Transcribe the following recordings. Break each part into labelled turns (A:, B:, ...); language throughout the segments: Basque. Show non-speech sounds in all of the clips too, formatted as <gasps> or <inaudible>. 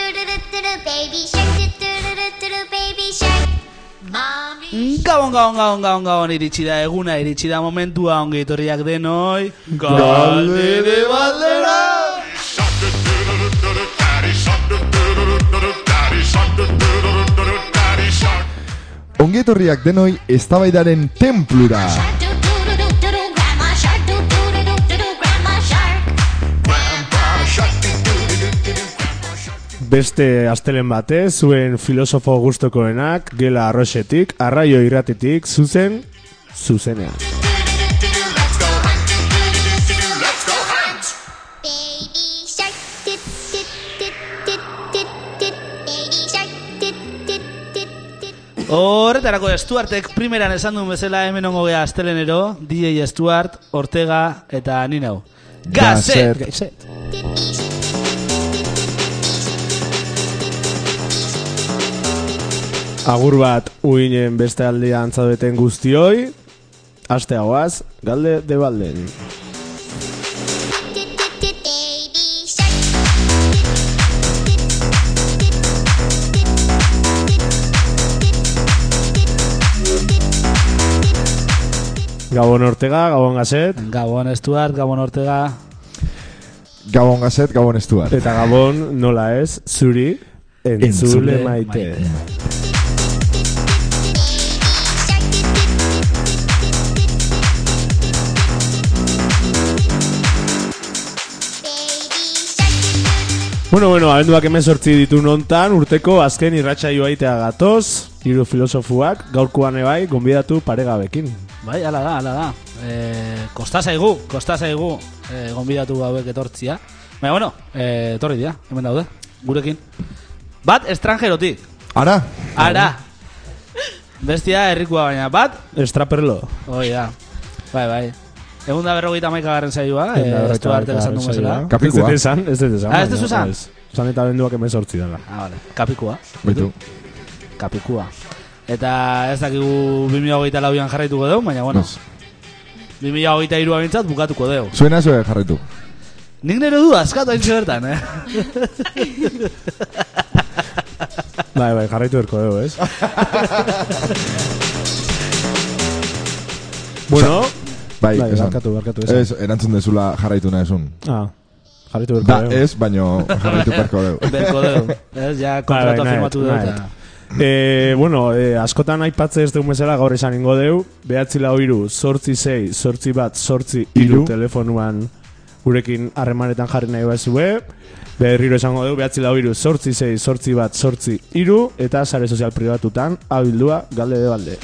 A: doo baby shark doo doo doo doo doo baby shark. Mommy.
B: Gabon, gabon, gabon, gabon, gabon, iritsi da eguna, iritsi da momentua, ongi etorriak denoi.
C: Galdere
B: baldera!
C: Ongietorriak denoi eztabaidaren templura.
A: Shark doo doo doo doo doo doo grandma shark doo doo doo doo doo doo grandma shark.
D: Beste astelen batez, zuen filosofo gustokoenak, gela arroxetik, arraio irratetik, zuzen, zuzenean.
A: Baby shark doo doo doo doo doo doo baby shark doo doo doo doo.
B: Horretarako Stuartek primeran esan duen bezala hemen ongo geha astelenero, DJ Stuart, Ortega eta ni nau. Gazet!
C: Gazet.
B: Gazet!
D: Agur bat, uinen beste aldia antzadeten guztioi, aste hauaz, galde debalden.
A: Doo doo doo baby shark.
D: Gabon Ortega, Gabon Gazet,
B: Gabon Stuart, Gabon Ortega.
C: Gabon gazet, gabon estuar.
D: eta Gabon, nola ez, zuri, entzule,
C: Entzule
D: maite.
B: maite.
D: Bueno, bueno, abenduak emezortzi ditu nontan, urteko azken irratsaioa itea gatoz, hiru filosofuak, gaurkoan ebai, gonbidatu paregabekin.
B: Bai, ala da, ala da. E, kosta zaigu, kosta zaigu e, gonbidatu hauek etortzia. Baina, bueno, e, etorri dira, hemen daude, gurekin. Bat, estranjerotik.
C: Ara,
B: Ara! Bestia, herrikoa baina. Bat,
D: Estraperlo.
B: Hoi da. Bai, bai. Egun da berrogeita maika garren zaioa,
D: Ehun da
B: eh,
D: berrogeita
B: estu arte
D: hamaika
B: esan duen
D: garren
B: bezala.
D: saioa.
C: Kapikua.
D: Ez dut esan, ez dut esan.
B: Ah, ez
D: baina,
B: duzu esan?
D: Esan eta abenduak emezortzi
B: <laughs>
D: dela.
B: Ah, vale. Kapikua.
C: baitu.
B: Kapikua. Eta ez dakigu 2008 lauan jarraituko dugu, baina bueno.
C: Ez.
B: 2008 irua bintzat bukatuko dugu.
C: Zuena zuen jarretu.
B: Nik nire du askatu hain bertan,
D: <laughs>
B: eh?
D: Bai, bai, jarraitu erko dugu, ez? bueno,
C: Bai,
D: Bai,
C: esan.
D: barkatu, barkatu, esan.
C: Ez, erantzun dezula jarraitu nahi esun.
D: ah, jarraitu erko
B: Ba,
C: Da,
D: dugu.
C: ez, baino
D: <laughs>
C: jarraitu perko deu.
B: Berko dugu. Ez, ja kontratua
D: Bai, nahi,
B: firmatu dugu.
D: nahi.
B: eta-
D: E, bueno, e, askotan aipatze ez dugu bezala gaur esan ingo deu, behatzi lau iru, sortzi zei, sortzi bat, sortzi iru,
C: Hiru.
D: telefonuan gurekin harremanetan jarri nahi bezue, berriro esango dugu, behatzi lau iru, sortzi zei, sortzi bat, sortzi iru, eta sare sozial pribatutan, abildua, galde de balde.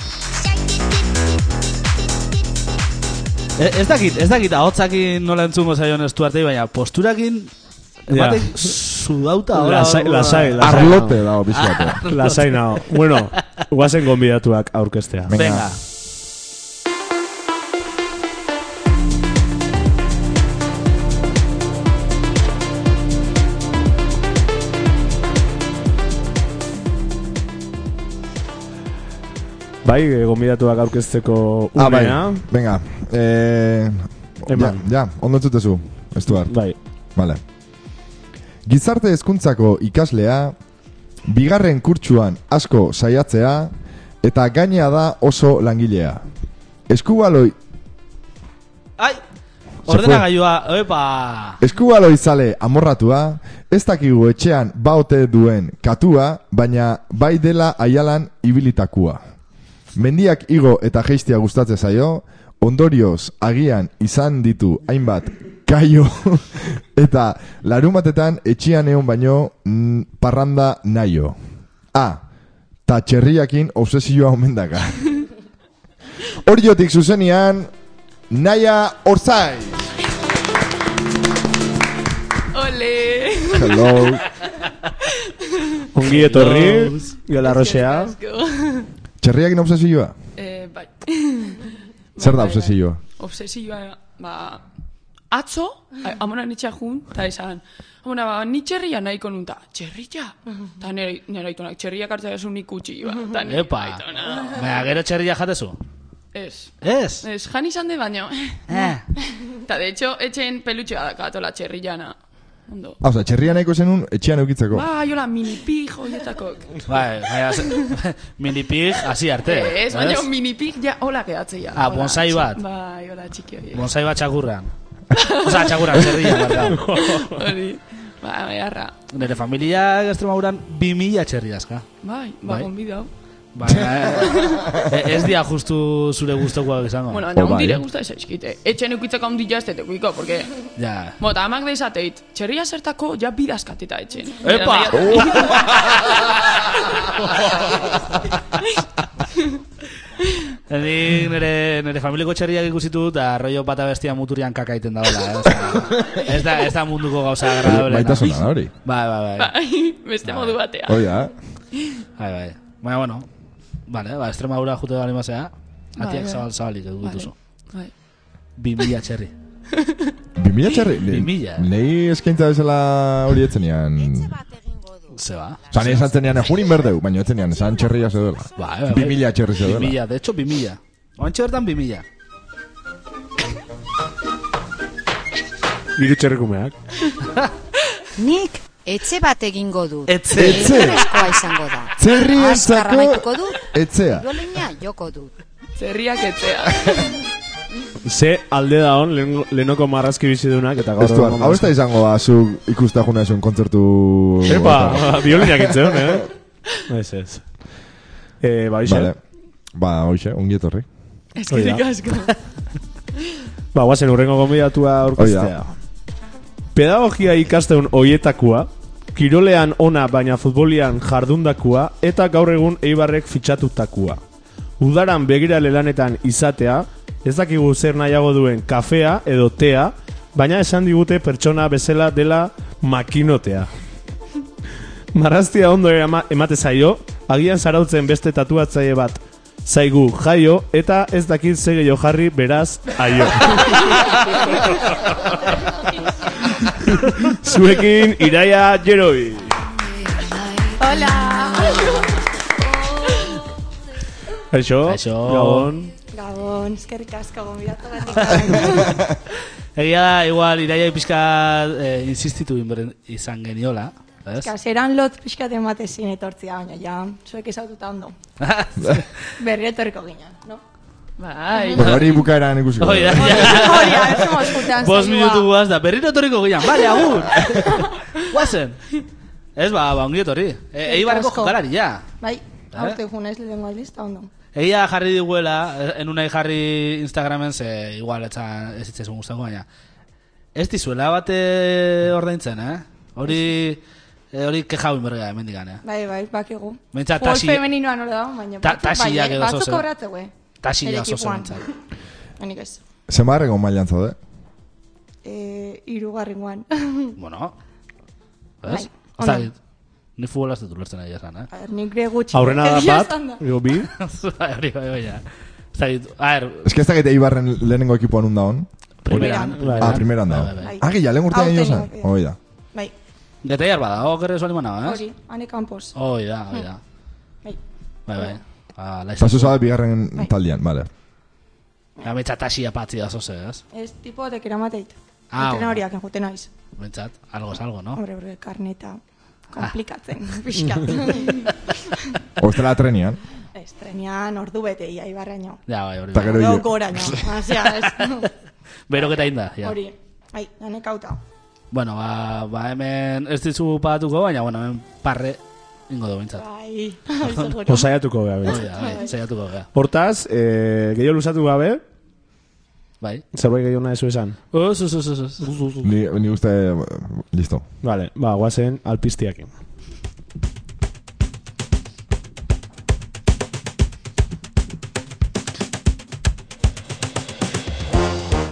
B: E- Ez dakit, ez dakit ahotsakin nola entzungo zaion estu arte, baina posturakin ematek sudauta hola.
D: Lasai,
B: hola.
D: lasai, lasai.
C: Arlote dago
D: Ah.
C: pixkatu.
D: Lasai nao. Bueno, guazen gonbidatuak aurkestea.
C: Venga.
B: Venga.
D: Bai, e, gonbidatuak aurkezteko unea.
C: Ah, bai, venga. Eh, ja,
D: Eman.
C: ja, ondo entzutezu, estuar.
D: Bai.
C: Vale. Gizarte hezkuntzako ikaslea, bigarren kurtsuan asko saiatzea, eta gainea da oso langilea. Eskubaloi,
B: Ai!
C: fue.
B: Ordenagailua, epa!
C: eskubaloi zale amorratua, ez dakigu etxean baote duen katua, baina bai dela aialan ibilitakua. Mendiak igo eta jeistia gustatzen zaio, ondorioz agian izan ditu hainbat kaio <laughs> eta larumatetan etxean egon baino mm, parranda naio. A. Ta txerriakin obsesioa omen daka. Horiotik zuzenian, Naia Orzai!
E: Ole!
C: Hello.
D: Ongi etorri,
B: Hellos.
D: gela rosea.
E: Asko.
C: Txerriakin obsesioa?
E: eh, bai.
C: Zer da
E: Bai, bai.
C: obsesioa?
E: Obsesioa, ba... Atzo, a- amona nitxe jun, eta esan, amona, ba, ni txerria nahiko nun, eta txerria? Eta nire, nire aitonak, txerriak hartzea esun ikutsi, ba, eta nire
B: Epa.
E: aitona.
B: Baina, gero txerria jatezu.
E: Ez,
B: Ez?
E: ez, jan izan de baino. <laughs>
B: Eh.
E: Eta, de hecho, etxen pelutxea daka, tola txerriana. Ondo.
C: Ah, oza, txerria nahiko zenun etxean eukitzeko.
E: Ba, jola, minipig hoietakok.
B: Bai, baina ze- <laughs> minipig hasi arte.
E: "Eh, Ez, baina
B: ez?
E: minipig ja hola gehatzeia.
B: Ah, bonsai bat.
E: Bai, hola txiki hori.
B: Bonsai bat txakurran. Osa, txakurran, txerria, barkau.
E: Hori. Ba, beharra.
B: Nere familia Extremaguran 2000 txerri daska.
E: Bai, ba,
B: Bai.
E: gonbida hau.
B: Baina, eh, ez dia justu zure gustokoak izango.
E: Bueno, baina
C: Oh, bai,
E: ondire
C: eh.
E: guzta esaizkite. Etxen eukitzeko ondila ez tetuko, porque...
B: Ja.
E: Bo, eta amak deizateit, txerria zertako ja bidazkateta etxen.
B: Epa! Oh. Ni nere, nere familiko txerriak ikusitu eta rollo bata bestia muturian kakaiten daola. Eh? Osea, ez, da, ez da munduko gauza agradable.
C: Baitasuna da hori.
B: Bai, bai, bai.
E: Bai, beste modu batea.
C: Hoi da, eh?
B: Bai, bai. Baina, bueno, vale, ba, Extremadura jute bali mazea, atiak
E: Bai, bai.
B: zabal zabalik edu dituzu.
E: Bai.
B: Bi mila txerri.
C: Bi mila txerri?
B: Bi mila.
C: Nei eskaintza bezala hori etzenian...
F: Etxe bat egingo du.
B: Zeba.
C: Zan esan zenean egunin berdeu, baina etzenian esan txerria zeudela.
B: Bai, bai, bai.
C: Bi mila txerri
B: Bi
C: zeudela.
B: mila, de hecho, bi mila. Oantxe bertan bi mila.
D: Hiru txerrikumeak.
F: Nik etxe bat egingo du.
B: Etxe.
C: Etxe.
F: Ezinezkoa izango da.
C: Txerri
F: Azkar amaituko
C: ezako
F: du,
C: etzea.
F: dolina joko dut.
E: Zerriak etzea.
D: Ze alde da hon, lehen- lehenoko marrazki bizidunak eta gaur...
C: Ez duan, hau ez da izango da zu ikusta juna esun kontzertu...
D: Epa, <laughs> biolinak itzeon, eh? Ez, ez. Eh, ba, hoxe.
C: Vale. Ba, hoxe, ongi etorri.
E: Eskerrik asko.
D: Ba, guazen urrengo gombidatua aurkeztea.
C: Hoi
D: Pedagogia ikasteun hoietakoa, kirolean ona baina futbolian jardundakoa, eta gaur egun eibarrek fitxatutakoa. Udaran begirale lanetan izatea, ez dakigu zer nahiago duen kafea edo tea, baina esan digute pertsona bezala dela makinotea. Marraztia ondo erama- emate zaio, agian zarautzen beste tatuatzaile bat zaigu jaio, eta ez dakit ze gehiago jarri beraz aio. Zuekin Iraia Jeroi.
F: Hola!
D: Aixo,
B: Kaixo.
G: Gabon, eskerrik asko gonbidatu
B: Egia da, igual, iraia pixka eh, insistitu inberen- izan geniola. Ez?
G: Kaseran lot pixkat emate zin etortzia, baina ja, zuek ezaututa ondo.
B: <laughs>
G: Berri etorriko ginen, no?
E: Bai.
C: Bueno, hori bukaeran ikusiko.
B: Hoi da,
C: dugu.
B: <laughs> ja.
G: Hori, ez somos jutean
B: Bost minutu guaz da, berriro etorriko gian, bale, agur!
G: <laughs>
B: Guazen! Ez, ba, ba, ongi etorri. E, Eibarreko
G: asko.
B: jokalari, ja.
G: Bai,
B: Eh?
G: aurte junez lehenko aldiz, eta ondo.
B: Egia jarri diguela, eh, enunai jarri Instagramen, ze igual etzan, ez itzaizun guztako, baina. Ez dizuela bate ordaintzen, eh? Hori, eh, hori kejau inberga, mendigan, eh?
G: Bai, bai, bakigu.
B: Behintzat
G: Futbol
B: tasi-
G: femeninoan hori dago, baina
B: Ta-
G: batzuk bai,
B: tasiak
G: eh,
B: edo zozer.
G: batzuk obratze, güe.
B: Tasi
G: Bere
B: da zozen
G: ekipuan.
B: bintzat.
G: <laughs> Honik ez.
C: Zemarrego mailan zaude.
G: Eh, irugarrengoan.
B: Bueno,
G: Bai,
B: ez? Ez
G: ondo.
B: dakit. Ni futbolaz dut ulertzen ari esan, eh? <laughs>
G: <laughs> A ver, nik gure gutxi. <laughs>
D: Aurrena da
G: Egia
D: bat,
G: esan da.
D: gero bi.
B: Bai, hori bai, bai, ja. Ez dakit, a ver,
C: Ez que ez dakit Eibarren lehenengo ekipoan unda hon.
B: primeran.
C: Ah, primeran da.
B: Bai, bai, bai.
G: Bai.
C: Ah, gila, lehen urtean
G: Aurten
C: jo zen.
G: bai.
C: Hoi da.
G: Bai,
B: Detailar bada, hor gerrezu alimana, eh?
G: hori, hane kanpos.
B: Hoi da, hoi da.
G: Bai.
B: Bai, bai. Ah,
C: Eta zu
B: laizan.
C: zaude bigarren
B: Bai.
C: taldean, bale.
B: Gametza tasia patzi da zoze, ez?
G: Ez tipo batek eramateit.
B: Ah,
G: Ah,
B: bueno. Oh. Ah.
G: horiak enjuten naiz.
B: Bentsat, algo es algo, no?
G: Hombre, hombre, karneta.
B: <laughs>
G: Komplikatzen, pixkat.
C: Ostela trenian.
G: <laughs> ez, trenean ordu bete, ia ibarraino.
B: Ja, bai, hori.
C: Eta
B: da.
C: gero
G: Gau
C: hile. <laughs>
G: goraino. Azia, Ah, ez. <laughs>
B: Beroketa inda, ja.
G: Hori. Ai, danek auta.
B: Bueno, ba, ba hemen ez dizu pagatuko, baina, bueno, hemen parre ingo du bentsat.
G: Bai, ai, seguro.
D: Osaiatuko gara.
B: Hoi
D: behintzat.
B: da, bai, saiatuko gea.
D: Hortaz, eh, gehiago luzatu gabe,
B: Bai.
D: zerbait gehiago nahi zu esan.
B: Os, os, os, os, os.
C: Ni, ni uste... Listo.
D: Vale, ba, guazen alpiztiakin.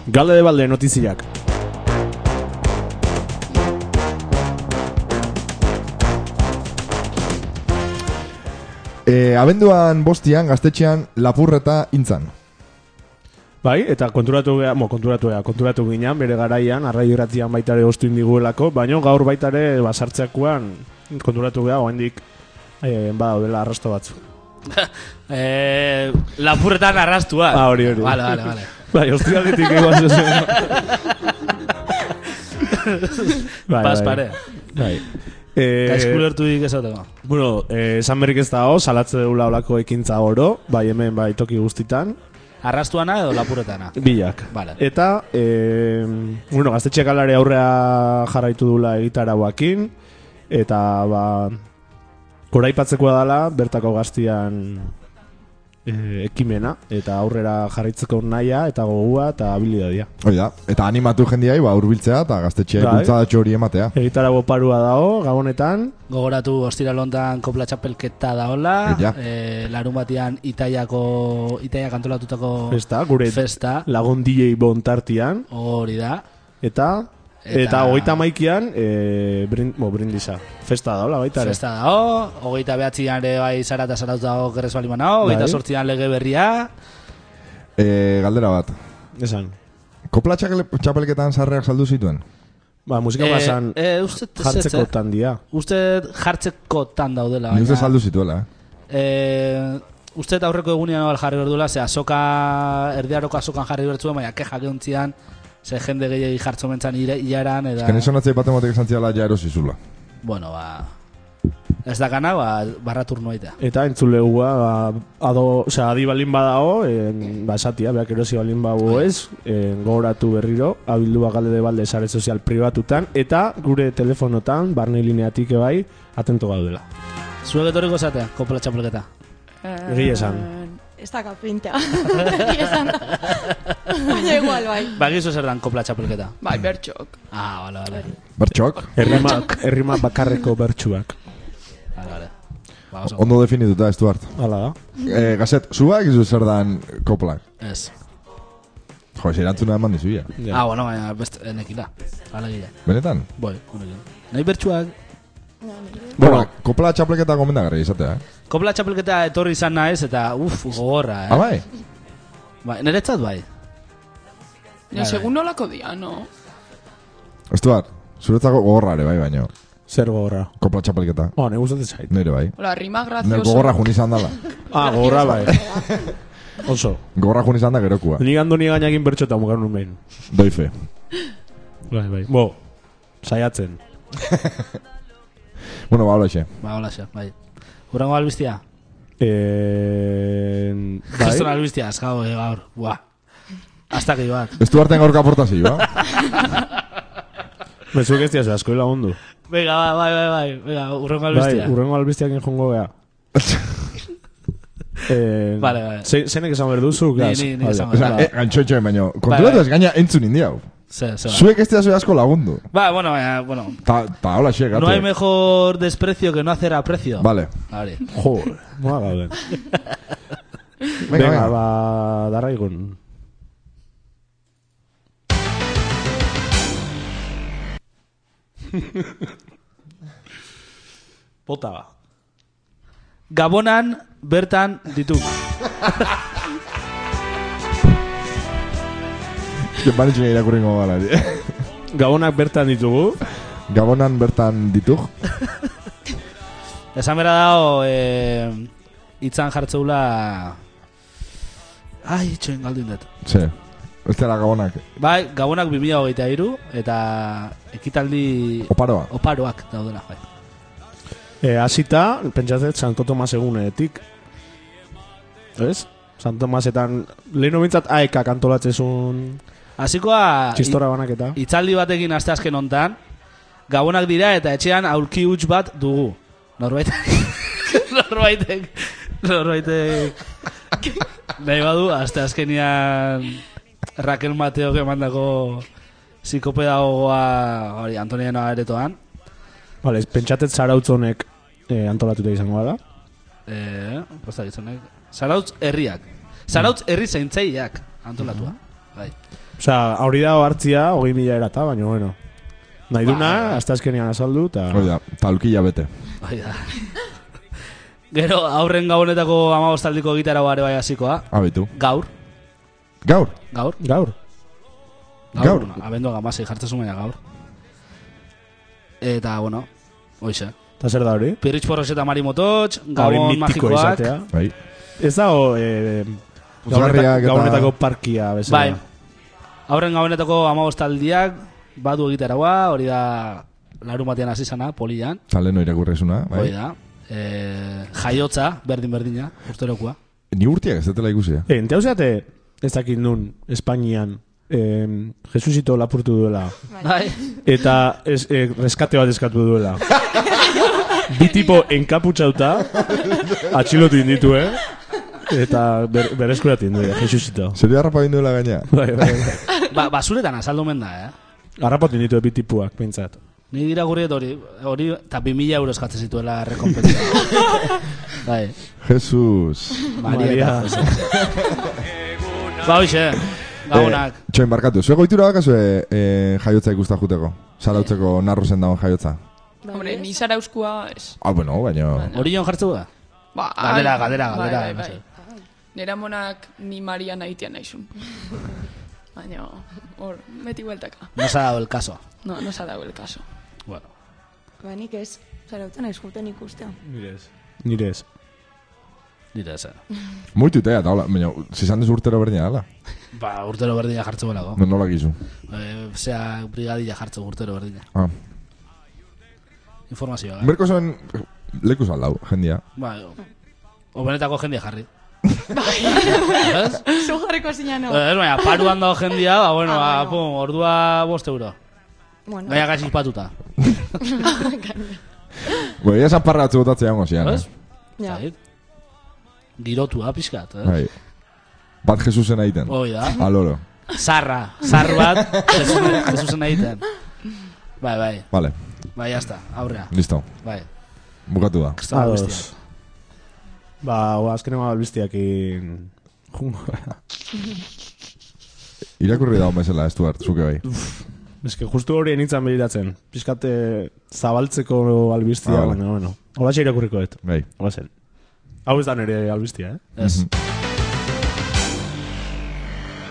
D: Galde de balde notiziak.
C: E, abenduan bostian gaztetxean lapurreta intzan.
D: Bai, eta konturatu gea, mo, konturatu gea, konturatu ginean, bere garaian, arrai irratian baitare ostu indiguelako, baino gaur baitare basartzeakoan konturatu gea, oendik, eh, badaudela arrasto batzu.
B: Eh, lapurretan arrastua.
D: Ah, hori, hori.
B: Vale, vale, vale.
D: Bai, ostiraletik egon zuzen. Bai,
B: Paz
D: bai.
B: pare.
D: Bai. Eh,
B: Kaizkulertu dik ezateko.
D: Bueno, eh, esan berrik ez dago, salatze deula olako ekintza oro, bai hemen bai toki guztitan,
B: Arrastuana edo lapuretana.
D: bilak.
B: Vale.
D: Eta, eh, bueno, gaztetxeak alare aurrea jarraitu dula egitarauakin, eta, ba, koraipatzekoa dala, bertako gaztian eh, ekimena, eta aurrera jarraitzeko naia, eta gogua, eta habilidadia.
C: Hori da, eta animatu jendiai, ba, urbiltzea eta gaztetxeak
D: Bai.
C: bultzadatxo hori ematea.
D: Egitara parua dago, gabonetan,
B: Gogoratu ostira lontan kopla txapelketa daola.
C: Ja.
B: Eh, larun batian Itaiako, Itaiak antolatutako
D: festa, gure
B: festa.
D: lagun DJ bon tartian,
B: Hori da.
D: Eta
B: Eta-
D: eta hogeita maikian e, brind, bo, brindisa. Festa da, hola, baita ere.
B: Festa dao, hogeita behatzian ere bai zara eta zarautu dago gerrezu alimana, hogeita
D: Bai.
B: sortzian lege berria,
C: E, galdera bat.
D: Esan.
C: Kopla txakele- txapelketan sarreak saldu zituen?
D: Ba, musika
B: Eh,
D: basan
B: eh, uste ez,
D: jartzeko
B: ez, eh?
D: tandia.
B: uste jartzeko tan daudela.
C: Ni uste
B: baina-
C: saldu zituela, eh?
B: Eh, uste eta aurreko egunean hor jarri berdula, ze azoka, erdiaroko azokan jarri bertzuen, baina kejak egontzian, ze jende gehiagi jartzo mentzan ire- iaran, eta...
C: Kenezonatzei baten batek esan ziala ja erosizula.
B: Bueno, ba... Ez dakana, ba, barra turnoita.
D: Eta entzulegua, ba, ado, oza, adi balin badao, en, ba, esatia, behak erosi balin bago
B: Bai.
D: ez, en, gogoratu berriro, abildua galde de balde sare sozial pribatutan, eta gure telefonotan, barne lineatik ebai, atento gaudela.
B: Zuek etorriko zatea, kopla txapelketa.
D: Egia esan.
G: Ez da kapinta. <laughs> Egia esan da. Baina igual, bai.
B: Ba, gizu zer dan kopla txapelketa.
E: Bai, bertxok.
B: Ah, bale, bale.
C: Bertxok,
D: Herrima, herrima bakarreko bertsuak.
B: Bale, bale. Ba, oso.
C: ondo definituta, ez duart.
D: Hala da.
C: E, gazet, zuak izu zer dan koplak?
B: Ez.
C: Jo, ez erantzuna eman dizuia.
B: Ah, bueno, baina beste, enekila. Hala gila.
C: Benetan?
B: Boi, unekin. Nahi bertsuak,
C: Bueno, kopla txapelketa gomendagarri izatea, eh?
B: kopla txapelketa etorri izan naiz eta uf, gogorra, eh?
C: Abai?
B: Ba, niretzat bai.
E: Ja, segun nolako dia, no?
C: Ez duart, zuretzako gogorra ere bai baino.
D: Zer gogorra.
C: Kopla txapelketa.
D: Ba, ne gustatzen zait.
C: Nire bai.
E: Ola, rima
C: Nire
E: grazioso.
C: gogorra jun izan dala.
D: Ah, gogorra bai. <laughs> Oso.
C: Gogorra jun izan da gerokua.
D: Ni andoni gainakin bertxo eta mugar nun behin.
C: Doi fe.
D: Bai, bai. Bo, saiatzen.
C: Bueno, ba, hola xe.
B: Ba, hola xe, bai. Urrengo albiztia.
D: Eh,
B: Bai?
D: <laughs> bai.
B: Geston albiztia, ez gau, eh, gaur. Buah. Hasta gehi bat.
C: Ez duarten gaurko eh?
B: <laughs>
C: aportazioa.
D: Mezuek ez diazu asko lagundu.
B: Venga, bai, bai, bai, bai. Venga, urrengo
D: Bai,
B: albiztia.
D: urrengo albiztiak jongo <laughs> bea. eh,
B: Vale, vale.
D: Ze, zenek esan behar duzu, gaz.
B: ni- ni
D: Vale.
B: esan behar.
C: Osea, eh, gantxoitxoen baino.
B: Bai,
C: Konturatu
B: bai.
C: ez gaina entzun indi hau.
B: Zer, zer.
C: Zuek ez diazu asko lagundu.
B: Ba, bueno, baina, bueno.
C: Ta, ta hola xe, gato.
B: No hay mejor desprecio que no hacer aprecio.
C: Vale.
B: Vale.
D: Jo, noa gauden.
C: Venga,
D: Venga,
C: venga.
D: ba,
B: <laughs>
D: darraigun. Bota ba.
B: Gabonan bertan dituk.
C: Que banitxun irakurringo gara.
D: Gabonak bertan ditugu.
C: <laughs> Gabonan bertan ditug.
B: Esan bera dago, eh, itzan jartzeula... Ai, txoen galdu indet.
C: Ze. Ez dela gabonak.
B: Bai, gabonak 2023 eta ekitaldi
C: Oparoa.
B: oparoak daudela, bai.
D: E, azita, pentsatzen, Santo Tomas egunetik. Ez? Santo Tomasetan, leheno bintzat aekak antolatzezun
B: Hasikoa
D: txistora banaketa.
B: Ah, i- itzaldi batekin asteazken hontan, gabonak dira eta etxean aulki huts bat dugu. Norbaitek, <laughs> norbaitek, norbaitek, nahi badu, asteazkenian Raquel Mateok emandako psikopedagoa hori Antoniano aretoan.
D: Vale, pentsatzen zarautzonek e, antolatuta izango da.
B: Eh, posta gizonek. Zarautz herriak. Zarautz herri zaintzaileak antolatua. Bai.
D: Osea, hori da hartzia, hogei mila erata, baina bueno. Nahi duna, hasta azkenean azaldu, eta...
C: Bai, Hori da, talkilla bete.
B: Hoi bai da. Gero, aurren gabonetako amabostaldiko gitara bare bai hasikoa.
C: Abitu.
B: Gaur,
C: Ah, Gaur.
B: gaur.
D: Gaur.
B: Gaur.
C: Gaur.
B: Abendu amasei jartzen zuen baina gaur. Eta, bueno, hoxe.
D: Eta zer da hori?
B: Pirritx porros eta mari mototx,
D: Hori
B: gabon
D: mitikoa
B: magikoak.
D: izatea.
C: Bai.
D: Ez dago... E,
C: Puzgarriak eta-
D: Gaunetako parkia bezala.
B: Bai. Aurren gabonetako amabostaldiak, badu egitaraua, hori da larun batean hasi zana, polian,
C: Taleno irakurrezuna, bai.
B: hori da. E, jaiotza, berdin-berdina, usterokua.
C: Ni urtiak ez dutela ikusi. eh?
D: Ente hau zeate, ez dakit nun, Espainian, em, Jesusito lapurtu duela.
B: Bai,
D: Eta es, eh, reskate bat eskatu
B: <laughs>
D: duela. Bi tipo enkaputxauta, atxilotu inditu, eh? Eta ber, bereskuratu indu, Jesusito.
C: Zeri harrapa egin duela gaina.
D: Bai, bai.
B: ba, basuretan azaldu omen da, eh?
D: Arrapatu inditu bi tipuak, pentsat.
B: Ni dira gurri hori, hori, eta 2000 euro eskatzen zituela rekompensa. bai, <laughs>
C: Jesus.
B: Maria.
D: Maria.
B: eta Jose. ba, hoxe, gaunak.
C: Eh, txoin barkatu, zuego ohitura bakazu eh, eh, jaiotza ikusta juteko. Zarautzeko narruzen dagoen jaiotza.
E: Hombre, ni zarauzkua ez.
C: Ah, bueno, baina...
B: Hori joan jartzu da?
E: Ba,
B: Galdera, galdera,
E: bai,
B: galdera,
E: bai, bai.
B: mesedez.
E: Nera monak ni Maria nahitia naizun. Baina, hor, beti bueltaka.
B: No se ha dado el caso.
E: No, no se ha dado el caso.
B: Bueno.
G: Ba, nik ez, zarautzen ez juten ikustea.
D: Nire ez. Nire ez.
B: Dira esan.
C: Muitu tea, eta hola, baina, zizan dezu urtero berdina, ala.
B: Ba, urtero berdina jartzu belago.
C: No, nola gizu.
B: Eh, Osea, brigadilla jartzu urtero berdina.
C: Ah.
B: Informazioa. Eh?
C: Berko zuen leku zaldau, jendia.
B: Ba, obenetako jendia jarri. Ez?
G: Zu jarriko zinano.
B: Eh, Ez, baina, paruan dago jendia, ba, bueno, ba, pum, ordua bost euro.
G: Bueno,
B: Gaia gaxi patuta.
C: Bo, ia zaparra atzu botatzea hongo zian.
B: Ez?
C: eh?
G: ja.
B: Zait? Girotua, pixkat, eh?
C: Bai. Bat Jesusen egiten.
B: Hoi da.
C: Aloro.
B: Zarra, zar <laughs> bat, Jesusen- Jesusen egiten. Bai, bai,
C: Vale,
B: bai, jazta, aurrea.
C: listo.
B: Bai,
C: Bukatu da.
B: kristal guztiak.
D: Ba, oa, azkenengo albistiakin... Jungo gara.
C: Irakurri dago bezala, ez du hart, zuke bai.
D: <laughs> Eske, justu hori nintzen behiratzen. Piskate eh, zabaltzeko albistia,
C: Ah, vale.
D: baina, bueno. Hola irakurriko dut.
C: Bai.
D: Hola zen. Hau ez da nire albistia, eh?
B: Ez,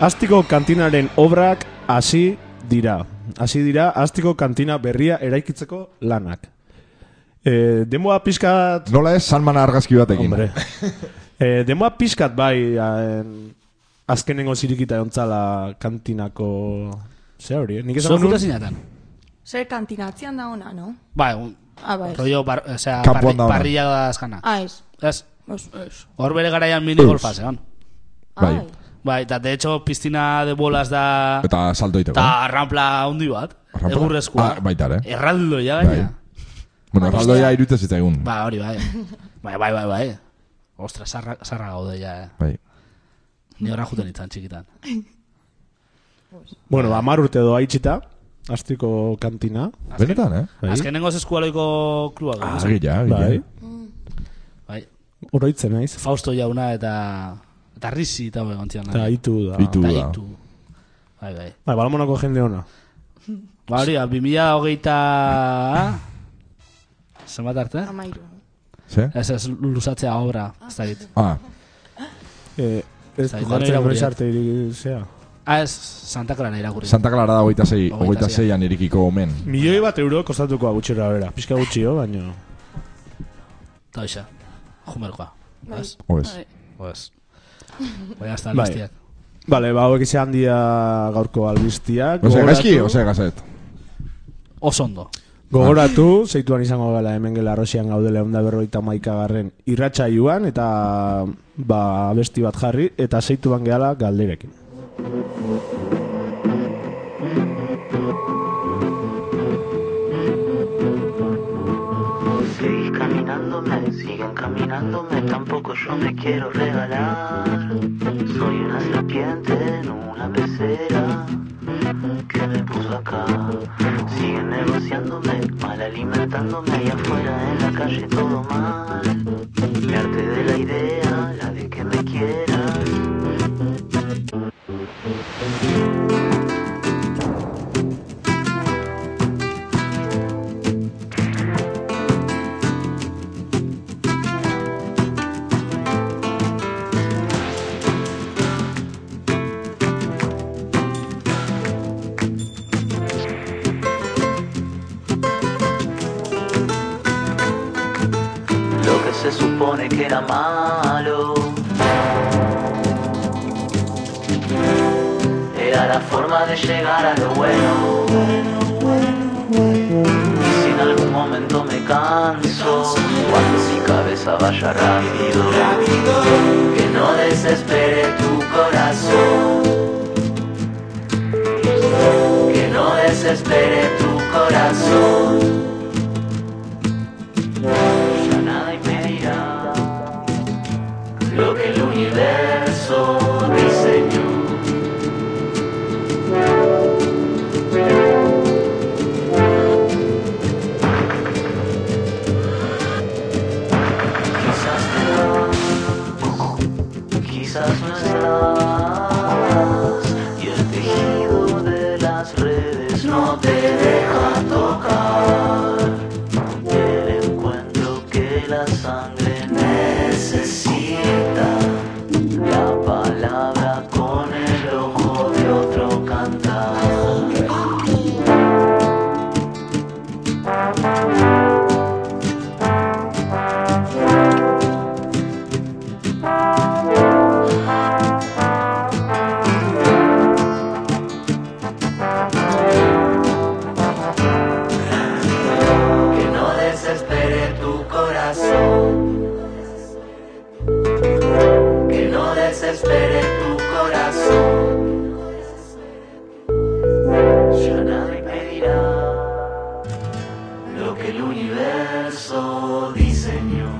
D: Astiko kantinaren obrak hasi dira. Hasi dira, astiko kantina berria eraikitzeko lanak. E, denboa pixkat
C: Nola ez, salmana argazki batekin.
D: Hombre. <laughs> eh, demoa pixkat bai haen, azkenengo zirikita jontzala kantinako... Zer hori, eh? Nik
B: zuen
D: esan
B: jute
D: nun...
B: zinatan.
G: Zer kantinatzean da ona, no?
B: Bai, un,
G: Ah, bai.
B: rollo, bar, o sea,
C: Kanpoan dagoena.
B: parrilla da azkana.
G: Ah, ez.
B: Ez,
G: Os,
E: Ez.
B: hor bere garaian mini golfa, zegoen.
C: Bai.
G: Ai.
B: Bai, eta de hecho, piztina de bolas da...
C: Eta saltoiteko.
B: Eta rampla hundi bat,
C: Rampla?
B: egurrezkoa.
C: Ah, baita ere.
B: Erraldoia gaina.
C: Bai. Bueno, erraldoia irutza zitzaigun.
B: Ba, hori, bai. Bai, bai, bai, bai. Ostra, zarra, zarra gaude, ja, eh.
C: Bai.
B: Ni horra juten itzan txikitan.
D: Bueno, amar urte doa itxita, astiko kantina.
C: Benetan, eh?
D: Bai.
B: Azkenengo zeskualoiko kluba.
C: Ah,
B: Ah,
C: gila, gila.
D: Bai.
B: bai.
D: Oroitzen naiz.
B: Fausto jauna eta... Eta risi eta bai gontzian.
D: Eta itu da.
C: Itu.
B: Eta
C: da.
B: itu. Bai, bai.
D: Bai, balamonako jende ona.
B: Ba, hori, bi mila hogeita... ah? Zenbat arte?
G: Amairu.
C: Ze?
B: Ez ez luzatzea obra, ez da dit.
C: Ah,
D: Eh, ez
B: Zai,
D: du
B: nire
D: jartzen noiz
B: irakurri.
D: arte iri- zea.
B: Ah, ez, Santa Clara irakurri.
C: Santa Clara da hogeita zei,
B: Hogeita
C: hogeita
B: sei.
C: zeian irikiko omen.
D: Milioi bat euro kostatuko agutxera bera. Pixka gutxio, baina...
B: Eta hoxe, jumerkoa. Ez,
C: Oez.
E: Bai.
B: oez. Baina ez da
D: Bai.
B: listiak.
D: Vale, ba, hauek izan dia gaurko albistiak.
C: Ose, gaizki,
D: Gogoratu-
C: ose, gazet.
B: Osondo.
D: Gogoratu, zeituan izango gala hemen gela arrosian gaudela egun da berroita maikagarren irratxaiuan eta ba, besti bat jarri eta zeituan gehala galderekin.
H: Seguís caminándome, siguen caminándome, tampoco yo me quiero regalar. Soy una serpiente en una pecera que me puso acá. Siguen negociándome, mal alimentándome y afuera en la calle todo mal. Me harté de la idea, la de que me quieras. Lo que se supone que era malo era la forma de llegar a lo bueno.
G: Y si en algún momento me canso, cuando mi cabeza vaya rápido, que no desespere tu corazón. Que no desespere tu corazón. Ya nada impedirá lo que el universo diseñó. Quizás te vas, quizás no estás, y el tejido de las redes no te deja tocar. El encuentro que la sangre necesita, la palabra con el ojo de otro cantar. que no desespere tu corazón. Que no desespere tu corazón. Ya nadie pedirá lo que el universo diseñó.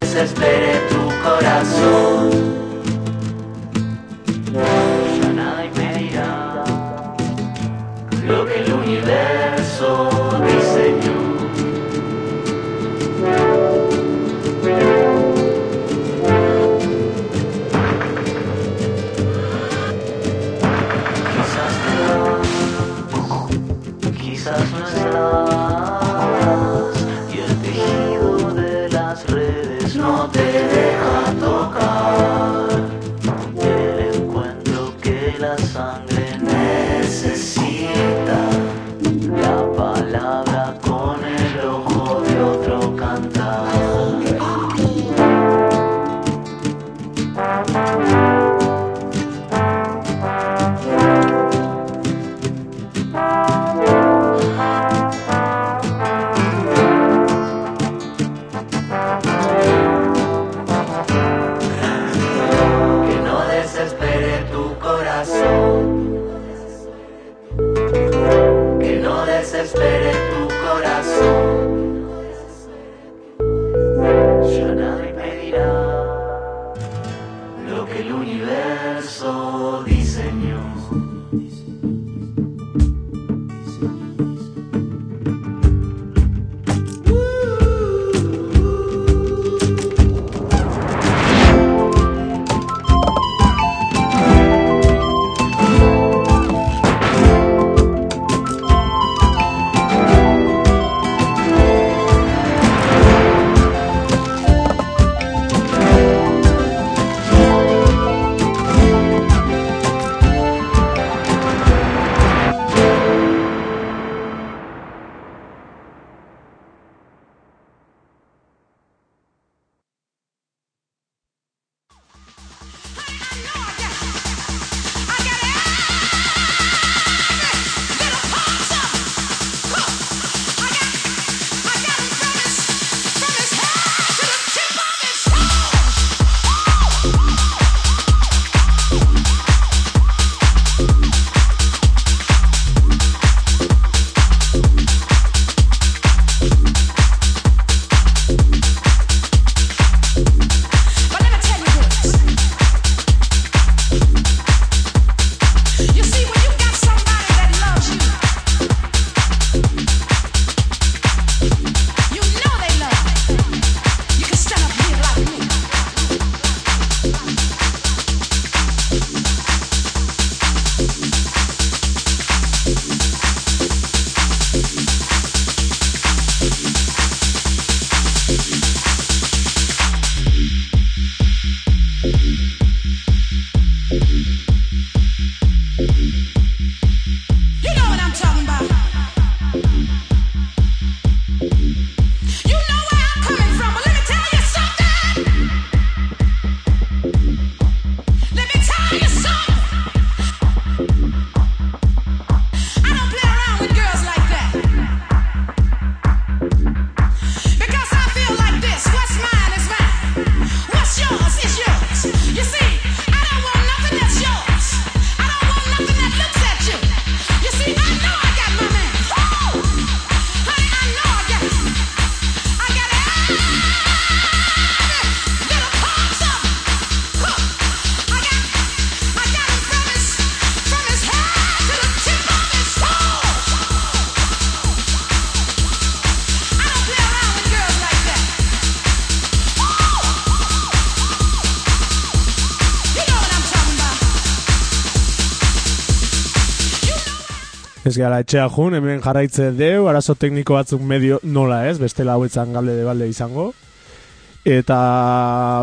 G: desespere tu corazón. Ya nada impedirá lo que el universo diseñó. Quizás te vas, quizás no estás y el tejido de las redes no te deja tocar.
I: Oh,
D: Ez gara etxea jun, hemen jarraitze deu, arazo tekniko batzuk medio nola ez, bestela hauetzan galde de balde izango. Eta,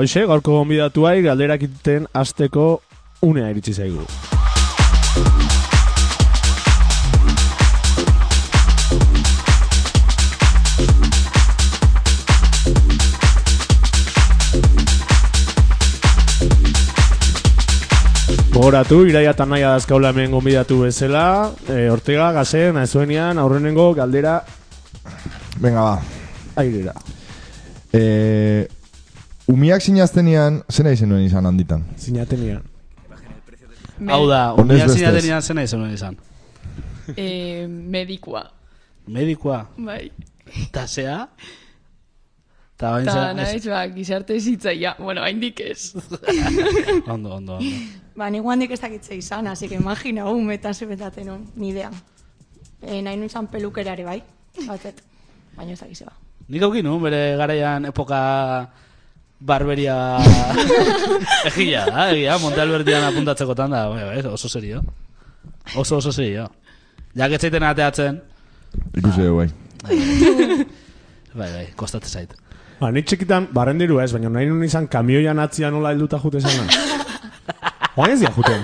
D: hoxe, gaurko gonbidatuai galderak iten asteko unea iritsi zaigu. Gogoratu, iraia eta naia dazkaula hemen gonbidatu bezala, e, Ortega, Gazen, Aezuenian, aurrenengo galdera
C: Venga, ba.
D: airera.
C: E, umiak sinaztenian, zena izen nuen izan handitan?
D: Zinatenian.
B: Hau da,
C: Honez
B: unia
C: bestez.
B: zinaten zena izan nuen izan.
E: Eh, medikua.
B: Medikoa,
E: Bai.
B: tasea, eta bain
E: Eta
B: zena,
E: naiz, ba, gizarte zitzaia. Bueno, haindik ez.
B: ondo, ondo, ondo.
G: Ba, ni guandik ez dakitze izan, así que imagina, un metan zebetaten hon, ni idea. E, nahi nuen izan pelukerare bai, batet. Baina ez dakitze ba.
B: Nik aukin nuen, bere garaian epoka barberia egia da, egia, Montalbertian apuntatzeko tanda, bai, bai, oso serio. Oso, oso serio. Jak etzaiten ateatzen,
C: Ikusi dugu, bai.
B: bai, bai, kostatzen zait.
D: Ba, ni txikitan, barrendiru ez, baina nahi nun izan kamioian atzia nola helduta jute zena. Oain ez dira juten.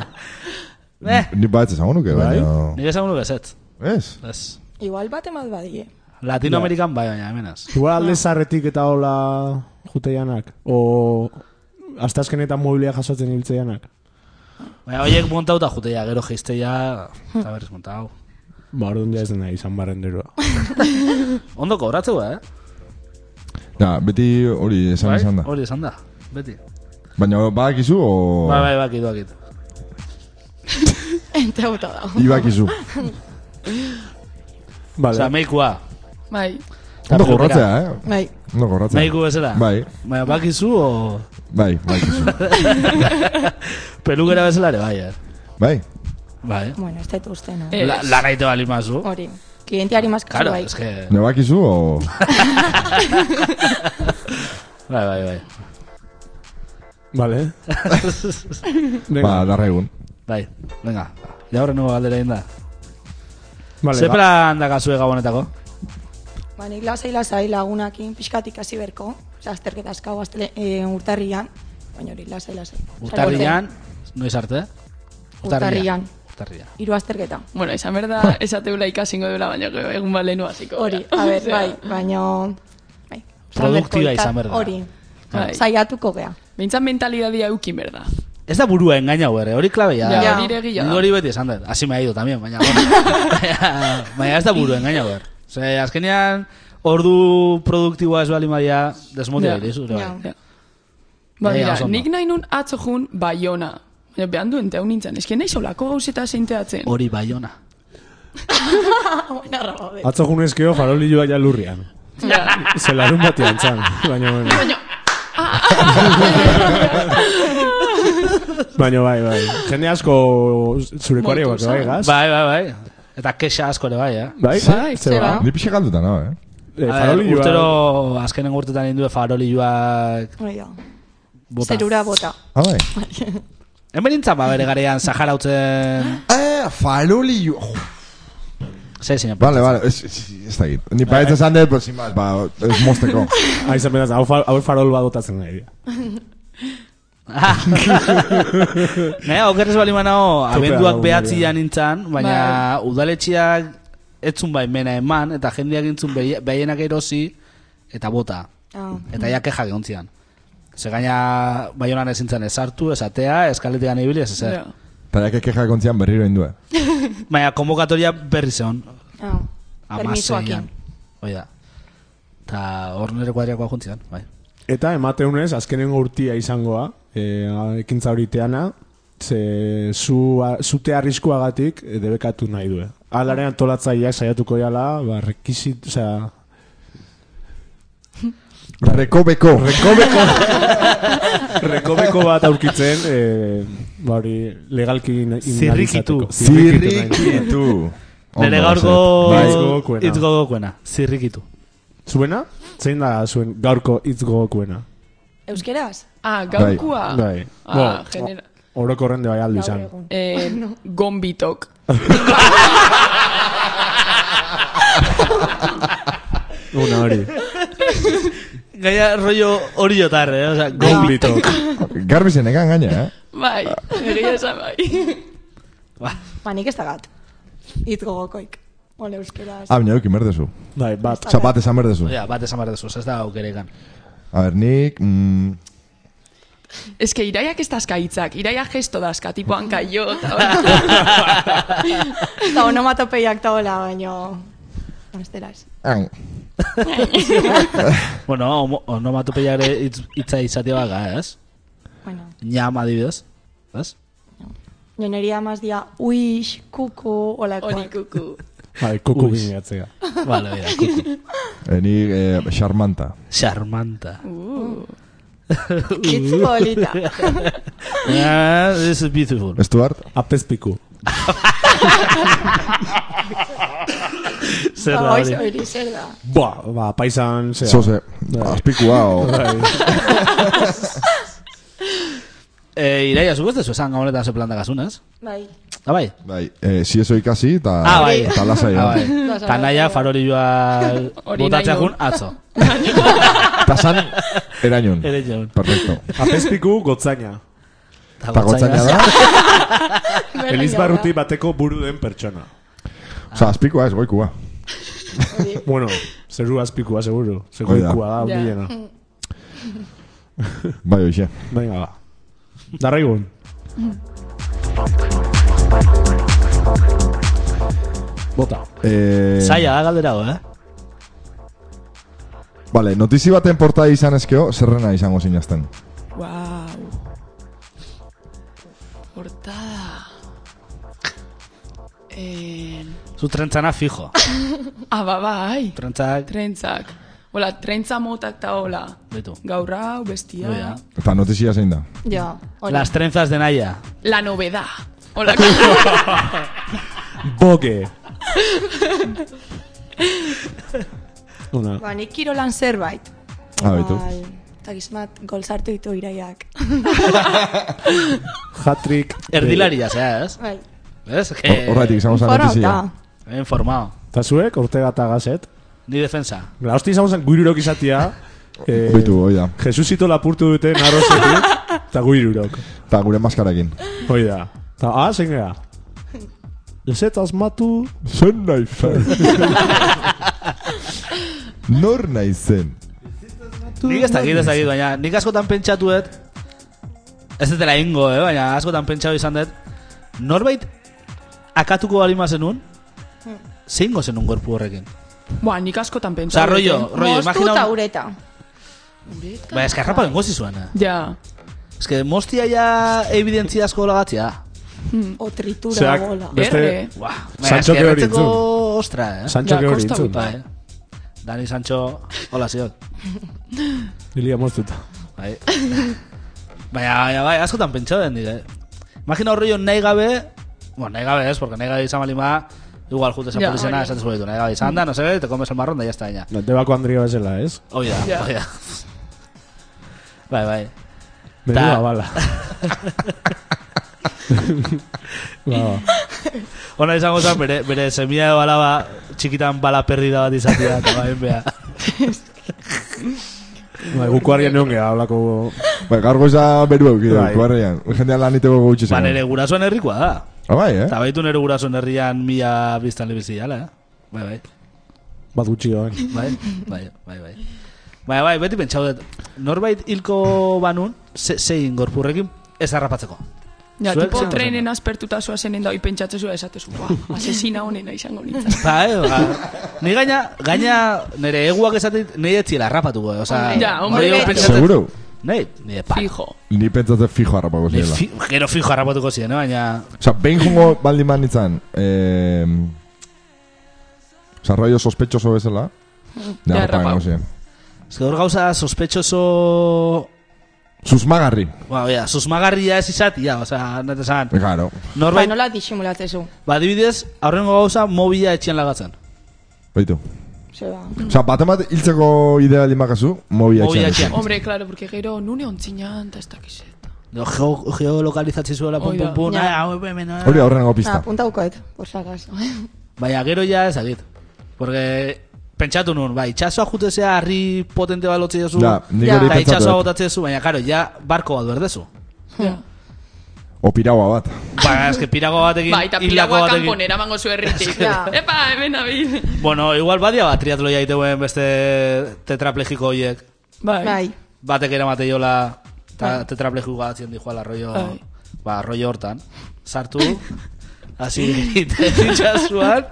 B: Eh,
C: Ni bat ez esango nuke,
D: Bai.
C: baina...
B: nire esan gure ezetz.
C: Ez?
B: Ez.
G: Igual bat emat <laughs> badie.
B: Latinoamerikan bai, baina, hemenaz.
D: Igual alde zarretik eta hola juteianak. O... Astazkenetan mobilia jasotzen ibiltzeianak.
B: Baina, oiek montauta jutea, gero jeisteia,
C: Hmm.
B: eta berriz montau.
D: Ba, orduan ja ez dena izan barrenderua.
B: Ondo kobratzeu, eh?
C: Na, beti hori esan
B: Bai,
C: izan da.
B: hori esan da, beti.
C: Baina badakizu o...
B: Bai, bai, bakit, bakit.
G: Ente auto dago.
C: Ibakizu.
B: Osa,
D: Vale.
B: meikua.
E: Bai.
C: Ondo gorratzea, eh?
G: Bai,
C: Ondo gorratzea.
B: Meiku bezala.
C: Bai,
B: Baina, bakizu o...
C: bai,
B: <laughs>
C: bakizu.
B: Pelugera bezala ere, bai, eh?
C: bai.
B: Bai.
G: bueno, ez dut uste, no?
E: Ez.
B: La, lan aite bali mazu.
G: Hori, klienteari maskazu
B: Claro,
G: bai.
B: es que...
C: Ne bakizu ba o...
B: Bai, bai, bai. <laughs>
D: Vale.
C: ba,
D: Venga.
C: darra egun.
B: Bai, venga. Ja horren nugu galdera inda.
D: Vale,
B: Ze
D: ba.
B: plan dakazue gabonetako?
G: Ba, nik lasai lasai lagunakin pixkatik hasi berko. Osa, azterketa askau aztele, e, urtarrian. Baina hori, lasai lasai.
B: Urtarrian, noiz arte?
G: Urtarrian.
B: Urtarrian.
G: Hiru azterketa.
E: Bueno, esan berda, esateula ikasingo dela, baina gero egun balenu hasiko. gara.
G: Hori,
E: <laughs>
G: a ber,
E: Osea,
G: bai, baina... Bai, izan
B: Produktiba
G: berko,
B: izan behar da.
G: Hori,
E: Bai.
G: saiatuko gea.
E: Bintzan mentalidadia eukin berda.
B: Ez da burua engaina hori, hori klabea da.
E: Ja,
G: Ja.
E: hori egia
B: Nik
E: da.
B: hori beti esan dut, hasi me ha ido también, baina...
E: <laughs>
B: baina- <laughs> baina ez da buru engaina behar. Ze, azkenean, ordu produktiboa ez bali maia desmotia
E: Ja.
B: yeah. zure bai.
G: Ja.
E: Ja. Ba,
B: Ja, ja,
E: mira,
B: oso ondo.
E: nik nahi nun atzo jun Baiona. Baina behan duen teu nintzen, eske nahi solako gauzeta zeinteatzen.
B: Hori bai, baiona.
G: Buena arraba, be.
D: Atzo junezkeo faroli joa ja lurrian.
E: Ja.
D: Zelarun batean txan. Baina, bueno.
E: Baina,
D: Baina, bai, bai. Jende asko zureko ari
E: Moltu
D: bako, bai,
G: eh?
E: zan.
D: gaz?
B: Bai, bai, bai. Eta kexa asko ere bai, eh?
D: Bai,
G: Bai,
D: ze
G: ze
B: Ah.
D: ba.
G: ba.
C: Ni pixe galduta, no, eh?
D: Eh,
B: A
D: faroli
B: ver,
D: joa-
B: Ah, urtero, azkenen urtetan indue farolioak
G: Hori da.
B: bota.
G: Zerura bota.
C: Ah, bai.
B: Hemen nintzen ba bere garean
C: <gasps>
B: Saharautzen...
C: Eh, faroli... jo.
B: Zer zinen?
C: Vale, vale, ez, ez, ez da git. Ni paretzen zan dut, pues, sin más, ba, ez mozteko.
D: Ah, izan beraz, hau, fa- hau farol badotatzen nahi dira.
B: <laughs> Ne, Ah. okerrez bali manao, abenduak
D: lagunaria.
B: behatzian nintzen, baina udaletxiak etzun baimena eman, eta jendeak intzun behi- behienak erosi, eta bota.
G: Ah.
B: Eta ja keja gehontzian. Ze gaina baionan ezin zen ezartu, esatea, eskaletigan ibili, ez ezer.
E: ja.
C: Eta jake keja kontzian berriro indue.
B: Baina konvokatoria berri zeon,
G: Ah.
B: amaseian.
G: Permisoakin.
B: Hoi da. Eta hor nire kuadriakoa juntzian, bai.
D: Eta emateunez, azkenengo urtia izangoa, e, ekintza hori teana, ze zu, a, zute arriskuagatik eh, debekatu nahi du. Alaren antolatzaileak saiatuko jala, ba, rekisit, osea,
C: Rekobeko.
D: rekobeko, <laughs> rekobeko bat aurkitzen, e, ba hori legalki in,
B: Zirrikitu.
D: nahi du.
C: Zirrikitu.
B: Nire
C: Ondo,
D: bai. Hitz
B: gaurko
D: gogokoena.
B: hitz gogokoena, zirrikitu.
D: Zuena? Zein da zuen gaurko hitz gogokoena?
G: Euskeraz?
E: Ah, gaukua.
D: Bai.
E: Ah, genera.
D: Orokorren de bai aldu
G: Gaur
D: izan.
G: egun.
E: Eh, Gombitok.
D: Una hori.
B: Gaia rollo hori jotar, eh? Osa, <laughs>
D: Gombito.
C: Garbi zenekan gaina, eh?
E: Bai,
B: Ah.
E: egia esan bai.
B: Ba,
G: Ba, nik ez da gat. Itz gogokoik. Ole, euskeraz.
C: Ah, baina eukin berdezu.
D: Bai, bat.
C: Osa, bat esan berdezu.
B: ja, bat esan behar dezu, ez da aukerekan.
C: A ber, nik... Mm,
E: Ez que iraiak ez dazka hitzak, iraia gesto dazka, tipo hankaio, eta hola.
G: Eta onomatopeiak eta hola, baino... Bestela ez.
C: ang.
B: Bueno, homo- onomatopeiare hitz- hitza izatea baga, ez?
G: Bueno,
B: Ñam adibidez, ez?
G: joneria amaz dia, uix, kuku,
E: Hori
G: olakoak.
E: kuku.
D: Bai, kuku bineatzea.
B: Vale, bera, kuku.
C: Eh, nik eh, Charmanta.
B: Charmanta.
G: Uh.
B: <laughs>
G: Itz <laughs> polita.
B: Ah, this is beautiful.
C: Stuart?
D: Apezpiku.
B: Zer
G: Ba,
B: da
G: Oiz,
B: hori?
G: hori zer da.
D: Ba, ba, paisan, zera.
C: Zoze. Azpikua o...
D: Bai.
B: Eh, Iraia, zuko ez dezu esan gamonetan ze plantak asunez?
G: Bai.
B: Ah, bai?
C: Bai, eh, si eso ikasi, eta...
B: Ah, bai.
C: Eta lasai,
B: Ah,
C: eh?
B: bai. Ta naia farori joa
E: Hori
B: botatzea
E: nahi
B: jun
E: du.
B: atzo.
C: Eta san, erañun.
B: Ere joan.
C: Perfecto.
D: Apezpiku gotzaina.
C: Eta gotzaina da.
D: Elizbarruti bateko buru den pertsona.
C: Osa, azpikua ez, goikua.
D: Bueno, zeru azpikua, seguru. Zeru
C: Hoi da.
D: ikua da,
E: Ja.
D: bilena.
C: Bai, oixe.
D: Venga, ba. Darraigun. Bota.
C: Eh,
B: Zaila da galdera, hau, eh?
C: Vale, notizi baten portada izan ezkeo, zerrena izango zinazten.
E: Wow. Hortada. Eh,
B: Zu trentzana fijo.
E: ah, ba, bai.
B: Trentzak,
E: Trentzak. Hola, trentza motak eta hola.
B: betu.
E: Gaur hau, bestia.
B: No, ja.
C: Eta notizia zein da.
G: Jo, hori.
B: Las trenzas de naia.
E: La novedad. Hola,
B: <laughs>
D: Boge. Una.
G: Ba, nik kirolan zerbait.
C: Ah, baitu.
G: Bai. Eta gizmat, gol sartu ditu iraiak.
D: Hatrik.
B: Erdilaria, zea, ez?
G: Bai.
B: Ez?
C: Hor- Horretik izango zen notizia.
G: Forauta.
B: He informado.
D: Eta zuek, ortega eta gazet.
B: Ni defensa.
D: La hosti izan zen guirurok izatia. Eh,
C: Bitu, hoi da.
D: Jesusito lapurtu dute narrozetik. Eta guirurok.
C: Eta gure maskarakin.
D: Hoi da. Eta, ah, zein gara. Ezet asmatu.
C: Zen nahi zen. <laughs> Nor nahi zen.
B: Nik ez dakit ez dakit, baina nik askotan pentsatuet Ez ez dela ingo, eh? baina askotan pentsatu izan dut Norbait akatuko balima zenun Zeingo zenun gorpu horrekin
E: Ba, nik askotan eh. pentsa.
B: Osa, rollo, rollo,
G: Moztu eta
B: imagina un...
G: ureta.
B: Baina eskarrapa bengo zizuen, eh?
E: Ja.
B: Ez que mostia ja evidentzia asko lagatzia
G: O tritura
D: Zerak-
G: bola.
D: Beste-
E: Erre.
B: Buah, baina
D: Sancho
B: eske
D: ke hori
B: erretzeko
D: entzun.
B: ostra, eh?
D: Sancho
E: Ja,
D: que hori
E: kosta
D: intzun.
B: Bai, eh? Dani Sancho, hola ziot
D: Lilia moztuta. <laughs>
B: Bai. Baina, baina, bai, askotan pentsatu den dire. Imagina horri jo nahi gabe, bueno, nahi gabe ez, porque nahi gabe izan balin ba, igual jute esa
E: Ja,
B: polizena
E: hori.
B: esan zuetu, nahi gabe izan da, no se ve, te comes el marrón, da ya está, ya.
D: Debako Andria bezala, ez?
B: Hoi da,
E: Ja.
B: hoi da. Bai, bai.
D: Menuda
B: Ta- <laughs>
D: bala. ba, ba.
B: Hona izango zen, bere, bere semilla de balaba, txikitan bala perdida bat izatea, eta bai, bea.
D: Ba, guko harrien egon geha, holako...
C: Bai, gaur goiza beru eukide,
D: Bai.
C: kuarrean. Jendea lan iteko gutxi
B: Ba,
C: zen.
B: nere gurasoen herrikoa da.
C: Ah, bai, eh?
B: Eta baitu nere gurasoen herrian mila biztan lebizi jala, eh? Bai, bai.
D: Bat gutxi joan.
B: Bai, bai, bai, bai. Bai, bai, beti pentsau dut. Norbait hilko banun, ze, zein gorpurrekin ez harrapatzeko.
E: Ja,
B: Zuek
E: tipo
B: zer
E: trenen
B: zen?
E: aspertuta zoa zenen da, hoi pentsatzezua esatezu, ba,
B: <laughs>
E: asesina honena izango nintzen.
B: Ba, eh, ba. Ni gaina, gaina nire eguak esatit, nire etziela harrapatuko, eh? Osa,
E: Ja, hombre,
B: hori hor
E: beti.
B: pentsatzen-
C: Seguro?
B: Nei, nire pa.
E: Fijo.
C: Ni pentsatzen fijo harrapako
B: Ni
C: zirela.
B: fi, gero fijo harrapatuko ziren, eh, baina...
C: Osa, behin jungo baldin bat nintzen, eh, osa, rollo sospechoso bezala,
E: Ja,
C: ja,
E: rapau.
C: rapago ziren.
B: Ez que hor gauza sospechoso...
C: Susmagarri.
B: Ba, oia, susmagarria ez izatia, osa, nete zan.
C: Eh, Claro.
G: Ba,
B: Norbait,
G: nola disimulatezu.
B: ba, dibidez, aurrengo gauza mobila etxien lagatzen.
C: Baitu.
G: Zeba.
C: Osa, baten bat hiltzeko idea baldin bakazu, mobila
B: Mobila
C: etxean.
B: etxean.
E: Hombre, claro, porque gero nune ontzinan, eta ez dakizet.
B: Edo geo- geolokalizatzen zuela, pum,
E: Hoi
B: pum,
E: da.
B: pum,
G: Ja.
B: ah, hau, hemen, ah.
C: Hori aurrenengo
G: Na,
C: pista.
G: apuntaukoet, por si acaso.
B: Baina Bai, gero ja ez dakit. Porque pentsatu nun, bai, itxasoa jutezea harri potente bat lotzi duzu.
C: Ja, nik
G: Ja.
C: hori
B: Eta
C: pentsatu
B: itxasoa
C: dut.
B: botatzen duzu, baina karo, ja barko bat berdezu.
C: O piragua bat.
B: Ba, eske pirago batekin,
E: Ba, eta
B: hilako
E: pilagua
B: batekin.
E: kanponera mango zu herritik.
G: Ja.
E: Epa, hemen abil.
B: Bueno, igual badia bat triatloia egiteuen beste tetraplegiko horiek.
G: Bai.
B: Batek eramate jola ta, tetraplegiko bat zion dihuala rollo,
E: Bai.
B: ba, rollo hortan. Sartu, hasi egiten <laughs> itxasuan.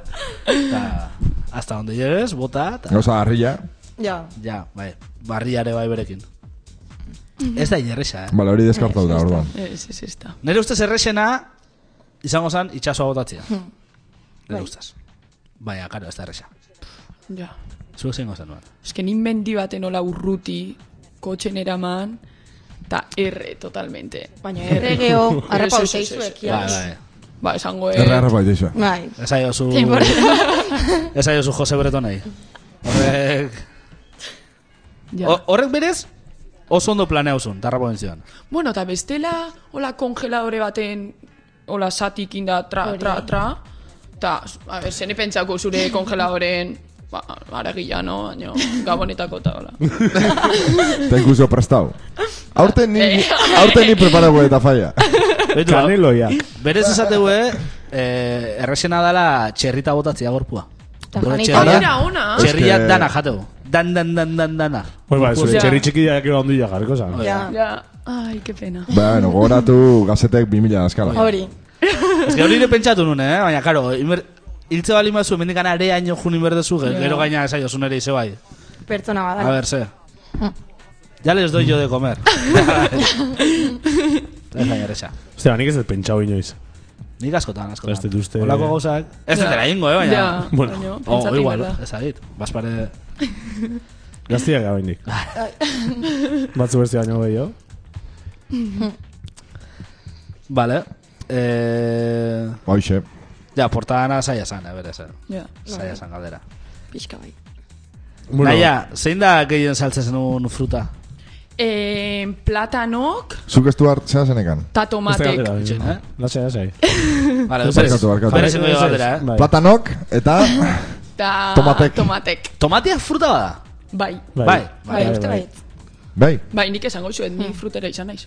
B: Ta, hasta donde llegues, bota, ta,
C: Gauza garrilla.
G: Ja.
B: Ja, bai, barriare bai berekin. Ez da inerresa, eh?
C: Bale, hori deskartau da, orduan.
E: Ez, ez, ez da.
B: Nere ustez erresena, izango zan, itxasoa botatzea. Nere ustez. Baina, karo, ez da erresa.
E: Ja.
B: Zuek zein gozan nuen.
E: Ez que nin mendi baten nola urruti, kotxen eraman, eta erre totalmente.
G: Baina eh, <laughs> erregeo, arrapa
E: Ez, ez,
G: utei
E: ez, ez.
G: zuek,
B: Bai,
G: ja.
B: bai.
E: Ba, esango eh,
C: Erra, erra
B: <laughs>
C: baitizua.
G: Bai.
B: Ez aio zu...
G: Zein borra.
B: <laughs> Ez aio zu Jose Breton nahi. Horrek...
E: ja.
B: ho- Horrek berez, oso ondo planeauzun, tarrapo bentzioan.
E: Bueno, eta bestela, hola kongeladore baten, hola satik inda, tra,
G: Hori.
E: tra, tra, eta, a ber, zene pentsako
G: <laughs>
E: zure kongeladoren, ba, aragila, no? Baina, gabonetako eta hola.
C: Eta ikusio prestau. Aurten ni, aurten ni preparago eta falla.
B: Beitu,
D: Kaneloia.
B: Berez esategu, eh, erresena dala txerrita botatzea gorpua.
G: Ta
B: Horrek
G: janita.
B: txerria-
E: Hori da ona.
B: Txerria
C: Eske-
B: dana jateu. Dan, dan, dan, dan, dana.
D: Hoi ba, zure
E: Ja.
D: txerri txikiak ero handu jagarriko zan.
G: Ja.
E: Ja, ai, que pena.
C: Bueno, gogoratu gazetek 2000 askala.
G: Hori.
B: Ez que hori ere pentsatu nuen, eh? Baina, karo, imer... Hiltze bali mazu, mendikan ere haino jun inberdezu, ge- gero gaina esaio zunere ize bai.
G: Pertsona
B: A
G: badan.
B: ver, se. Ya les doy yo de comer. Ez da jarresa.
D: Ostia, nik ez dut pentsau inoiz.
B: Nik askotan, askotan.
D: Ez dut uste-
B: Olako gauzak. Ez dut dela ingo, eh, baina.
E: Ja,
D: Bueno.
E: baina,
B: O,
E: pentsatu
B: igual,
E: behar da.
B: ez adit. Baspare...
D: Gaztiak gabe
B: <laughs>
D: indik. Batzu beste baino gehiago.
B: Vale. Eh...
C: Hoxe.
B: Ja, portadana saia zan, a ver, zer.
E: Ja.
B: Saia zan galdera.
G: Pixka bai.
B: Bueno. Naia, zein da gehien saltzen un fruta?
E: Eh, platanok,
C: Zuk ez du hartzea zenekan.
E: eta tomatek.
B: Etxe, eh?
D: Lasai, lasai.
B: Vale, berez,
C: Ez barkatu, barkatu.
B: berez ingo galdera, eh?
D: Bai.
C: Platanok eta
D: <laughs>
E: Ta,
C: Tomatek.
E: Tomatek,
B: Tomatea fruta bada?
E: bai.
B: Bai.
G: Bai, uste bai.
C: bai,
E: Bai, nik esango zuet, nik frutera
C: <laughs>
E: izan naiz.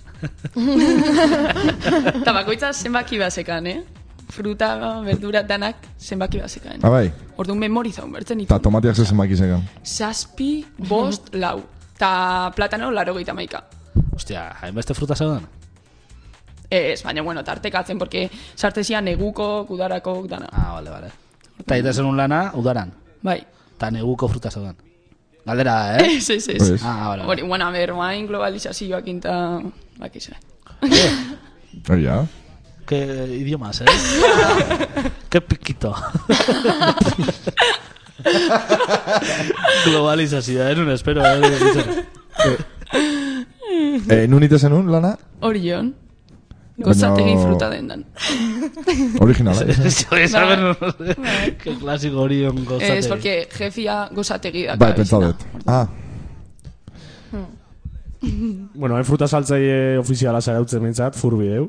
E: Eta bakoitza zenbaki bazekan, eh? Fruta, verdura, danak zenbaki bazekan.
C: ah, bai.
E: Orduan memorizaun, bertzen
C: Eta
E: ditu.
C: tomatiak zezen maki zekan.
E: Zazpi, bost,
C: <laughs>
E: lau. Ta platano, laro gehieta maika.
B: Ostia, hainbeste fruta zeuden?
E: Ez, baina, bueno, tartekatzen, porque sartezia neguko, kudarako, dana.
B: Ah, vale, vale. Eta egiten zenun lana, udaran.
E: Bai.
B: Eta neguko fruta zeuden. Galdera, da, <laughs>
E: <laughs>
B: eh?
E: Ez, ez, ez.
C: Ez.
B: ah, vale,
E: Hori,
B: vale.
E: bueno, a ber, oain globalizazioak inta... Bakize.
C: Hori ja.
B: Qué idiomas, eh? Qué piquito. Globalizazioa, eh? Nun espero, eh?
C: Eh, nun ite zenun, lana?
E: Hori jon. Gozategi
C: Baina-
E: fruta dendan.
D: <laughs>
C: Originala.
D: Bai,
C: eh?
B: Saber, Qué clásico orion gozategi.
E: Ez, porque jefia gozategi daka.
C: Bai, pentsa
E: izena.
C: dut. Ah,
D: Bueno, hain fruta saltzaile ofiziala zarautzen bintzat, furbi, eu.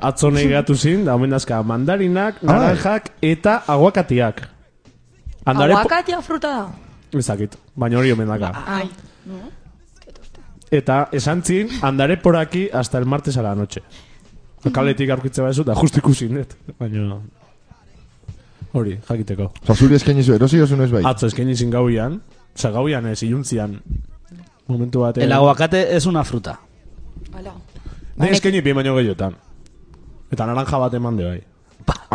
D: Atzo nahi gehatu zin, da omen dazka mandarinak, naranjak eta aguakatiak. Andare po-
G: Aguakatia fruta da.
D: Ez dakit, baina hori omen daka.
G: Ai.
D: Eta esan zin, andare poraki hasta el martes a la noche. Kabletik aurkitze baizu, da justu ikusin, dut. Baina... Hori, jakiteko.
C: Zazuri eskaini zu, erosi jozu noiz bai.
D: Atzo eskaini zin gauian, oza gauian ez, iluntzian. Momentu batean.
B: El aguacate es una fruta.
G: Ala.
D: Nahi eskaini bi baino gehiotan. Eta naranja bat eman de bai.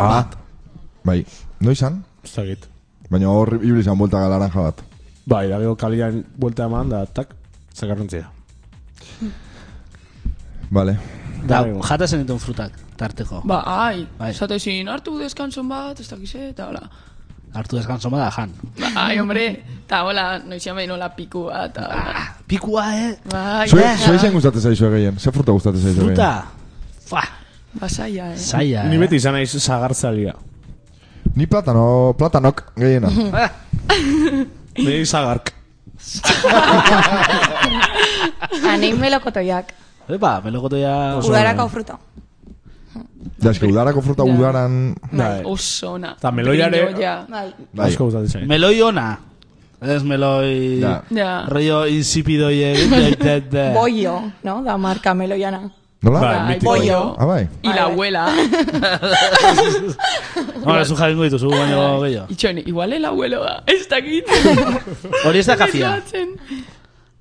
C: Ah, bai. Noizan?
D: Ez dakit.
C: Baina hor ibili zan buelta galaranja bat.
D: Bai, da gero kalian buelta eman da, tak, zakarrentzia.
C: Vale.
B: Da,
D: Bai.
B: jata zen dituen frutak, tarteko.
E: Ba, ai,
B: Bai.
E: esate zin, hartu deskanson bat, ez dakize, eta hola.
B: Artu deskanso bada, jan.
E: Ba, ai, hombre, eta hola, noizian behin hola piku bat, eta hola.
B: Pikua, eh?
E: Bai,
C: Zue,
E: ja.
C: zue zen gustatzen zaizue gehien. Ze fruta gustatzen zaizue gehien?
B: Fruta. Fa,
E: Basaia, eh.
B: saia, eh?
D: Ni beti izan naiz zagartzalia.
C: Ni platano, platanok
D: <laughs>
C: gehiena.
D: Nei zagark.
G: Hanein melokotoiak.
B: Epa, melokotoia...
G: Udarako fruto.
C: Da, eske udarako fruta udaran...
D: Da, eh.
E: Oso ona.
D: Eta meloiare-
E: Brindoia.
G: Bai.
C: Bai.
D: Asko gustatzen zait.
B: Meloi ona. Ez meloi...
C: Da.
E: Ja.
B: Rollo insipidoie... Eh.
G: Bollo, no? Da marka meloiana.
C: Nola?
D: Bai,
E: Bai,
D: mitikoa.
E: pollo.
C: Ah, bai.
E: Y la
B: <laughs>
G: Bai.
E: abuela.
B: Hora, zu jakingo dituzu, baino gehiago.
E: Itxone, igual el abuelo da. Ez dakit.
B: Hori ez da kafia.
E: Pentsatzen.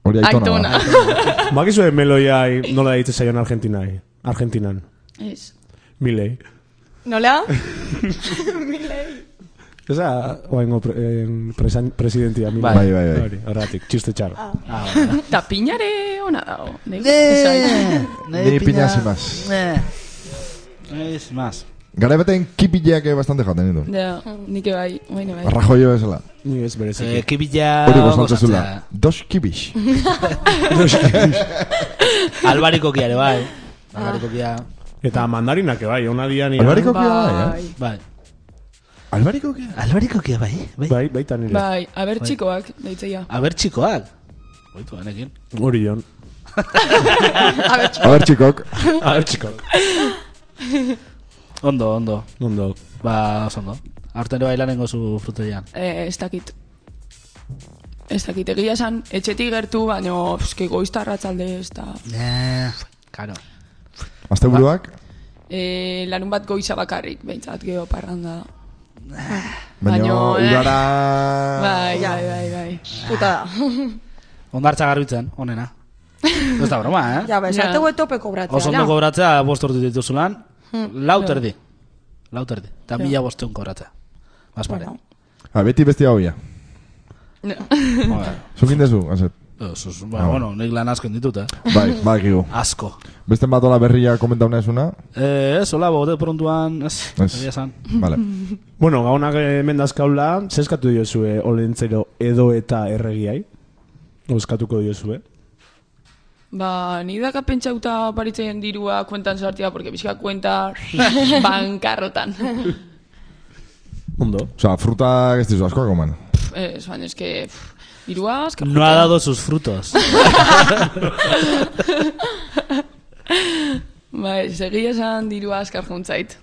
C: Hori aitona.
E: Aitona.
C: da.
D: Bakizue meloia nola ditzen zaion Argentinai. Argentinan.
E: Ez.
D: Milei.
G: Nola?
D: Ez da, oaingo pre, eh, presan- presidentia. Milei.
C: Bai, bai, bai.
D: Hori, horregatik, txiste txarro.
E: Eta pinare ona dago. Nik
B: Ne,
E: zait.
B: ne
C: Ni piña sin más.
B: Ne. Ne, sin más.
C: Gara beten kipileak eh, bastante jaten ditu.
E: Ja, nik bai, bueno, bai.
C: Rajoio bezala.
D: Ni ez bereziki.
B: Eh, kibila...
C: Hori gozatzen zula. Dos kibix.
B: Albariko kiare, bai. Albariko kia...
D: Eta mandarinak bai, ona dian.
C: Albariko kia bai, eh?
B: Bai.
C: Albariko kia?
B: Albariko kia, bai. Bai.
D: Bai, baita nire.
E: Bai, aber txikoak, deitzeia.
B: Aber txikoak. Oitu, anekin.
C: Ba.
D: Hori
C: <laughs>
D: jon.
C: A ber, txikok.
D: A ver, txiko.
B: Ondo, ondo.
D: Ondo.
B: Ba, oso ondo. Aurten ere bailanengo zu fruteian.
E: Eh, ez dakit. Ez dakit, egia esan, etxetik gertu, baino, eske goizta arratzalde ez da.
B: Eh, karo.
C: Azte buruak,
E: Eh, larun bat goiza bakarrik, behintzat, geho parranda.
C: baina
E: Baino, eh.
C: udara... Ah.
E: Bai, bai, bai, bai.
G: Puta da.
B: Ondartza garbitzen, onena. Ez da broma, <laughs> eh?
G: Ja, bai,
E: Ja.
G: sartu gueto peko bratzea.
B: Oso ondo kobratzea bost urtu dituzulan, Hmm. lau terdi. Lau terdi. Eta mila bosteun kobratzea. Bas pare.
G: Bueno.
C: Ah, beti bestia hoia.
B: <laughs>
C: Zukin dezu, azet.
B: Eso es, ba, bueno, nik lan asko ditut, eh?
C: Bai, badakigu.
B: Asko.
C: Beste bat hola berria komentauna esuna.
B: Eh, ez, hola, bote prontuan, ez,
C: Ez.
B: egia esan.
C: Vale.
D: Bueno, gaunak hemen dazkaula, zeskatu diozue olentzero edo eta erregiai? Euskatuko diozue.
E: Ba, ni daka pentsauta paritzen dirua kuentan sartia, porque bizka kuenta bankarrotan.
D: Ondo.
C: Osa, fruta ez dizu asko goman.
E: Pff, Ez, baina, eske, pff, dirua, eske...
B: No ha dado sus <laughs> frutos.
E: Bai, segia esan dirua askar juntzait.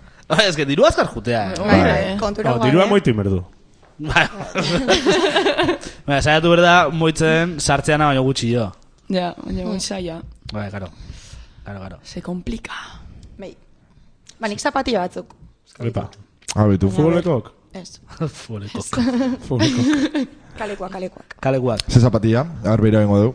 B: ez que diru azkar jutea, <laughs> eh?
G: Bai,
E: Bai.
G: bai, kontura
D: Ba,
G: guan,
D: dirua
G: eh?
D: moitu imerdu.
B: <laughs> Ba, Ba, saiatu berda, moitzen, sartzeana baino gutxi jo.
E: Ja, baina goizaia.
B: Bai, karo. Karo, karo. <laughs>
E: Se komplika.
G: Bai. Ba, nik zapatila batzuk.
D: Epa.
C: Ah, betu futboleko.
D: Futbolekok?
G: Ez.
B: Fueleko.
D: Futbolekok.
G: Kalekuak, kalekuak.
B: Kalekuak.
C: Ze zapatia, a ber, bera bengo du.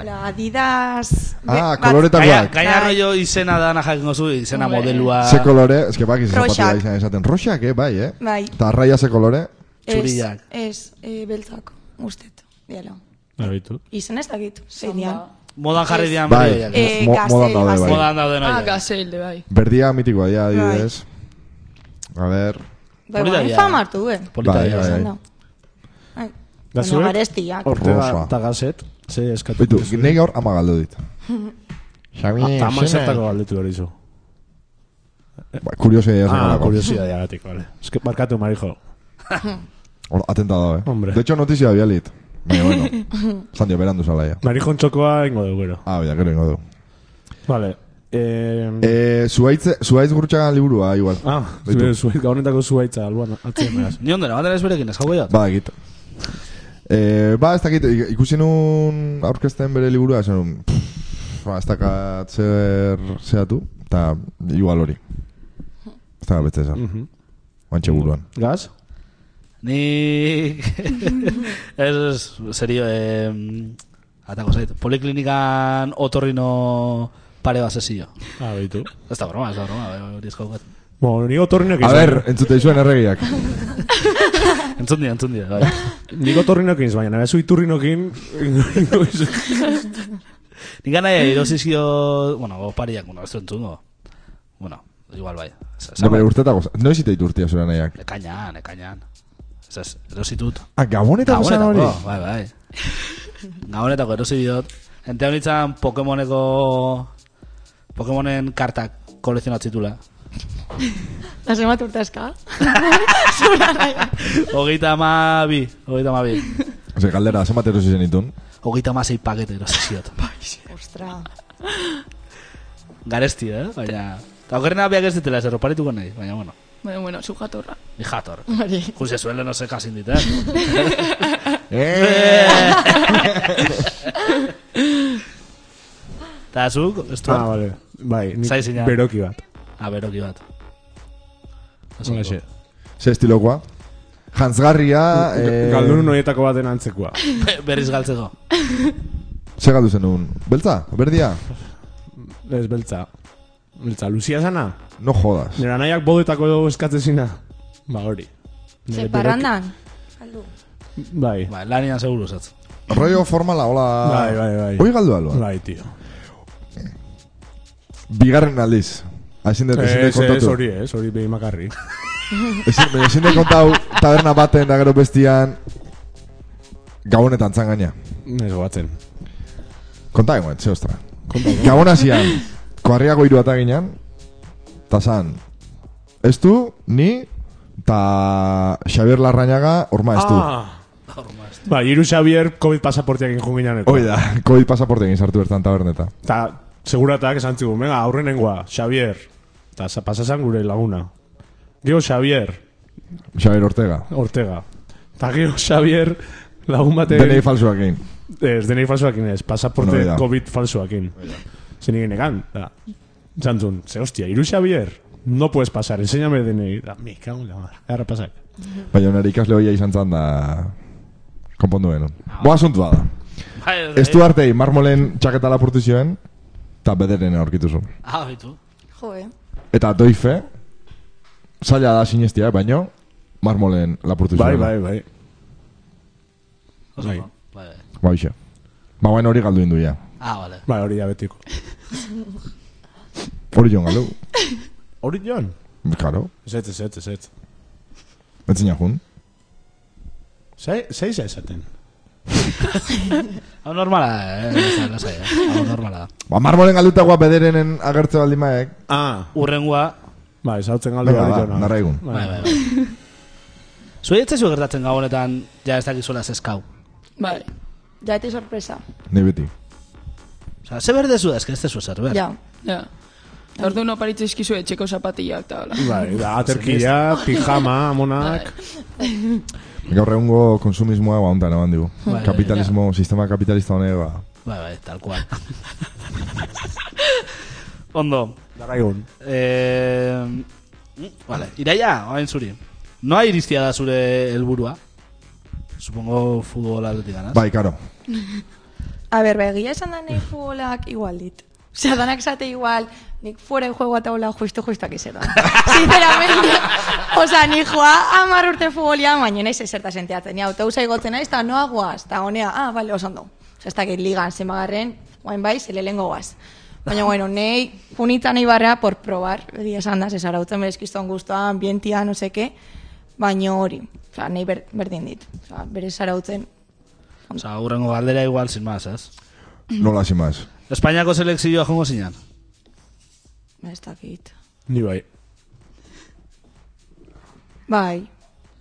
G: Hola, Adidas...
C: Ah,
G: Be- bat-
B: Gaina,
C: koloretakoak.
B: gaina rollo izena da nahi jakingo zu, izena
E: Hombre.
B: modelua...
C: Ze kolore, eske baki ze zapatia
G: Roxak.
C: izan esaten. Roxak, eh, bai, eh?
G: Bai.
C: Ta arraia ze kolore.
G: Ez,
B: Txuriak.
G: Ez, e, beltzak, ustet, dialo.
D: Abitu.
G: Izen ez dakit, zein dian.
B: Modan jarri dian
C: Bai.
B: bideoiak.
C: Eh, Mo- modan daude, bai.
B: Modan dauden
E: Ah,
B: horiek.
E: gazelde, bai.
C: Berdia mitikoa dira,
G: Bai.
C: adibidez. A ber,
G: Bai,
B: Polita
G: bai,
B: dira.
G: fama hartu, eh? Bai.
B: Polita
C: Bai,
B: dira.
C: bai, bai.
G: Ondo. Ai, Bueno, garestiak.
D: Ortega
C: Rosa.
D: eta gazet, ze eskatu
C: Bitu,
D: diozue?
C: nahi gaur ama galdu dit. Xami,
D: Ah, Taman zertako galdetu hori zu.
C: Ba, kuriosia dira
D: Ah,
C: zakalako.
D: kuriosia diagatik, vale. Ez que barkatu, marijo.
C: Hor, atentado, eh.
D: Hombre.
C: De hecho, notizia
D: <laughs>
C: bialit. Baina, bueno. Sandio, berandu zala, ja.
D: Marijon txokoa ingo dugu, gero.
C: Ah, bera, gero ingo du.
D: Mm. Vale. Eh,
C: Eh, zuaitz, zuaitz gurtxagan liburua, igual.
D: ah,
C: Beitu.
D: zuaitza, gaunetako zuaitza, alboan, atzen meraz.
B: Ni ondera, bat ez berekin, ez hau gehiago?
C: bai. Ba, egit. Eh, ba, ez dakit, ik- ikusi nun aurkezten bere liburua, esan nun, pff, ba, ez dakat zer zehatu, eta igual hori. Ez dakat beste esan,
D: Mhm.
C: oantxe buruan.
D: Gaz?
B: Ni... ez, serio, eh, atako zait. Poliklinikan otorrino pare bat sesio.
D: Ah, beitu.
B: Ez da broma, ez da broma, bai, hori ez jaukat.
D: Bo, nigo torrinak
C: A
D: izan.
C: ber, entzute izuen erregiak.
D: <laughs>
B: Entzun dira, entzun dira, bai.
D: Nigo torrinak izan, baina nabezu iturrinokin...
B: Nik gana irosizio... Bueno, pariak, bueno, ez du entzungo. Bueno, igual bai. Ez- ez-
C: No, bere urtetago, noiz ite iturtia zure nahiak.
B: Ekainan, ekainan. Ez ez, erositut.
C: Ah, gabonetako zan hori?
B: Gabonetako, bai, bai. Gabonetako erosi diot. Ente honitzen Pokemoneko... Pokemonen kartak kolezionatzitula.
G: Lazen bat urte eska.
B: Hogeita ama bi, hogeita ama bi.
C: Ose, galdera, zenbat erosi zen itun?
B: Hogeita ama zei pakete erosi ziot. Bai.
G: Ostra.
B: Garesti, eh? Baina... Eta okerrena biak ez ditela zer oparituko nahi, baina bueno.
E: Baina, bueno, zu jatorra.
B: Ni jator.
G: Hori.
B: Juse zuele no seka zindit, eh?
C: Eh!
B: Eta zuk, ez du?
D: Ah, vale. Bai, nik
B: Zai zinean.
D: beroki bat.
B: A beroki bat. Oso ondo.
D: Holaxe.
C: Ze estilokoa? Jantzgarria... eh,
D: Galdunun horietako baten antzekoa.
B: Be- Berriz galtzeko.
C: Ze galdu zen un? Beltza? Berdia?
D: Ez beltza. Beltza, Lucia zana?
C: No jodas.
D: Nera nahiak bodetako edo eskatzezina? Ba hori. Nere
G: Ze
D: beroki-
G: parrandan?
D: Bai.
B: Ba, lanian seguru zatz.
C: Rollo formala, hola...
D: Bai, bai, bai.
C: Hoi galdu alba.
D: Bai, tio.
C: Bigarren aldiz. Ezin dut, ezin dut
D: Ez, ez,
C: kontatu.
D: hori ez, hori behin makarri.
C: Ezin, baina ezin dut kontau taberna baten da gero bestian... Gabonetan zangaina.
D: Ez guatzen.
C: Konta egoen, ze ostra. Gabona zian, koarriago iru eta ginean, eta zan, ez du, ni, eta Xavier Larrañaga, orma ez du.
D: Ah. Ba, Jiru Xavier COVID pasaportiak injun ginen.
C: Hoi da, COVID pasaporte egin sartu bertan taberneta.
D: Ta, seguratak esan zigun, venga, aurrenengoa, Xavier. Ta, sa- pasasan gure laguna. Gio Xavier,
C: Xavier Ortega.
D: Ortega. Ta gio <laughs> Xavier, lagun batek...
C: Denei falsuak egin.
D: Ez, denei falsuakin ez, pasaporte
C: Hori da.
D: COVID falsuakin. Zer nire negan, da. Zantzun, ze hostia, Iru Xavier, no puedes pasar, enséñame denei. Da, me cago en la mar, gara pasak.
C: Baina nire ikasle hoia izan zan da... Konpondu genuen. Boa asuntua da. Ez du arte marmolen txaketa lapurtu zioen, eta bederen aurkitu zuen.
B: Ah, bitu.
G: Jo, eh?
C: Eta doife, zaila da sinestia, baino, marmolen lapurtu
D: Bai,
C: zuen.
D: bai, bai.
B: Oso
D: Bai.
B: ondo. Bai, bai.
C: Ba, hoxe. Ba, baina hori galdu indu, ja.
B: Ah, vale.
D: Bai, hori da betiko.
C: Hori joan galdu.
D: Hori joan?
C: Karo,
D: Ez ez, ez ez, ez.
C: etzina jun.
D: Zei, zei zei esaten.
B: Hau normala, da, eh? Lasai, lasai, <laughs> eh? Hau normala. da.
C: Ba, marmolen galdutakoa bederenen agertze baldimaek.
D: Ah,
B: Urrengua,
D: bai, zautzen galdu
C: Venga,
D: hori
C: ba,
D: joan.
C: narraigun.
B: Bai, bai, bai. Zuei etzezu gertatzen gabonetan, ja ez dakizuela zeskau.
E: Bai.
G: Ja, ete sorpresa.
C: Nei beti.
B: Osa, ze berdezu da, ez ez zu zer, ber.
G: Ja.
E: Ja. Eta ordu no paritze eskizu etxeko zapatillak eta hola.
D: Bai, da, aterkia, pijama, amonak.
C: Gaur egungo konsumismoa ba, ontan eman digu.
B: Bai,
C: Kapitalismo, sistema kapitalista honek, ba.
B: Bai, bai, tal cual. <laughs> Ondo.
D: Narraigun.
B: Eh, vale, iraia, oain zuri. Noa iriztia da zure helburua? Supongo futbol atletik ganaz.
C: Bai, karo.
G: A ber, ba, egia esan da nahi futbolak igual dit. Osea, danak zate igual, nik fuera de juego eta hola justu justuak izera. Sinceramente, osea, ni joa amar urte futbolia, baina naiz ezerta senteatzen. Ni autobusa igotzen naiz, eta noa guaz, eta honea, ah, bale, oso ondo. Osea, ez dakit ligan zemagarren, guain bai, zelelengo guaz. Baina, bueno, nei, punita nahi barra por probar, egia esan da, zesarautzen berezkizton guztua, ambientia, no seke, baina hori, osea, nahi ber, berdin dit. Osea, bere zarautzen,
B: Osa, urrengo galdera igual, sin más, ez?
C: Nola hasi maz.
B: Espainiako selekzioa jongo zinan.
G: ez dakit.
D: Ni bai.
G: Bai.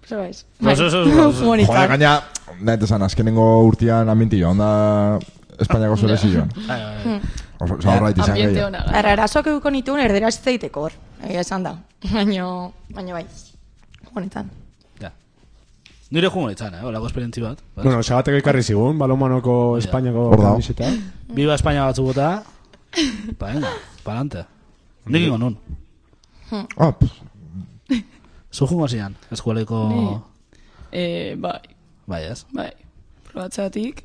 G: Eso es.
B: No, eso- eso- eso- eso-
G: Bonita.
C: Joder, gaina, nahi esan, azkenengo urtean aminti joan da Espainiako zure zioan.
B: Bai, bai, bai.
C: Oso oso horrait izan
E: Ambiente
C: gehiago.
E: hona gara.
G: Ara, arazoak eduko nituen erderaz ez daiteko hor. Egia esan da. <laughs> Baino, baino bai. Honetan.
B: Ja. Nire jungo ditzan, eh? Olako esperientzi bat. Bai.
D: Bueno, sabatek ekarri zigun, balomanoko Espainiako
C: Hor dago.
D: kamiseta.
B: Viva España batzu bota. Pa, venga, pa'lante. Nik ingo nun.
C: Ah, pff,
B: Zu jungo zian, eskualeko...
E: Eh, bai,
B: Bai, ez?
E: bai. Probatzatik.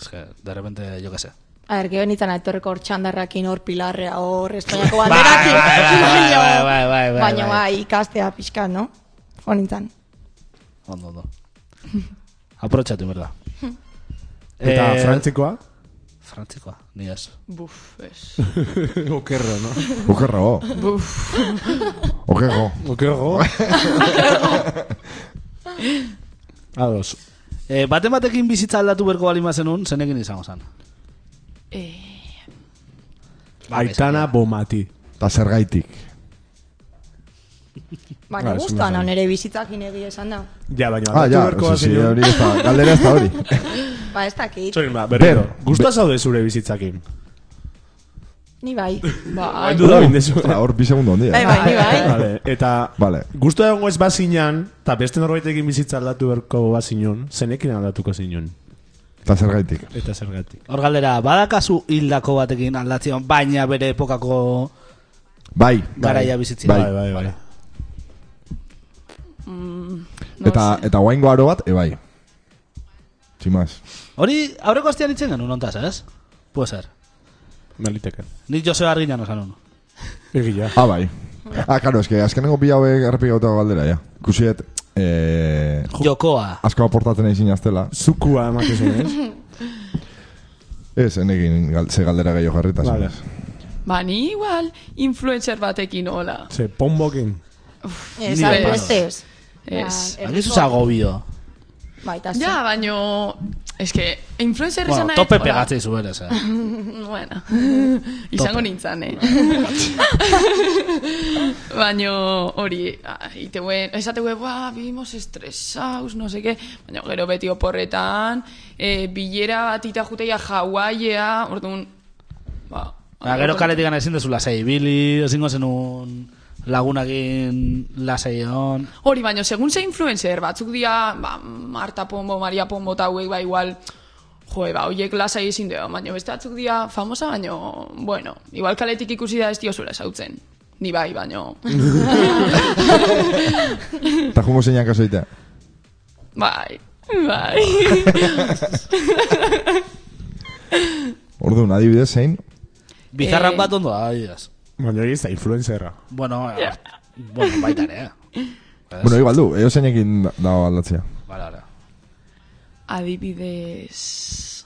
B: Ez que, de repente, jo que sé.
G: A ver, que benitan etorreko hor txandarrakin hor pilarrea hor Espainiako
B: Bai,
G: banderakin.
B: bai, bai, bai,
G: Baino-
B: bai, bai, bai, bai, bai.
G: Baino bai, ikastea pixka, no? Honetan.
B: Ondo, ondo. Aprotxatu, merda.
D: Eta frantzikoa?
B: Eh, Frantzikoa, ni ez.
E: Buf, ez.
D: Okerro, no?
C: okerro. Okerro.
D: <laughs> Okerro. Ados.
B: E, baten batekin bizitza aldatu berko balima zenun, zenekin izango zen.
E: Eh,
D: Aitana bomati.
C: Ta zergaitik.
G: Ba,
C: Ah,
B: Bai,
G: ni
C: ez
G: guztua
C: ondo
G: nau
C: esan.
G: nere bizitza ginegi esan da.
D: Ja, baina,
C: Ah, ja, sí, sí, hori ez da, galdera ez da hori.
G: Ba, ez dakit.
D: Zorin, ba, berriro.
C: Ber-
D: Guztua zaude zure bizitzakin.
G: Ni
B: <laughs>
G: bai.
E: Ba,
D: Hain duda bindezu.
C: Ostra, hor bi eh? segundo ondia.
G: Bai, bai, ni bai.
D: Vale, eta
C: Vale.
D: guztua egongo ez bazinan, eta beste norbaitekin bizitza aldatu berko bazinun, zenekin aldatuko zinun.
C: Eta zer gaitik.
D: Eta zergatik.
B: Hor galdera, badakazu hildako batekin aldatzion, baina bere epokako
C: Bai.
B: garaia bizitzia.
C: Bai.
D: Bai, bai, bai.
E: Bai,
C: Eta, eta guaingo aro bat, e bai. Sin más.
B: Hori, aurreko astean itzen genuen ontaz, ez? Puede ser.
D: Naliteke.
B: Ni Joseba Arguinan osan honu.
D: Egia.
C: Ah, bai. Ah, karo, eske, azkenengo pila hauek errepikauta galdera, ja. Kusiet, eh,
B: Jokoa.
C: asko aportatzen egin aztela.
D: Zukua emakezu, ez?
C: Ez, enegin gal, ze galdera gehiago jarrita.
D: Vale.
C: Vale.
E: ba, ni igual influencer batekin hola.
D: Ze, pombokin.
G: Ez,
B: Ni
G: ari
E: bai.
G: beste ez.
E: Ez.
G: Ba,
B: Aquí sus agobio.
G: Bai, eta
E: Ja,
B: ba.
E: baino... Ez que, influencer
B: Bueno,
E: esan
B: tope pegatzei zu berez,
E: <laughs>
B: eh? <laughs>
E: Bueno, izango nintzen, eh? Baino, hori, ah, iteuen, esateu, ba, vivimos estresaus, no seke, baina gero beti oporretan, eh, bilera bat ita juteia Hawaiia, orduan, ba...
B: Ba, gero kaletikan ezin dezu lasai ibili, ezingo zenun lagunakin lasai egon.
E: Hori, baino, segun ze influencer, batzuk dira, ba, Marta Pombo, Maria Pombo, eta hauek, ba, igual, joe, ba, oiek lasai ezin dugu, baino, beste batzuk dira, famosa, baino, bueno, igual kaletik ikusi da ez diozula esautzen. Ni bai, baino,
C: Eta jungo zeinak kaso egitea.
E: bai, bai.
B: <laughs>
C: Orduan, adibidez zein,
B: Bizarrak
E: Eh.
B: bat ondo da, adibidez.
D: Baina hori ez da influencerra.
B: Bueno, eh, bueno, baita ere, eh?
C: bueno, igual du, eo zeinekin da- dago aldatzea.
B: Vale, vale.
E: Adibidez,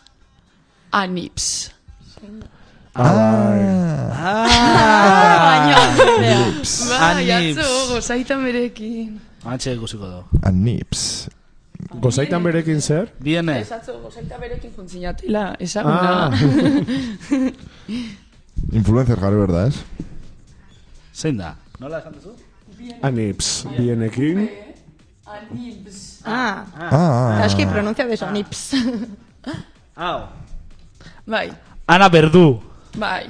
E: anips.
C: Ah.
E: Ah. Bai,
B: Ah. Anips.
E: atzo, gozaitan berekin.
B: Antxe ikusiko du.
C: Anips.
D: Gozaitan berekin zer?
B: Biene,
E: Ez atzo, gozaita berekin funtzinatela, ezaguna.
D: Ah,
C: Influencer jarri berda, ez?
B: zein da? Nola esan duzu?
D: anips. Ah, Bienekin.
G: Ah,
C: Ah, ah,
G: aski pronuntzia beso,
B: <laughs>
G: nips.
B: Au.
E: <laughs> Bai,
B: Ana Berdu.
E: bai.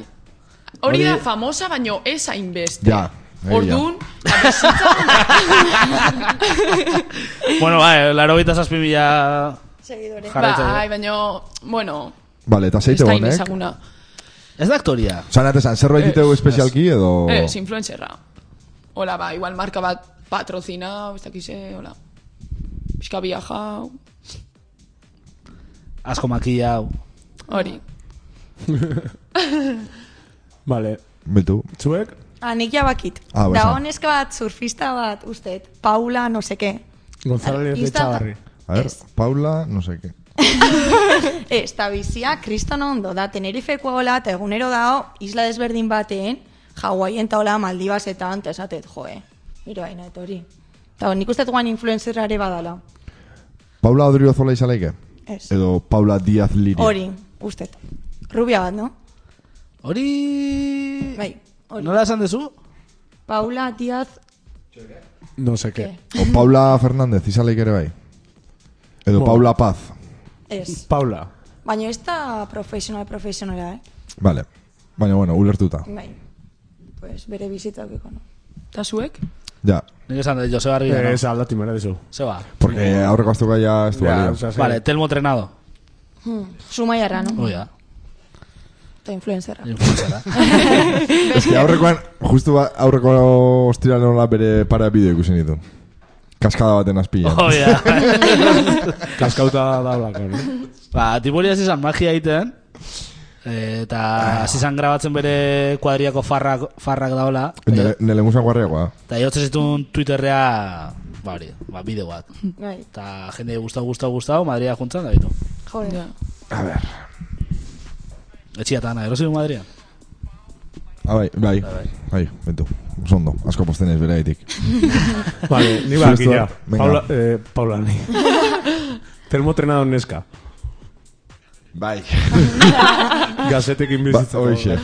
E: Hori da
B: Hori-
E: famosa, baino ez hainbeste.
C: Ja, egia.
E: Orduan, la bizitza,
B: bueno, bai, laro gita zazpi mila
G: Seguidore.
E: bai,
B: jarretza.
E: baino, bueno,
C: Vale, eta
E: ez
C: zeite
E: da
C: honek.
E: inezaguna.
B: Ez da aktoria.
C: Osa, nate zan, zerbait diteu espezialki edo...
E: Ez, influencerra. Hola, ba, igual marka bat patrocina, ez dakize, hola. Bizka viaja,
B: Asko makia hau.
E: hori.
D: Vale.
C: Betu.
D: Zuek?
G: Ah, nik jabakit.
C: Ah, ba,
G: da
C: esan.
G: honeska bat, surfista bat, ustet. Paula, no seke.
D: González de
G: Insta-
D: Chavarri.
C: A ver,
G: Ez.
C: Paula, no sé qué.
G: Ez, ta bizia, kriston ondo da, Tenerifekoa hola, eta egunero dao, isla desberdin baten, Hawaien ta hola, Maldibasetan, eta esatet, joe. Miro haina, eta hori. Eta nik uste guan influenzerare badala.
C: Paula Odriozola izaleike?
G: Ez.
C: Edo Paula Díaz Liria?
G: Hori, ustet. Rubia bat, no?
B: Hori...
G: Bai, hori.
B: Nola esan duzu?
G: Paula Diaz...
D: No sé qué.
C: O Paula Fernández izaleike ere bai? Edo
D: Bo.
C: Paula Paz?
G: Ez.
D: Paula.
G: Baina ez da profesional, profesionala, eh?
C: Vale. Baina, bueno, ulertuta.
G: Bai. Pues bere bizitaukiko, no?
E: Eta zuek?
C: Ja.
B: Nik esan dut, Joseba Arguinan.
D: Ez
B: no?
D: aldati mera dizu.
B: Zeba.
C: Porque aurreko astuka ja ez du balio.
D: osea, ze-
B: Vale, Telmo Trenado. Oh,
G: Sumaiarra,
C: Bai.
G: no?
B: Oia.
G: Eta influenzerra.
B: Influenzara.
C: Ez que aurrekoan, justu ba- aurreko ostira nola bere para bideo ikusi ditu. Kaskada baten azpilan.
B: Oia.
D: Kaskauta da blako, no?
B: <laughs> Ba, tipori hasi zan magia egiten. eh, Eta hasi zan grabatzen bere kuadriako farrak, farrak daola.
C: Nele, nele musan guarriagoa.
B: Eta jotzen zituen Twitterrea, ba hori, ba, bideo bat.
G: Bai,
B: Eta jende gustau, gustau, gustau, Madria juntzan, da bitu.
G: joder.
E: Ja.
B: Etxia eta ana, erosi du Madria.
C: Ah, bai, bai, bai, bentu. Zondo, asko posten ez bere gaitik.
D: Vale, ni ba,
C: Justu,
D: ja.
C: venga.
D: Paula, eh, Paula, ni. Termotrenado neska.
C: Bai.
D: Gazetekin
C: Ba,
D: bizitzako.
C: hoxe.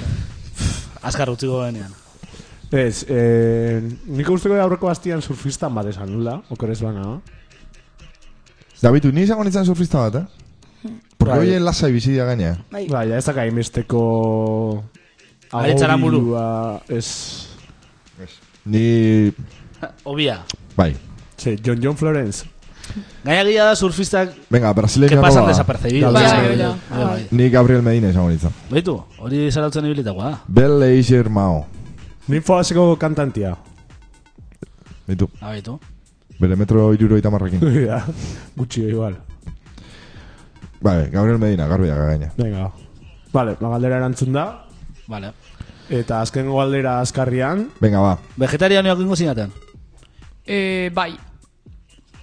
B: Azkar utziko benean.
D: Ez, eh, nik usteko aurreko bastian surfistan bat esan nula, okerez bana.
C: Dabitu, ni izango nintzen surfista bat, eh? Porque
D: Bai.
C: hoy lasai bizi dira gaina.
G: Bai.
D: Bai, ez dakai mesteko...
B: Aretzara buru.
D: Ez...
C: Ni...
B: Obia.
C: Bai.
D: Ze, John John Florence.
B: Gaina gila da surfistak
C: Venga,
B: que
C: brasileña
B: pasan desapercibidos.
E: Bai,
B: Bai,
E: bai,
B: bai,
E: bai.
B: bai.
C: Ni Gabriel Medina izango nintzen.
B: Baitu, hori zarautzen ibilitakoa da.
C: Bel Leiser Mao.
D: Ni foazeko kantantia. <laughs>
C: Bitu.
B: Abaitu.
C: Bere metro iruro eta
B: <laughs>
C: marrakin.
D: Ja, Gutxi igual.
C: Bai, Gabriel Medina, garbi da gaina.
D: Venga. Vale, ba, galdera erantzun da.
B: Vale.
D: Eta azkengo galdera azkarrian.
C: Venga, ba.
B: Vegetarianoak ingo zinaten.
E: Eh, bai.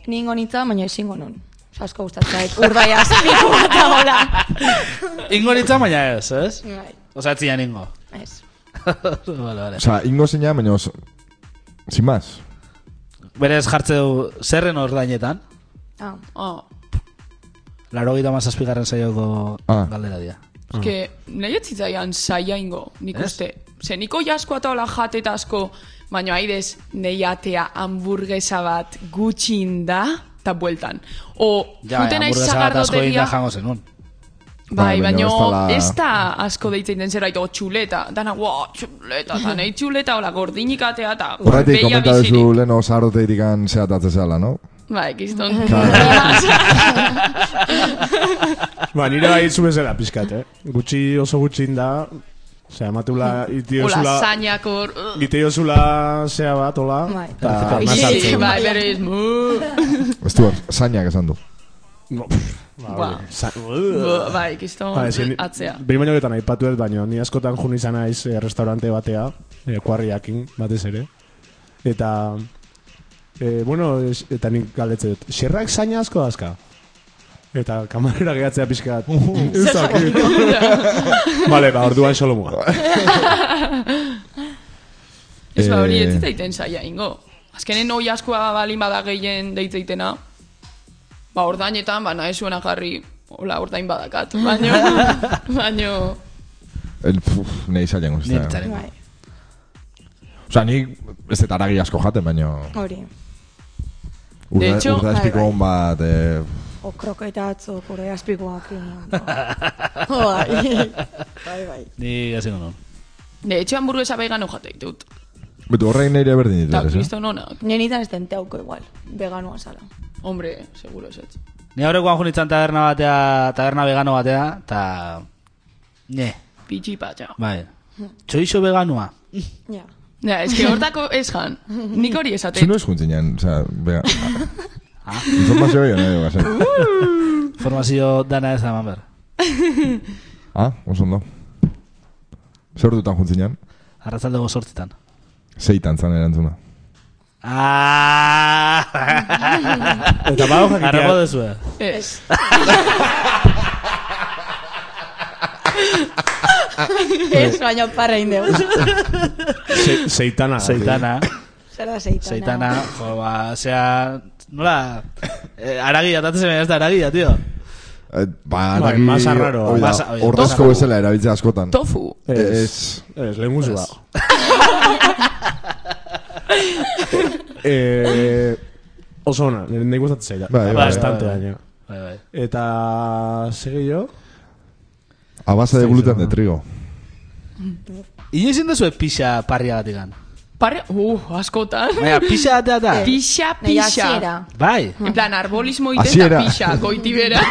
G: Ningo nintzen, baina ezingo nun. Osa, Asko gustatzen, urdai bai azpiku bat dagoela.
B: Ingo nintzen baina ez, ez?
G: Bai,
B: Osa, zian ingo.
G: ez.
B: <laughs> vale, vale.
C: Osa, ingo zeina, baina oso... Sin más.
B: Berez jartzeu zerren ordainetan,
G: Ah,
E: Ah,
B: laro gita mazazpigarren saioko
C: Ah.
B: galdera dira.
E: eske, nahi ez zitzaian saia ingo, nik
B: Ah. Ez?
E: uste. Ze niko jasko eta hola jateta asko, baina aidez, nahi atea hamburguesa bat gutxin da, eta bueltan. O,
B: Ja, baina,
E: juten naiz
B: hamburguesa bat asko egin da
E: sagardotegia,
B: jango zenun.
E: bai,
C: Bai, baina
E: baino
C: ez dala-
E: ez da asko deitzen den zerbait, o txuleta, dana, wow, txuleta, eta nahi txuleta, hola, gordinik atea, eta
C: Horretik,
E: gorbeia
C: komenta duzu
E: bizirik.
C: leno zarrote irikan zehatatze zela, no?
E: Bai, kiston.
D: Ba, nire bai zu bezala pizkat, eh? Gutxi oso gutxin da. Osea, ematula
E: Hola,
D: itiozula...
E: zainak bai, hor. uh,
D: Giteiozula zea bat, hola.
G: Bai.
D: Ta,
B: Bai.
D: masa-
E: Sí, <laughs> bai, berez, mu.
C: Ez du, zainak esan du.
D: No, pff, ba,
E: Ba.
D: hori, sa-
E: Bu, Bai, kiston,
D: Ba, ezin-
E: atzea.
D: Behin baino getan aipatu ez, baino ni askotan jun izan naiz eh, restaurante batea, eh, kuarriakin, batez ere. Eta, eh, bueno, es- eta nik galdetze dut, xerrak zaina asko dazka? Eta kamarera gehatzea pixkat. <laughs> Eusak. <laughs> Vale, ba, orduan solomua.
E: Ez ba hori
C: Eh,
E: ez zitzaiten saia ingo. Azkenen hoi askoa balin bada gehien deitzeitena, ba ordainetan, ba nahi zuena jarri, hola ordain badakat, baino,
C: <laughs>
E: baino,
C: El, puf, nahi zailen guztia.
B: Nintzaren.
G: bai,
C: Osa, ni ez eta aragi asko jaten, baina...
G: hori.
C: Urda,
E: De hecho,
C: urda
G: bai,
C: espiko
G: bai.
C: hon bat... Eh,
G: O kroketa atzok, urdai azpikoak. <laughs> Bai, bai, bai.
B: Ni gazingo nun.
E: de hecho hamburguesa vegano jateik dut.
C: betu, horrein nire berdin
E: Eta
C: ditu, ez? eh?
E: kristo nonak,
G: Nenitan ez den teuko igual, veganoa zala.
E: hombre, seguro ez.
B: Ni aurrekoan junitzen taberna batea, taberna vegano batea, eta... Ne,
E: Pitxi patxa.
B: bai. Txoixo veganoa.
G: Ja.
E: Ja, ez que hortako ez jan, nik hori
C: Zu
E: esate.
C: noiz juntzinean, oza,
E: <laughs>
C: bega... Ah. Informazio gehiago nahi dugu, zen.
B: Formazio dana ez da eman behar.
C: Ah, oso ondo. Zer dutan juntzinean?
B: Arratzaldego sortzitan.
C: Zeitan zan erantzuna.
B: <laughs> Ah!
D: Eta bau
B: Arrapo
D: jakitea,
B: dezue.
E: Ez,
G: Ez, baina parra indeu. <laughs>
D: ze- zeitana.
B: Zeitana,
G: Zer da zeitana?
B: zeitana, jo, ba, osea, nola, eh, aragia, tatzen zemen ez da aragia, tío.
C: Eh, ba,
D: Bai,
C: aragi-
D: masa raroa.
C: hori da,
B: Masa- hori da,
C: Ordezko
B: tofu.
C: bezala erabiltzea askotan.
E: tofu.
D: Ez,
C: Ez.
D: ez, lehen guzu ba. <laughs> Eh, Oso ona, nire gustatzen zaila.
C: Bai, bai, bai.
D: Bastante daño.
B: Bai, bai.
D: Eta segi jo?
C: A base de
D: Zeitana.
C: gluten de trigo.
B: Inoiz indezue pixa parria bat ikan.
E: Parre, uh, askotan.
B: Baina, pixa atea
E: <laughs>
B: da.
E: Pixa,
G: Nahi
E: pixa.
G: hasiera.
B: Bai.
E: En plan, arbolismo
C: Hasiera.
E: itenta pixa, goitibera.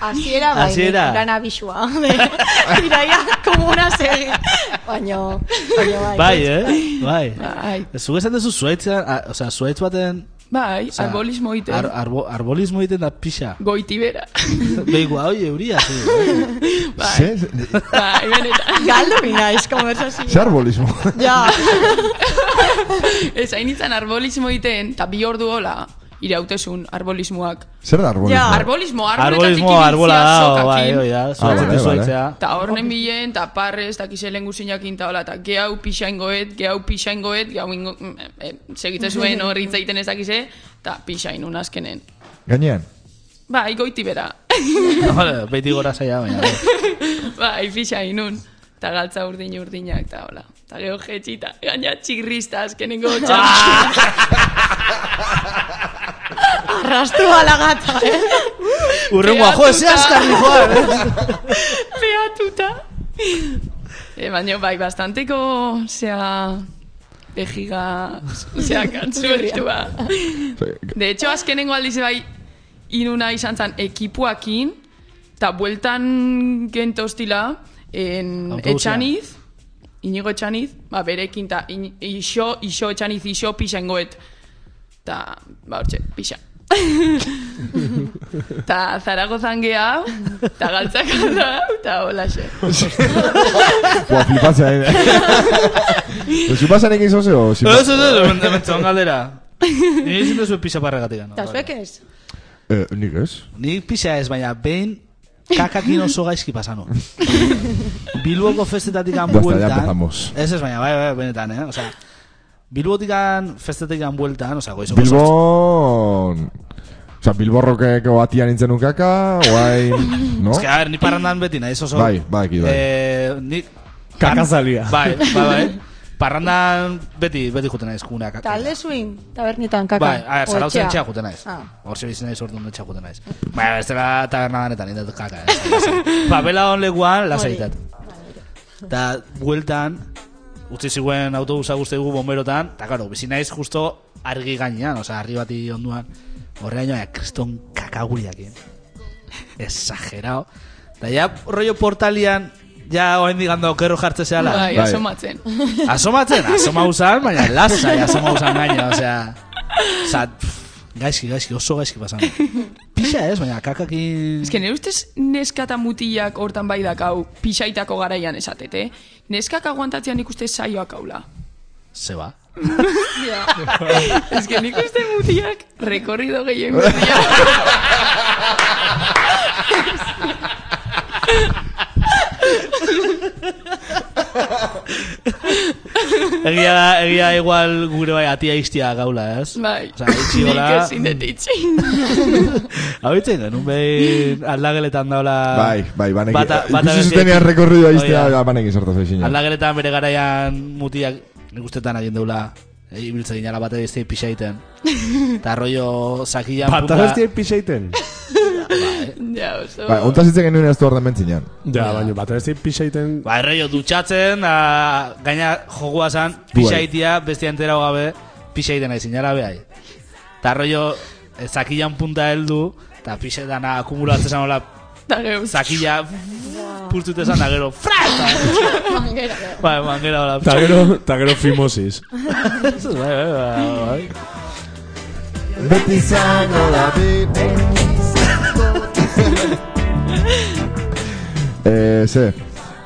G: Hasiera bai,
B: Hasiera.
G: gran abisua. <laughs> Iraia komuna segi. Baina, baina bai.
B: Bai, eh? Bai.
E: Bai.
B: Zuk esan duzu zuaitzean, a- osea, zuaitz baten...
E: Bai,
B: osea,
E: arbolismo iten.
B: Ar, arbo, arbolismo egiten da pixa. <laughs>
E: Goiti bera.
B: Beigu, hau euria, zi.
E: Bai,
C: Ze,
E: bai, benetan.
G: Galdu binaiz, konversazio.
C: ze
E: <laughs>
C: arbolismo.
G: Ja,
E: Ez hain itzan arbolismo iten, eta bi ordu hola, irautesun arbolismoak.
C: Zer da arbolismo?
G: Ja,
E: Arbolismo, arboletatik
B: Arbolismo, arbola da, bai, hoi da.
C: Ah, vale,
B: Zuaitzetik
C: vale.
B: <laughs> zuaitzea.
E: Eta horren bilen, eta parrez, eta kiselen guzinakin, eta hola, eta gehau pixaingoet, gehau pixaingoet, gehau ingo... mm, eh, Segite zuen horri itzaiten ez dakize, eta pixainun azkenen.
C: Gainean.
E: Bai, goiti bera. <laughs>
B: Vale, Beti gora zaila, baina. bai.
E: Bai, pixainun. eta galtza urdin urdinak, eta hola. Eta gero jetxita, gaina txirrista azkenengo <laughs> txarra.
G: Arrastu a la gata, eh?
B: Urrengoa, jo, ze azkar joan, eh?
E: Beatuta. E, baina bai, bastanteko, zea, bejiga, zea, kantzurritua. De hecho, azkenengo aldiz bai, inuna izan zen ekipuakin, eta bueltan gentostila, en
B: Autobusean.
E: etxaniz, inigo etxaniz, ba, berekin, eta in- iso, iso etxaniz, iso pixangoet. Eta, ba, hortxe, pixa. Ta Zaragozan geha, ta galtzak da, ta holaxe.
C: Buah, flipatzea, eh?
E: <laughs>
C: Ezu pasan egin zoze, o... si-
B: Ez, ez, ez, hementzen
G: <laughs>
B: galdera. Ni izin duzu pixa parragatik.
G: Eta zuek ez?
C: Eh, nik ez?
B: Ni pixa ez, baina behin kakakin oso gaizki <laughs> pasano. Bilboko festetatik
C: Basta, ya
B: bueltan...
C: empezamos.
B: Ez ez, baina, bai, bai, benetan, eh? Osea, Bilbotik festetatik bueltan, osea, goizo...
C: Bilbon... Osa, Bilborrokeko batian nintzen ukaka, <laughs> guain... No?
B: Ez que, a ver, ni parrandan beti naiz oso...
C: Bai, badakit, bai.
B: Eh, ni...
D: Kakazalia.
B: Bai, bai, bai.
C: <laughs>
B: Parrandan beti, beti juten naiz, kuna kaka.
G: Talde swing, tabernetan kaka.
B: Bai, a ver,
G: o
B: zarautzen
G: etxea.
B: etxea juten naiz.
G: Ah.
B: Hor zebiz naiz orduan etxea juten naiz. Baina, bestela taberna banetan, indatu kaka. eh. Papela on lekuan, lasaitat. Eta, bueltan, utzi ziguen autobusa guzti dugu bomberotan, eta, karo, bizi naiz justo argi gainean, osea, argi bati onduan, horrean joan, kriston kakaguriak, exagerao. Eta, ja, rollo portalian, ja, oain digando, okerro jartze zehala.
E: Bai,
C: Bai.
E: asomatzen.
B: Asomatzen, asoma usan, baina lasai asoma usan gaina, osea... Osa, pff, gaizki, gaizki, oso gaizki pasan. Pixa ez, baina kakakin...
E: Ez que nire ustez neska eta mutilak hortan bai dakau pixaitako garaian esatete. Neskak aguantatzean nik uste saioak haula.
B: Zeba.
E: <laughs> Ez que nik uste mutilak rekorrido
B: <laughs>
E: gehien <laughs> mutilak.
B: Egia da, egia da igual gure bai atia iztia gaula, ez?
E: Bai,
B: Osa, itxi hola...
E: nik ezin
B: <laughs>
E: dut itxi.
B: Habitzen genuen behin aldageletan daula...
C: Bai, bai, banek... Bata, bata
B: beti-
C: Ikusi zutenean rekorridoa iztea,
B: Hori da.
C: oh, banek izartaz egin.
B: Aldageletan bere garaian mutiak nik ustetan agin deula eh, ibiltzen ginala bat ediztei pixa
E: <laughs>
B: egiten. Eta rollo sakilan
D: Pata bestia pixeiten.
E: Ja, oso.
C: Bai, ontaz hitzen genuen ez du ordan bentzinean.
D: Ja, baina pata bestia pixeiten...
B: Ba, erreio dutxatzen, da, gaina jogua zan, pixaitia, bestia entera gabe, pixaiten nahi zinara behai. Ta rollo, eh, zakilan punta heldu, eta pixetana akumulatzen zan hola,
E: Eta gero,
B: zakila purtzute zan, da gero, fra! eta- <laughs> Bai, mangera hola.
D: Ta gero, ta gero fimosis.
B: Bai, bai, bai, bai.
C: Beti zango da bi... <laughs> Eh, ze,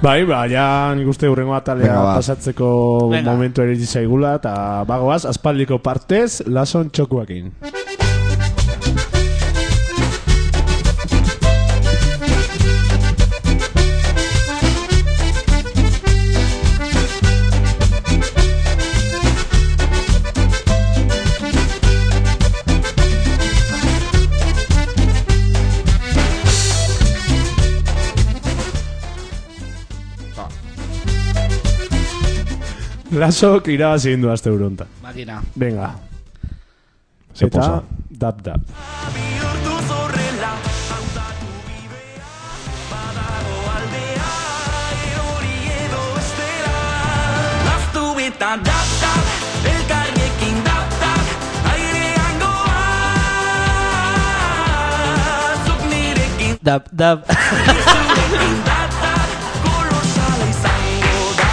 D: Bai, ba, ja nik uste hurrengo atalea
C: Venga, ba.
D: pasatzeko
B: Venga.
D: momentu ere zaigula, eta bagoaz, aspaldiko partez, lason txokuakin. Lasok irabazi egin du azte uronta.
B: Makina.
D: Venga.
C: ze
D: eta
C: posa.
D: dap dap.
I: Eta dap dap, elkarrekin dap dap, airean goaz Zuk nirekin
B: Dab, dab.
I: zurekin dap dap, kolosala izango da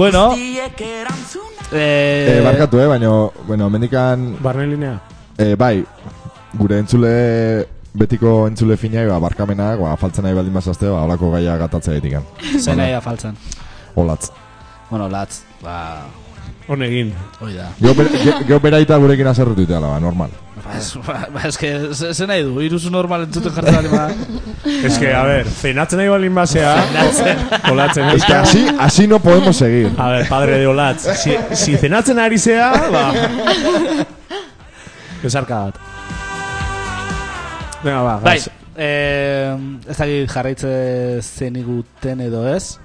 B: Bueno,
I: Diek erantzuna
B: eh...
C: eh, barkatu, eh, baina, bueno, mendikan...
D: Barne linea?
C: Eh, bai, gure entzule... Betiko entzule finai, ba, barkamenak, ba, faltzen nahi baldin bazazte, ba, holako gaia gatatzea ditikan.
B: Zer nahi afaltzen.
C: Olatz.
B: Bueno, latz, ba...
D: Honegin.
B: Hoi da.
C: Geo, ber, ge, geo beraita gurekin azerretu itela, ba, normal.
B: Ba, ez, <laughs> ba, ba, ez que, ze ze nahi du, iruzu normal entzuten jartzen bali bada.
D: Ez que, a ver, zenatzen nahi balin basea, <laughs> olatzen
C: Es que
D: nahi.
C: así, así no podemos seguir.
D: A ver, padre de olatz, si, si zenatzen ari zea, ba... Esarka bat. Venga, ba,
B: Bai,
D: gaz.
B: Eh, ez dakit jarraitze zen iguten edo ez.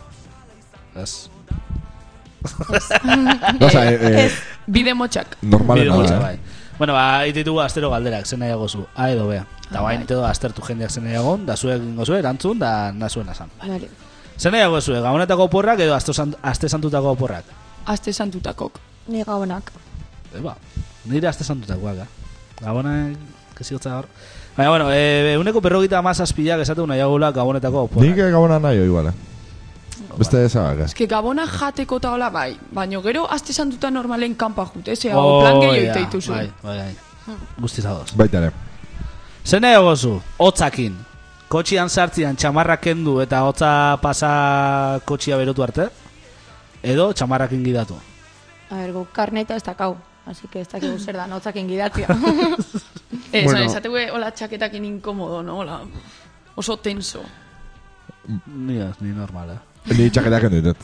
B: Ez.
C: Gauza, eh, eh,
E: Ez, bide motxak.
B: Bide
C: normalena
B: gutxa,
C: da.
B: bai.
C: eh.
B: Bueno, ba, ditugu astero galderak, zen nahiago zu, A edo B. Da
E: Ah,
B: guain,
E: bai.
B: edo aztertu jendeak zen nahiago, da zuek ingo zuen, erantzun, da nazuen azan.
E: Vale.
B: Zen nahiago zuek, gabonetako oporrak edo asto san- aste santutako oporrak.
E: Aste santutakok.
G: Ni gabonak.
B: Eh, ba, nire aste santutakoak, eh? Gabona, kesiotza hor. Baina, bueno, e, uneko perrogita amazazpilak esatu nahiagula gabonetako oporrak.
C: Nik eh, gabona nahi igual. eh. Beste ezagak.
E: Ez que gabona jateko eta hola bai, baino gero aste santuta normalen kanpa jute, ze hau
B: Oh,
E: plan
B: ja,
E: gehiago ite dituzu. Hmm.
B: Bai, bai, bai. Guztiz ados.
C: Baita ere.
B: Zer nahi gozu, hotzakin. Kotxian sartzian txamarra kendu eta hotza pasa kotxia berotu arte? Edo txamarrakin gidatu.
G: A ber, guk karneta ez dakau. Así que ez dakigu zer da, notzakin
B: <laughs>
G: gidatia.
B: Eh.
G: <laughs>
E: Ez,
D: Bueno.
E: bueno. Eh, hola txaketakin inkomodo, no? Hola, oso tenso.
B: Ni, ez, ni normal, eh?
C: Ni txaketak endu ditut.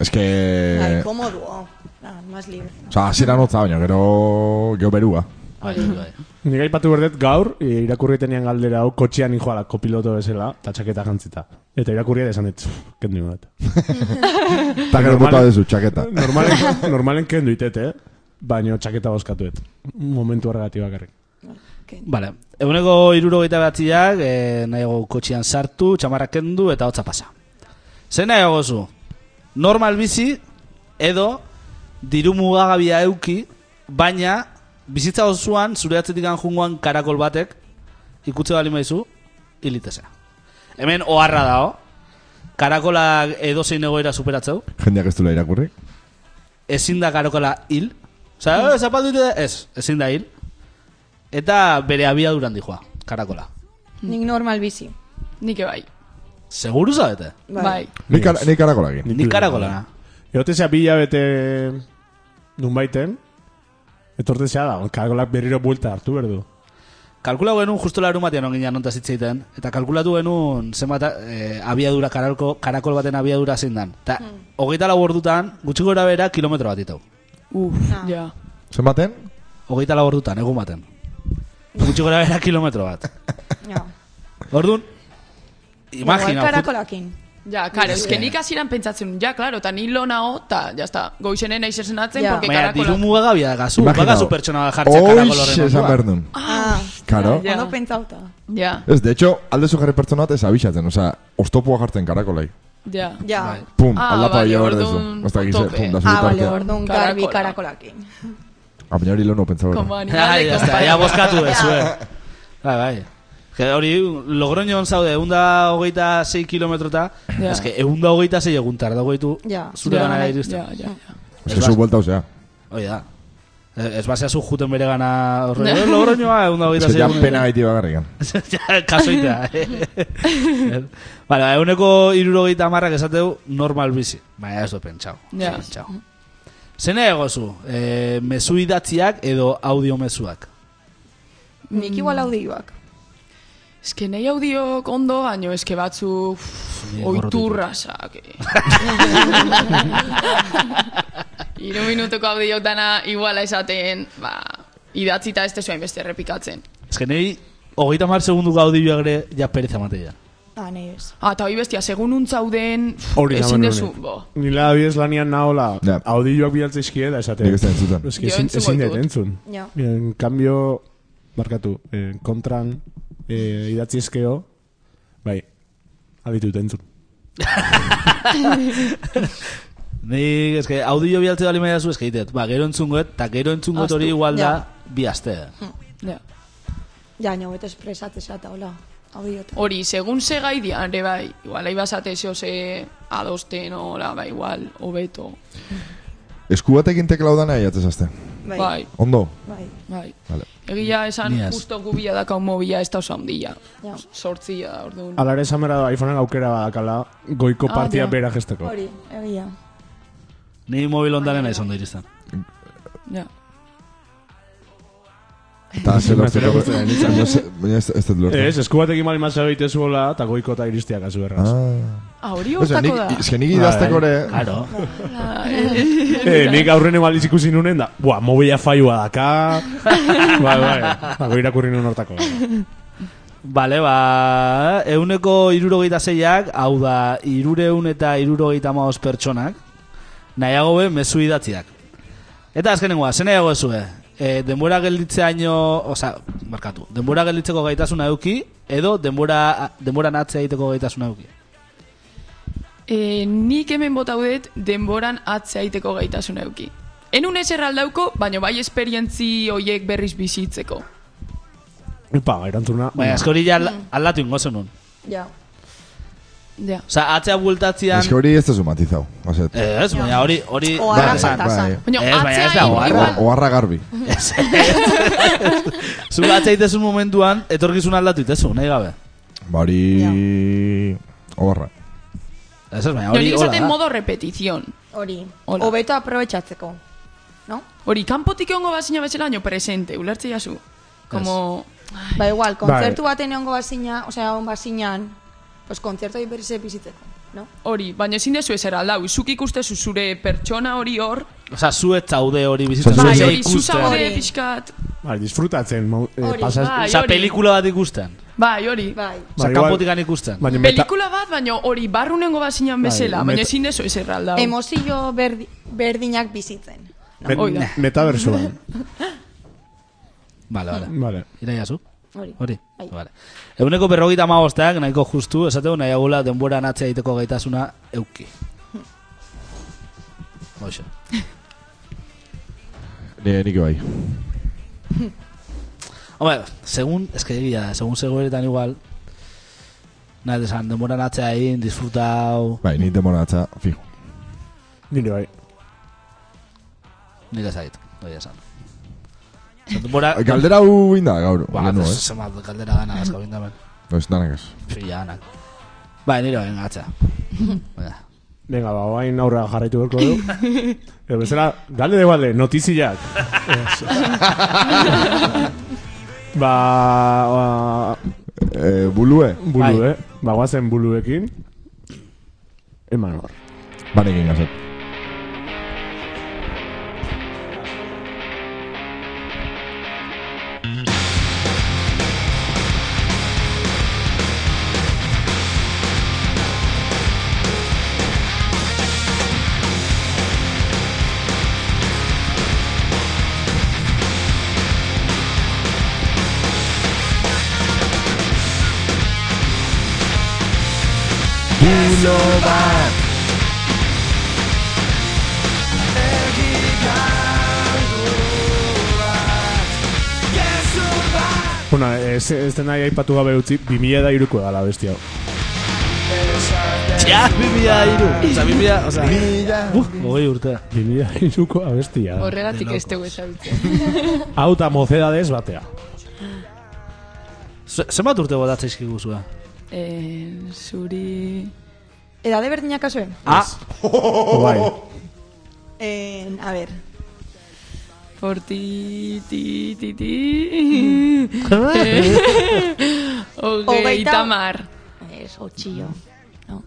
C: Ez que...
F: Bai, komoduo. Ah, más libre.
C: Osa, hasiera notza, baina gero... Gero berua.
B: Bai, bai.
D: Nik aipatu berdet gaur, e, irakurritenean galdera hau, kotxean nijoala kopiloto bezala, eta txaketa jantzita. Eta irakurria da esan dit, "Pff, kendu ingo dut.
C: Eta gero
D: Normal.
C: bota dezu txaketa.
D: Normalen, normalen kendu itet, eh? Baina txaketa bozkatuet. Momentu horregatik bakarrik.
B: Vale. Eguneko irurogeita batziak, eh, nahiago kotxian sartu, txamarra kendu eta hotza pasa. Zer nahi gozu, normal bizi edo diru mugagabia euki, baina bizitza osoan zure atzetik jungoan karakol batek ikutze bali maizu, hilitezea. Hemen oharra dao, karakola edozein egoera superatzeu,
C: Jendeak ez duela irakurri.
B: ezin da karakola hil, oza, zapatu dite, ez, ezin da hil, eta bere abiaduran dijoa, karakola.
G: Nik normal bizi.
E: Nik bai.
B: Seguru zaudete?
E: Bai.
C: Nik, kar- nik karakolak egin.
B: Nik karakola.
D: Egote zea bila bete nunbaiten, etorte zea da, karakolak berriro buelta hartu berdu.
B: Kalkula genuen justo larun batean ongin janonta zitzeiten, eta kalkulatu genuen zenbat eh, abiadura, karakol, karakol baten abiadura zein dan. Eta hogeita lau ordutan, gutxi gora bera kilometro bat ditu.
E: Uf, ja.
C: Zenbaten?
B: Hogeita lau ordutan, egun baten. Gutxi gora bera kilometro bat.
G: Ja.
B: Ordun, imagina,
G: Igual
B: jut-
G: karakolakin.
E: Ja, karo, ez que nik hasieran pentsatzen, ja, klaro, eta ni lona ho, eta, jazta, goizenen nahi zerzenatzen,
G: Ja.
E: porque
B: baina diru
E: karakola...
B: mugagabia dagazu,
C: Imagina,
B: bagazu pertsona bat jartzea karakol
C: Hoiz
B: horren
C: esan behar
B: onduan.
C: nun.
F: Ah,
C: Karo.
E: Ja.
F: ondo pentsauta.
E: Ja,
C: Ez, de hecho, aldezu jarri pertsona bat ez abixatzen. Osa, oztopoa jartzen karakolai.
E: ja.
F: Ja.
B: Bai.
C: Pum,
E: Ah,
C: aldapa
E: vale,
C: bila behar dezu.
E: orduan,
C: Osta gize,
E: tope.
C: pum, da
F: Ah, vale,
C: zure
F: orduan garbi
E: Karakola.
F: karakolakin.
C: Ah, baina hori lehenu pentsa
E: Como
C: behar.
E: animal
B: Ai,
E: de
B: ya está,
E: compañía.
B: ya bozkatu ez,
E: <laughs>
B: eh. Bai, bai. Que hori, Logroñon zaude, eunda hogeita sei kilometrota,
E: Ja.
B: yeah. eske, eunda hogeita sei egun tarda goitu,
F: Ja.
B: zure
E: Ja, bai,
B: gana
E: Ja,
B: iristen.
E: ja, ja.
C: Ez zu buelta, osea.
B: Hoi da. Eh, Ez basea zu juten bere gana horre. Eh, Logroñoa eunda
C: Ez
B: hogeita
C: que
B: sei
C: ja
B: egun.
C: pena gaiti bagarrikan.
B: <laughs> Ja, Kasoitea.
E: <laughs>
B: eh. Bale, ba, euneko irurogeita amarrak esateu normal bizi. Baina ez du pentsau.
E: Ja.
B: Ez pentsau. Zene egozu, eh, mezu idatziak edo audio mezuak.
G: Nik igual
E: Mm.
G: audioak.
E: Ez que nahi audiok ondo, baino, ez que batzu...
B: Ni
E: Oiturrasak.
B: <laughs>
E: Iru minutoko audiok dana iguala esaten, ba... Idatzita ez tezuain beste errepikatzen.
B: Ez que nahi, hogeita mar segundu gaudioak ere, ja pereza mateia.
G: Ah, nahi ez.
E: Ah, eta hoi bestia, segun untzauden...
D: Hori da
E: ezin
D: beno
E: dezu,
D: honek.
E: bo.
D: Nila abiez lanian nahola,
C: Ja.
D: audioak bialtzeizkie da esate.
C: Nik ez da entzuten.
D: Ez que
E: Jo
D: ezin-
E: entzungo
D: ezin dut
E: ditut.
D: entzun.
G: Ja.
D: En cambio, barkatu, eh, kontran eh, idatziezkeo, bai, abitut entzun.
B: Ni, ez que, audio bialtze bali maia zu, ez que ditet, ba, gero entzungoet, eta gero entzungoet hori
E: Ahaztu,
B: igual da,
G: ja.
B: bi aste.
E: Ja.
G: Ja, nio beto espresatzea eta hola. Audiotan.
E: Hori, segun ze gai dian, ere bai, igual, nahi basate zeo ze adosten, hola, ba, igual, hobeto.
C: Esku batekin teklau dana iatzez azte.
F: Bai.
E: Bai,
C: Ondo?
G: Bai.
E: bai.
C: Vale.
E: Egia esan,
B: Ni ez.
E: justo gubia daka un mobila ez da oso handia.
G: Ja.
E: Sortzia da, orduan.
D: Alare esan behar da, iPhoneak aukera badakala, goiko
E: Ah,
D: partia
E: ja.
D: bera gesteko.
G: Hori, egia.
B: Ni mobil ondaren naiz ondo iristen.
E: Ja.
C: Eta zer lortuko.
D: Baina zer lortuko.
C: Baina ez- baina ez ez dut
D: Ez,
E: Eh,
C: lortu.
D: eskubatekin bali mazera egitezuela, eta goiko eta iristia kasu erraz.
C: Ah.
E: Ah, hori
C: Oso, nik,
E: hortako da.
C: ez que nik idazteko ere...
B: Claro.
D: Eh, nik aurren emaliz ikusi nunen da, bua,
G: <laughs>
D: bai, mobila faiua daka, bai, bai, dago irakurri nuen hortako.
B: Bale, ba, euneko irurogeita zeiak, hau da, irureun eta irurogeita maoz pertsonak, nahiago be, mezu idatziak. Eta azkenengoa, ze nahiago ezue? E, denbora gelditzeaino, oza, markatu, denbora gelditzeko gaitasuna eduki, edo denbora, denbora natzea egiteko gaitasuna eduki.
E: E, nik hemen bota dut denboran atzea aiteko gaitasun euki. Enun ez erraldauko, baina bai esperientzi hoiek berriz bizitzeko.
D: Upa, erantzuna.
G: Bai.
B: Baina, asko hori ja al-
E: Mm.
B: aldatu ingo zenun.
E: Ja. Ja.
B: Oza, atzea bueltatzean...
C: Ez que hori ez da matizau. Oset.
E: Eh,
B: Ez, baina hori... hori
G: O
C: Bai,
G: arra
B: esan.
C: falta.
G: faltasan.
E: Baina,
B: Ez, baina ez
E: atzea
B: da
E: egin-
B: oharra.
E: igual-
C: O- Oharra garbi.
B: Zu atzaitezu momentuan, etorkizun aldatu itezu, nahi gabe.
C: Ba hori... Oharra.
B: Ez ez, baina
E: Jo,
B: hori
E: nik
B: hola
E: esaten
B: da.
E: modo repetizion.
G: Hori.
E: Hola.
G: Hobeto aprobetxatzeko. No?
E: Hori, kanpotik egongo bazina bezala, baina presente, ulertze jazu. Como...
G: Ba igual, kontzertu baten ongo bazina, osea, on bazinan, pues kontzertu hori berriz bizitzeko, no?
E: Hori, baina ezin dezu ez eraldau, zuk ikustezu zure pertsona hori hor,
B: Osa, zu ez zaude hori
C: Zu
B: bizitzen.
C: ez
E: bai,
B: Osa,
E: hori,
B: ikusten.
E: zuzaude
G: Hori.
E: pixkat,
D: Bai, disfrutatzen. mau- eh,
G: Hori,
D: pasaz-
E: bai,
B: Osa,
E: hori.
B: pelikula bat ikusten.
E: Bai, hori.
G: Bai.
B: Osa,
D: Ba, igual-
B: kanpotikan ikusten.
D: Baina meta...
E: Pelikula bat, baina hori barrunengo bazinan bezala,
D: meta-
E: baina ezin dezu ez erraldau.
G: Emozio berdi, berdinak bizitzen.
D: met-
E: Hoi da.
D: Metaversoan.
B: Vale, vale.
D: Vale.
B: Iraia zu?
G: Hori.
B: Hori?
G: Bai.
B: Vale. Eguneko berrogeita magostak, nahiko justu, esateu nahi agula denbora natzea egiteko gaitasuna euki.
E: Hmm.
B: Hoxe.
C: Ni, nik bai.
B: Hombre, segun, es que egia, segun zegoeretan igual, nahi desan, denbora natzea egin, disfrutau,
C: Bai, ni demonatza, fijo.
D: Nire bai.
B: nire zait, hori esan. Denbora...
C: Galdera hu inda, gaur.
B: Ba,
C: Ba, no,
B: ez
C: eh?
B: zemat galdera gana gazka bindamen.
C: Ez danak ez.
B: Fila ganak. Ba, nire ben gatza. Venga.
D: Venga, ba, oain aurra jarraitu berko du. Eta bezala, galde de balde, notiziak. Ez. ba, ba,
C: Eh, bulue.
D: bulu,
B: Bai.
D: eh? Ba, guazen buluekin. Eman hor.
C: Banekin gazet. Bulo bat.
D: Bueno, ez, ez den nahi aipatu gabe utzi, 2000 da iruko gala besti hau.
B: Ja, bimila iru. Osa, bimila, osa...
C: Mila.
B: Ogei urte.
D: 2000 da iruko abestia.
E: Horregatik ez dugu ezagutzen.
D: Hau eta mozedades batea.
B: Ze- Zenbat urte botatza izkigu zua?
E: Eh, zuri...
G: Edade berdinak kasue?
B: Ah,
D: Bai.
G: Eh, a ber,
E: Horti... Ti, ti, ti... Eh, Hogeita
G: Hogeita-
E: mar.
G: ez, otxillo. No.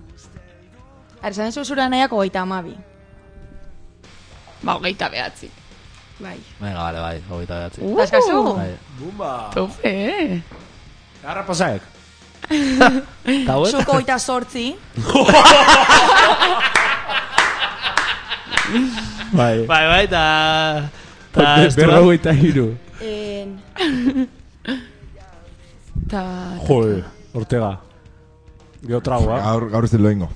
G: Arzan zuzura nahiak hogeita amabi.
E: Ba, hogeita behatzi.
G: Bai.
B: <laughs> venga, vale, bai, hogeita behatzi.
G: Uh, Azkazu?
B: Bai.
E: Tope, eh?
D: Garra pasaek.
B: Eta hauek?
G: Zuko hogeita sortzi.
D: Bai.
B: Bai, bai, eta... Eta
D: Berro eta iru.
G: En,
E: Ta...
D: Joder, Ortega. eh? Geo tragoa.
C: Gaur, gaur ez dut loingo.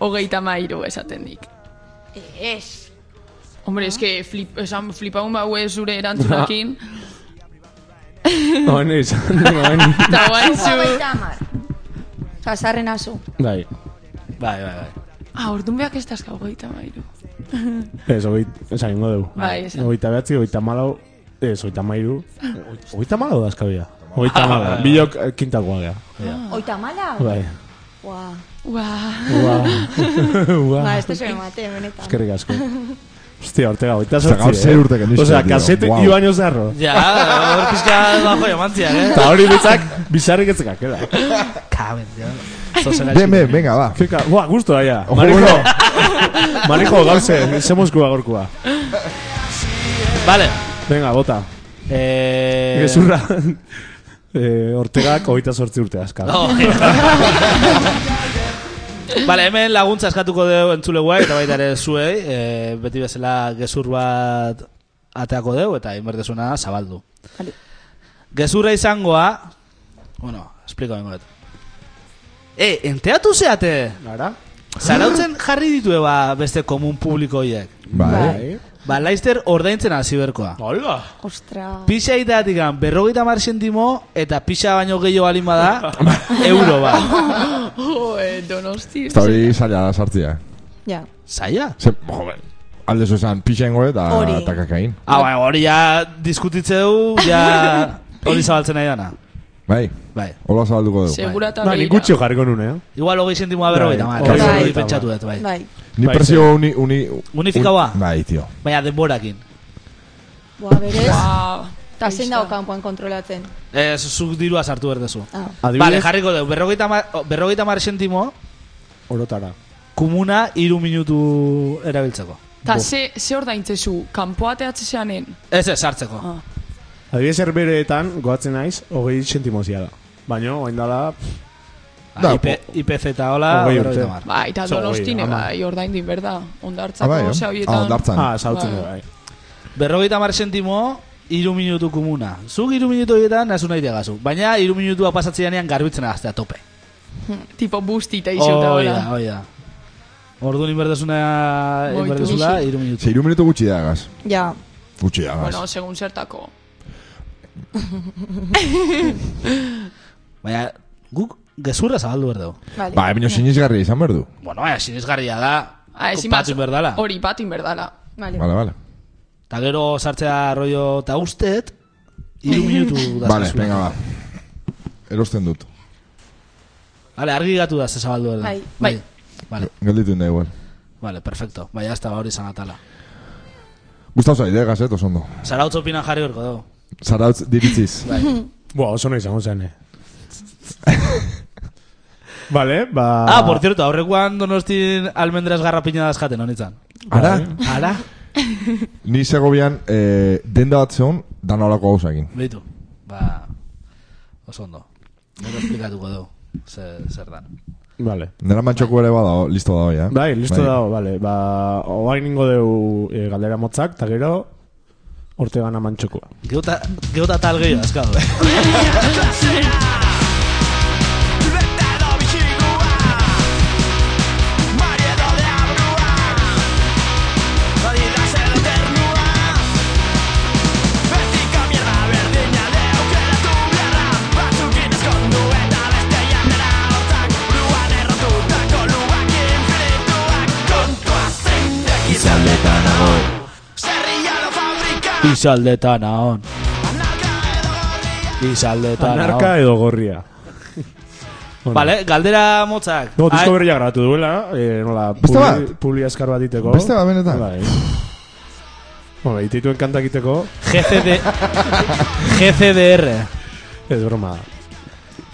E: Hogeita mairu esaten dik.
G: eh, ez.
E: Hombre, eske flip, esan flipaun baue zure erantzunakin.
D: Oen
C: <laughs>
D: izan, oen.
E: Eta guain <laughs> zu...
G: Hogeita amar. Zasarren azu.
D: Bai.
B: Bai, bai, bai.
E: Ah, orduan behak ez dazka hogeita mairu.
D: Ez, oit, esan ingo dugu.
E: Bai, esan.
D: Oita behatzi, oita malau, ez, oita mairu. Oita malau da eskabia. Oita malau, bilok eh, kintakoa gea.
G: Hogeita mala?
D: Bai.
G: Ua.
E: Ua,
D: Ua. Ua.
G: Ba, ez tezu emate, benetan.
D: Eskerrik asko. Hostia, Ortega, oita
C: Osea,
D: sortzi,
C: gaur zer urte kendu
D: Osea,
C: zituen, tío.
D: kasete
C: Guau.
D: wow. ibaño zarro.
B: Ja, hor pizka bajo jamantziak, eh?
D: Eta hori bizak, bizarrik etzekak, eda.
B: Kaben, ja. Zozera
C: Deme, venga, ba.
D: Kika, ua, gustu daia.
C: Ojo,
D: Marijo,
C: bueno.
D: Marijo, gauze, semozkua gorkua.
B: Vale.
D: Venga, bota.
B: Eh...
D: Gezurra. <laughs> Eh, Ortegak hogeita sortzi urte azka.
B: Oh, <laughs> Vale, hemen laguntza eskatuko dugu entzule guai, eta baita ere zuei, eh, beti bezala gezur bat ateako dugu, eta inberdezuna zabaldu.
G: Vale.
B: Gezurra izangoa, bueno, espliko bengoet. E, enteatu zeate!
D: Gara?
B: Zarautzen jarri ditue ba beste komun publikoiek.
D: Eh?
C: Bai.
B: Ba, laizter ordaintzen hasi berkoa.
D: Hola!
G: Ostra.
B: Pixa itatik berrogeita mar sentimo eta pixa baino gehiago balin
D: <laughs>
B: bada, euro ba.
E: Jo, eh, donosti.
C: Eta hori zaila da sartzia.
G: Ja.
B: Zaila?
C: Ze, joder, alde zuzan pixengo eta
G: Hori.
C: eta kakain.
B: Ah, bai, hori ja diskutitzeu, ja hori zabaltzen nahi dana.
C: Bai,
B: Bai.
C: hola zabalduko dugu.
E: Segura eta
D: Ba, nik
E: begira.
D: gutxio jarriko nune, eh?
B: Igual hogei sentimoa berrogeita
D: Bai,
B: mar.
D: hogei
B: Hori
G: berrogeita
B: pentsatu dut, bai.
G: Bai.
C: Ni
D: Bai,
C: presio uni... uni
G: ba.
B: Unifikaua?
C: un- Bai, tio.
B: Baina denborakin.
G: Boa, berez.
E: Ba,
G: Eta zein dago kanpoan kontrolatzen.
B: Ez, zuk dirua sartu berdezu.
G: Ah.
B: Vale, jarriko dugu, berrogeita mar, berrogeita mar sentimo,
D: orotara.
B: komuna iru minutu erabiltzeko.
E: Ta ze, ze ordaintzezu, kanpoateatze zeanen. Ah,
B: Ez, ez, sartzeko.
D: Adibidez herbereetan, goatzen naiz, hogei sentimozia da. Baina, oain dala,
B: Da,
C: Da,
B: IP, IPZ eta hola,
D: hogei
B: berrogeita
D: urte.
B: hamar.
E: Ba, eta
D: Zo,
E: donostine,
D: ama.
E: bai, ordaindin, berda. Ondartzako,
C: Ah, bai, eh?
E: osea,
C: Ah,
E: horietan.
C: ondartzan.
D: ah, saltzen
E: Bai.
D: du, bai.
B: Berrogeita mar sentimo, iru minutu komuna. Zuk iru minutu horietan, nazu nahi degazu. Baina iru minutua pasatzeanean garbitzen aztea tope.
E: hmm, Tipo busti eta izu eta
B: Hoi
E: Bai, hola.
B: da, hoi da. Orduan inberdezuna,
E: Moitu.
B: inberdezula, iru minutu.
C: Ze iru minutu gutxi da gaz.
G: Ja.
C: Gutxi da gaz.
E: Bueno, segun zertako.
B: Baina, guk gezurra zabaldu behar dugu.
G: Vale.
C: Ba, ebino sinizgarria izan behar du.
B: Bueno, baina, sinizgarria da,
E: Ah, ezin bat-
B: kopatu inberdala.
E: Hori, bat inberdala.
G: Vale.
C: Bale, bale.
B: Eta gero sartzea rollo eta ustet, iru
E: <laughs>
B: minutu da
C: Bale,
B: zazula.
C: venga, ba. Erosten dut.
B: Vale, argi gatu da, ze zabaldu behar da.
G: Bai.
E: Bai.
B: Vale,
C: Galditu inda igual. vale
B: vale, perfecto. Baina, hasta hori izan atala.
C: Gustau zaide, gaz, eh, tosondo.
B: Zarautz opinan jarri horko dugu.
C: Zarautz diritziz.
D: Boa, oso nahi zango zen, eh? <laughs> Vale, ba...
B: Ah, por cierto, aurrekoan donostin almendras garrapinadas jaten honitzan.
C: Ara,
B: Ara,
C: ni segobian eh, denda bat zeon, dan holako gauzakin.
B: beitu. Ba, oso ondo. Gero esplikatuko dugu, zer, zer dan.
D: Vale.
C: Nera mantxoko ere badao, listo eh. dao, ja.
D: Bai, listo dago, vale. Ba, oain ningo deu eh, galdera motzak, eta gero, ortegan amantxokua.
B: Geota, geota tal gehiago, azkado. eh? Izaldetan ahon. Izaldetan
D: Anarka
B: ahon.
D: edo gorria. Bueno.
B: Vale, galdera motzak.
D: No, disko
B: Ai-
D: berria grabatu duela, eh, nola,
C: Beste bat?
D: publi askar bat iteko.
C: Beste bat, benetan?
D: Bai. Bueno, itituen kantak iteko,
B: GCD... GCDR.
D: ez broma.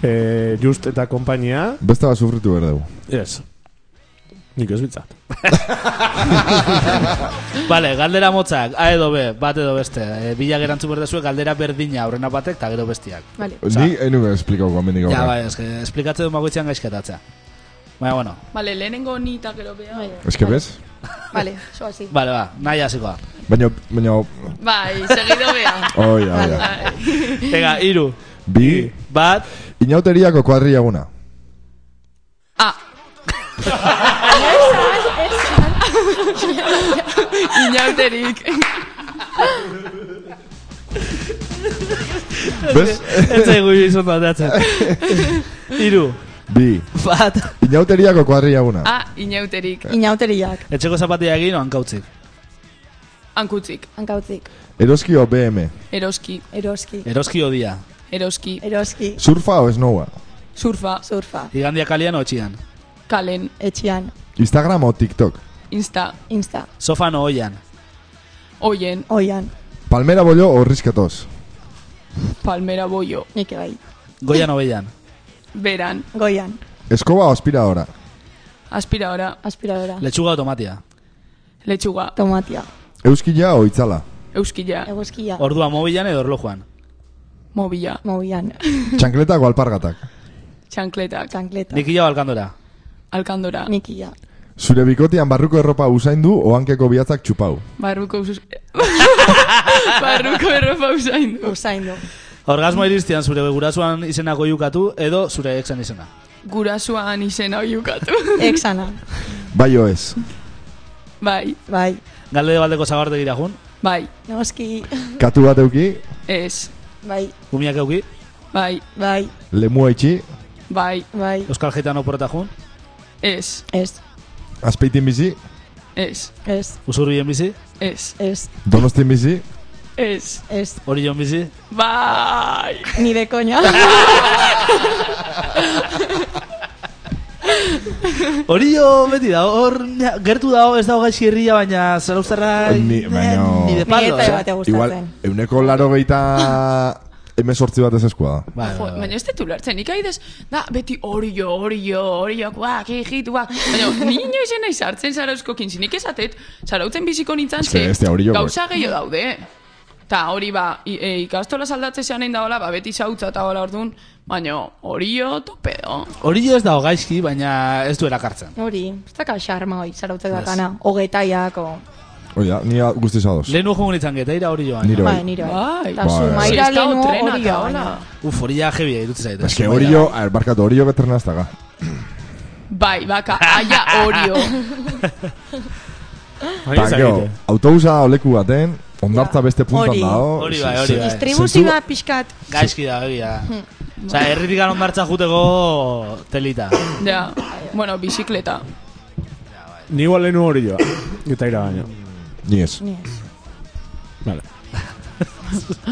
D: Eh, just eta kompainia,
C: Beste bat sufritu behar dugu.
D: ez. Nik ez bitzat.
B: Vale, galdera motzak, A edo B, bat edo beste. E, bila gerantzu berdezue, galdera berdina aurrena batek eta gero bestiak.
G: Vale.
C: Ni enuke esplikauko amendik
B: Ja,
C: aurra.
B: bai, eske, esplikatzen duen bakoitzean gaizketatzea. Baina, bueno,
E: Vale, lehenengo ni eta gero bea.
G: Vale.
C: Ez que bez?
G: Vale. So así.
B: bale, ba, nahi hasiko da.
C: Baina, baina,
E: Bai, segido bea.
C: oi, oi, oi.
B: <laughs> Venga, iru,
C: Bi,
B: bat,
C: inauteriako kuadriaguna.
E: Ah. Inauterik.
C: Bez?
B: ez zaigu izan bateatzen. <laughs> Iru,
C: Bi,
B: bat,
C: inauteriako kuadriaguna.
E: Ah, inauterik.
G: Inauteriak.
B: etxeko zapatia egin oan kautzik.
E: Hankutzik.
G: Hankautzik.
C: Eroskio BM.
E: Eroski.
G: Eroski.
B: Eroski odia,
E: Eroski.
G: Eroski.
C: Surfa o esnoua.
E: Surfa.
G: Surfa.
B: igandia kalian otxian,
E: Kalen.
G: Etxean.
C: Instagram o TikTok.
E: Insta.
G: Insta.
B: sofan oian,
E: Oien.
G: Oian.
C: Palmera bollo o riskatoz.
E: Palmera boio.
G: Nik bai.
B: goian obeian,
E: Beran.
G: Goian.
C: Eskoba o aspiradora.
E: Aspiradora.
G: Aspiradora.
B: letxuga automatia,
E: Lechuga.
G: Tomatia.
B: <laughs>
C: Euskila o itzala.
E: Euskilla.
G: Eguzkia.
B: ordua mobilan edo erlojuan,
E: mobila,
G: Mobian.
C: Txankletako alpargatak.
E: txankletak,
G: Txankleta.
B: Nik hila balkandora.
E: alkandora,
G: Nikia.
C: Zure bikotian barruko erropa usaindu, ohankeko bihatzak txupau.
E: barruko usus... <laughs> barruko erropa usain du.
G: Usaindu.
B: Orgasmo iristian zure gurasuan izena goiukatu edo zure exan izena.
E: Gurasuan izena oiukatu.
G: Exana.
C: Bai o
B: <laughs>
C: ez.
E: <laughs> bai,
G: Bai.
B: Galde baldeko zagardegira jun,
E: bai,
G: Noski.
C: Katu bat euki,
E: ez,
G: Bai.
B: umiak euki,
E: bai,
G: Bai.
C: lemua itxi,
E: bai,
G: Bai.
B: euskal gitano porreta jun,
E: ez,
G: Ez.
C: azpeitin bizi,
E: ez,
G: Ez.
B: usurbien bizi,
E: ez,
G: Ez.
C: donostin bizi,
E: ez,
G: Ez.
B: orion bizi,
E: bai,
G: Ni de
C: <laughs>
G: coña.
B: Orio beti da, hor na- gertu dago ez dago gaixi herria, baina zarauztarra
C: Ni- baino-
B: ni de palo.
G: Nieta
B: eh?
G: batea
C: igual,
G: gustatzen.
C: euneko laro geita emezortzi bat ez eskua da.
B: Bai,
E: Jo,
B: bai, bai.
E: baina ez dut ulertzen, nik aidez, da, beti orio, orio, oriokoak, egituak. Baina, ni inoiz ez naiz hartzen zarauzkokin, zinik esatet, zarautzen biziko nintzen
C: Ez que
E: ze,
C: ez dira oriokoak.
E: gauza gehiago daude. Ta hori ba, i- e, ikastola saldatze zean egin daola, ba, beti zautza eta hola orduan, baina orio oh. topedo.
B: Orio ez dago gaizki, baina ez du erakartzen.
G: Hori, ez daka xarma hoi, zarautze dakana. Hogetaiak, o...
C: Oia, ni guztiz ados.
B: Lehen ujo nintzen geta, ira hori joan.
C: Nire
G: Bai,
C: bai.
G: nire
E: Bai.
G: bai. Ta
C: Bai.
G: zu, maira
E: Ez dago
G: lehenu
E: trena
G: hori
E: eta
G: baina.
E: hola.
B: Uf, hori ja eh, jebia irutzen zaite.
C: Ez que horio, a ver, barkatu, horio beterna ez daga.
E: Bai, baka, aia orio.
C: Ta, gero, autobusa oleku baten, ondartza beste puntan
G: Ba. Hori.
C: dao.
B: Hori bai, hori bai.
G: Tribusi
C: Zentzua-
G: bat
C: <laughs>
G: pixkat.
B: Gaizki da, egia. Osa, herritik ondartza juteko telita.
E: Ja, bueno, bizikleta.
D: Ni igual lehenu hori joa. Eta ira baino.
C: Ni ez.
G: Ni ez.
D: Vale.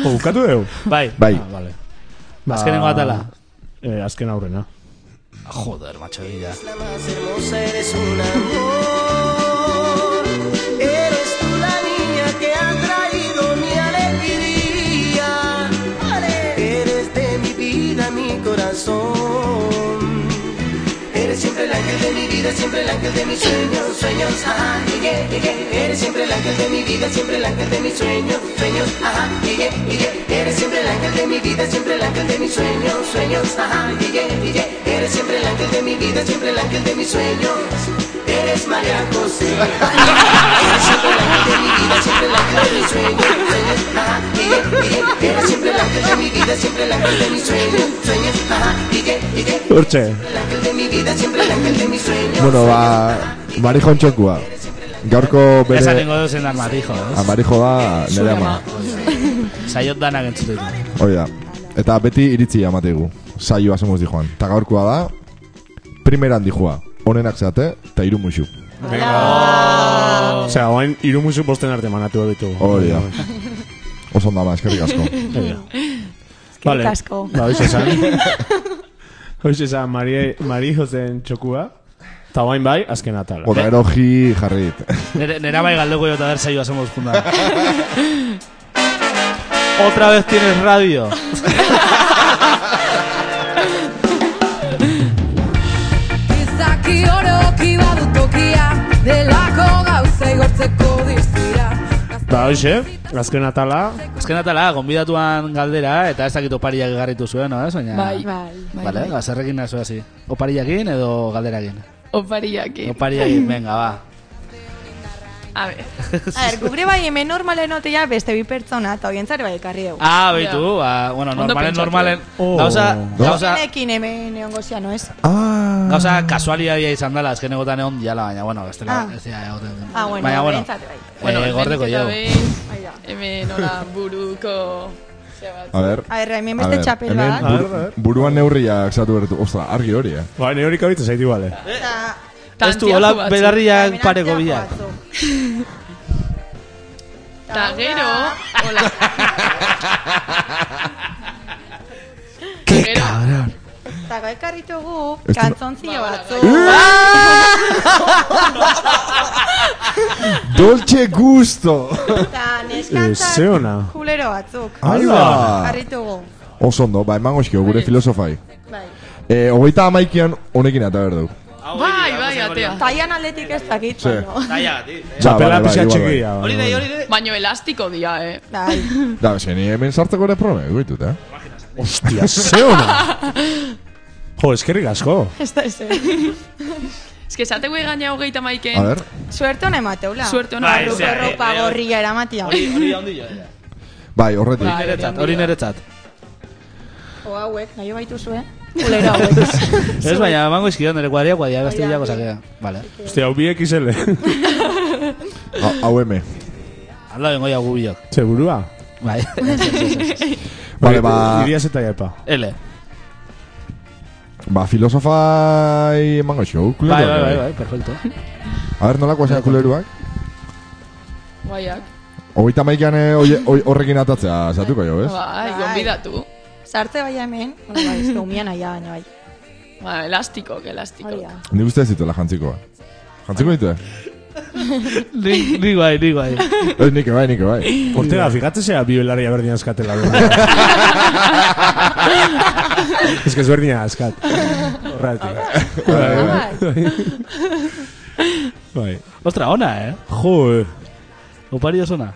D: O, bukatu dugu?
B: Bai.
C: Bai.
B: Ah, vale.
D: Ba,
B: Azkenengo atala.
D: Eh, azken aurrena.
C: Ah.
B: Joder, macho, egia.
I: más hermosa eres un amor. Eres tú la niña que ha traído mi alegría. Eres de mi vida, mi corazón. Eres siempre el ángel de mi vida, siempre el ángel de mis sueños, sueños, ajá, llegué, llegué. Eres siempre el ángel de mi vida, siempre el ángel de mis sueños, sueños, ajá, llegué, llegué. Eres siempre el ángel de mi vida, siempre el ángel de mis sueños, sueños, ajá, llegué, llegué. Eres siempre el ángel de mi vida, siempre el ángel de mis sueños. Eres María José. Eres siempre el ángel de mi vida, siempre el ángel de mis sueños, sueños, ajá, llegué, llegué. Eres siempre el ángel de mi vida, siempre el ángel de mis sueños, sueños, ajá, llegué, llegué.
D: Hortxe.
I: El ángel de mi vida, siempre el ángel de mis sueños.
C: Bueno, ba, marijon txokua. Gaurko
B: Ez
C: bere...
B: atengo dozen dan matijo,
C: A
B: ez?
C: marijo da nire ama. Ah.
B: Saiot danak entzuten. ditu.
C: Hoi da. Eta beti iritzi amategu. Saioa somos di Juan. Ta gaurkoa da, primeran di joa. Onenak zeate, ta iru muxu.
D: Osea, oain irumuzu posten arte manatu ditugu.
C: Hori da. Oso onda ba, eskerrik asko.
B: <laughs>
C: <laughs>
D: Vale.
G: asko.
D: Ba, hoiz esan. <laughs> Hoiz esan, Marie, Mari Josen txokua. Ta oain bai, azken atala.
C: Oda gero ji jarrit.
B: Nere, nera bai galdeko jota der saioa somos jundan. <laughs> Otra vez tienes radio.
J: Izaki oroki badu tokia Delako gauza igortzeko dizira
D: Ba, hoxe, azken atala.
B: Azken atala, gonbidatuan galdera, eta ez dakit opariak garritu zuen, no? Ez? Baina...
E: Bai,
G: Bai.
B: Vale, gazerrekin nazo hasi. Opariakin edo galderakin?
E: Opariakin.
B: Opariakin, venga, ba.
E: A ver,
G: A ver, gure bai hemen normalen otea beste bi pertsona, eta oientzare bai ekarri dugu.
B: Ah, beitu, ba, bueno,
E: Ondo
B: normalen,
E: pentsatu.
B: normalen.
D: Oh.
B: Gauza, gauza,
G: Genekin hemen egon gozia, no ez?
C: Ah,
B: gauza kasualidadia izan dela, azken egotan egon diala, baina, bueno, bestela,
G: Ah.
B: ez dira egoten.
G: Ah, bueno,
B: baina, bueno,
G: oientzare bai.
E: bueno,
B: eh, gordeko
E: lehenik eta
B: jau.
E: behin,
G: Ahí Bai da.
E: Hemen, hola, buruko... zea bat.
C: a ber.
G: A ver, hemen
C: A
G: beste
C: ber,
G: txapel
C: hemen
G: bat.
D: A ver, a ver.
C: bur, buruan neurriak zatu bertu. Ostra, argi hori, eh?
D: Ba, ne horik abitza zaitu bale.
G: eta-
B: Ez du,
E: Tantiago
B: hola,
E: batzuk.
B: belarriak
G: Hemen
B: pareko
G: artean
B: biak.
G: jokatzen.
E: Ta gero, hola.
B: Ke
E: Gero.
B: cabron.
G: Eta gai karritugu
C: Ez du-
G: kantzontzio
B: Ba,
G: batzu.
C: Dolce gusto!
G: Eta neskantzak
D: ze ona.
G: kulero batzuk.
C: Aila!
G: Karritugu.
C: Oso ondo, ba, emango eskio, gure filosofai.
G: Bai.
C: Eh, hogeita amaikian honekin eta berdu.
E: Bai, bai, atea.
G: Taian aldetik ez dakit,
C: Ze.
G: baino.
B: Taia, ti.
D: Txapela
C: bai,
D: pixka ba, txikia.
B: Hori dei, hori dei.
E: Baino elastiko dia, eh?
B: <laughs>
G: Bai.
C: Da, bese, ni hemen sartzeko ere probleme, goitut, eh?
D: Hostia, ze <laughs> ona! Jo, eskerrik asko.
G: Ez da ezer.
E: Ez que esate gue gaina hogeita maiken.
C: A ver.
G: Suerte hona emateula.
E: Suerte hona.
B: Bai,
E: dauka.
B: ze-
G: Ropa
B: Eh, eh,
G: gorria eramatia.
B: Hori, hori eh. handi jo. dira.
C: Bai, horretik.
B: Hori niretzat, hori niretzat.
G: O hauek, nahi baitu
B: <laughs>
G: zuen. Kulero hauek.
B: Ez baina, mango izkidan nire guaria, guaria gaztegia
G: Guaria.
B: gozakea. Vale.
D: Hostia, hau biek <laughs> izele.
C: Ha- Hau eme.
B: Alda bengo ya gubiok.
D: Segurua?
B: <laughs> Bai.
C: Vale, ba,
D: Iriaz eta jaipa.
B: Ele.
C: ba filosofai emango xo, kuleroak.
B: Bai, bai, bai, bai, perfecto.
C: A ber, nolako esan kuleruak?
E: Guaiak.
C: Hogeita maikan eh, oie- oi- horrekin atatzea, zatuko jo, ez?
E: Bai,
G: Bai.
E: gonbidatu.
G: Sartze bai hemen. Bueno, bai, ez da umian aia baina bai.
E: Ba, elastikok, elastikok.
G: Hori da.
C: Ni uste ez dituela jantzikoa. Jantziko
E: <laughs>
C: ditue?
B: Ni ni bai, ni bai.
C: Ez, nike bai, nike bai.
D: Ortega, fíjate zea bi belaria berdina askatela. <laughs> Ez que ez berdina askat. Horretik.
G: Bai.
D: Bai.
B: Ostra, ona, eh?
D: Jo, eh.
B: Opari oso ona.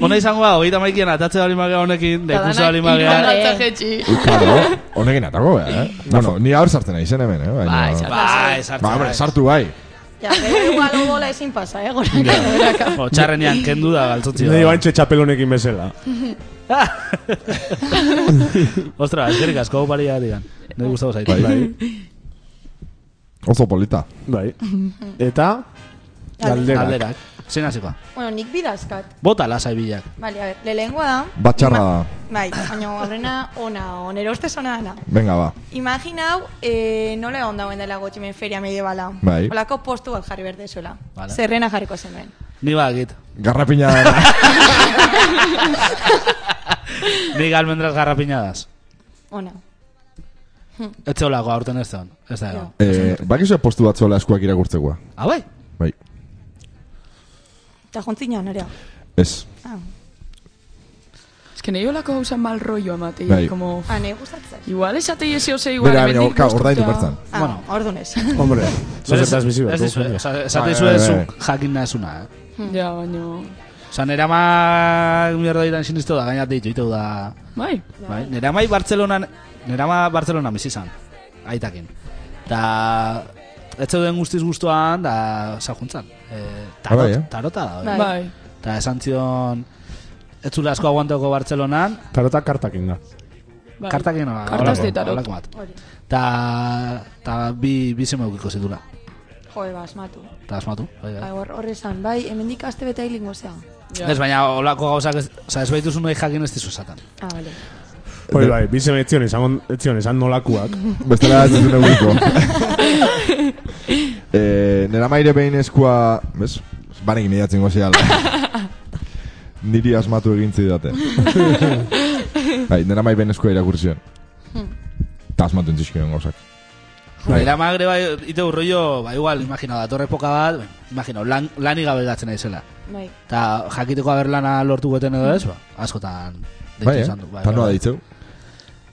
B: Ona izango da, hogeita maikian atatze hori magea honekin, deikuntza hori magea.
E: Irrandantza jetxi.
C: Ui, Claro, honekin atako, bea, eh? Bueno, ni hau sartzen aizen hemen, eh? Baina-
E: Bai, sartzen.
B: Bai, sartu.
C: Ba, hombre, sartu bai.
G: Ja, pero igual odola ezin pasa, eh, goraka. goraka.
B: O txarrenean kendu da galtzotzi.
D: Nei
C: bai.
D: bantxe txapelonekin bezala.
B: Ostra, eskerrik asko opari gatikan. Ne gustatu zaitu.
C: Bai. Oso polita.
D: <laughs> Bai. Eta... Galdera.
B: Galderak. Zein hasikoa.
G: <laughs> Bueno, nik bidazkat.
B: Bota lasai bilak.
G: Vale, a ver, lehengoa da.
C: Batxarra da.
G: Bai, baina horrena ona, onero ustez ona dana.
C: Venga, ba.
G: Imaginau, eh, nola egon dagoen dela gotimen feria mediebala.
C: Bai.
G: Olako postu bat jarri berdezuela.
B: Vale.
G: Zerrena jarriko zenuen.
B: Ni bakit.
E: <laughs>
C: Garrapina
B: Ni galmendras garrapinadas.
G: Ona.
B: Ez zeolako aurten ez zeon. Ez da egon.
C: eh, Bakizu postu bat zuela eskuak irakurtzekoa.
B: Ah, bai?
C: Bai.
G: Eta jontzina, nerea.
C: Ez.
G: Ah,
E: Ez que nahi olako hausan mal rollo amatei.
C: Bai.
E: Como...
G: ah nahi gustatzen.
E: Igual esatei ese ose igual.
C: Bera, baina,
E: hemendik
C: ka,
E: bost
C: ordaindu
E: urtea-
C: bertzan.
G: Ah,
B: Bueno.
G: bueno. ordu
B: <laughs>
G: nes.
D: Hombre, sos estás visible.
B: Ez dizue,
D: coño.
B: oza, esate
C: Bai,
B: dizue
C: bai,
B: zuk jakin nahezuna, eh?
E: Ja, baino...
B: Osa, nera ma mierda diran sinistu da, gainat ditu, ditu da...
E: Bai.
B: Bai, nera mai Bartzelonan, nera ma Bartzelonan bizizan, aitakin. Da, ez zeuden guztiz guztuan, da, sajuntzan. E, tarot,
C: Ah, bai, eh?
B: tarota da, hori.
E: Bai.
B: Eta esan zion, ez zula asko aguantoko Bartzelonan,
D: Tarota kartakin da.
E: bai.
B: kartak egin hola.
E: Kartas de tarot.
B: Ta, ta bi, bi seme ukiko zitula.
G: Joe, ba, asmatu.
B: Ta asmatu. Bai, bai.
G: Bai, hor, hor esan, bai, hemendik aste bete hilingo zea.
E: Ja.
B: Ez baina, olako gauzak, ez- oza, ez baituzun nahi jakin ez dizu esaten.
G: Ah, vale.
D: Hoi bai, bizen etzion izan, etzion izan <laughs> nolakuak.
B: <laughs>
C: Bestela ez dut neguko. eh, nera maire behin eskua... Bez? Banekin idatzen goziala.
B: <laughs>
C: Niri asmatu egin zidate. bai, nera mai behin eskua irakurtzen.
B: Hmm.
C: Ta asmatu entzizkioen gauzak. Bai.
B: Nera magre bai, ite urroio, ba igual, imagina, datorre poka bat, imagina, lan, lanik gabe gatzen naizela.
G: Bai.
B: Eta jakiteko aberlana lortu goten edo ez, ba, askotan deitu
C: Bai, eh?
B: izan du.
C: Ta noa ditzeu.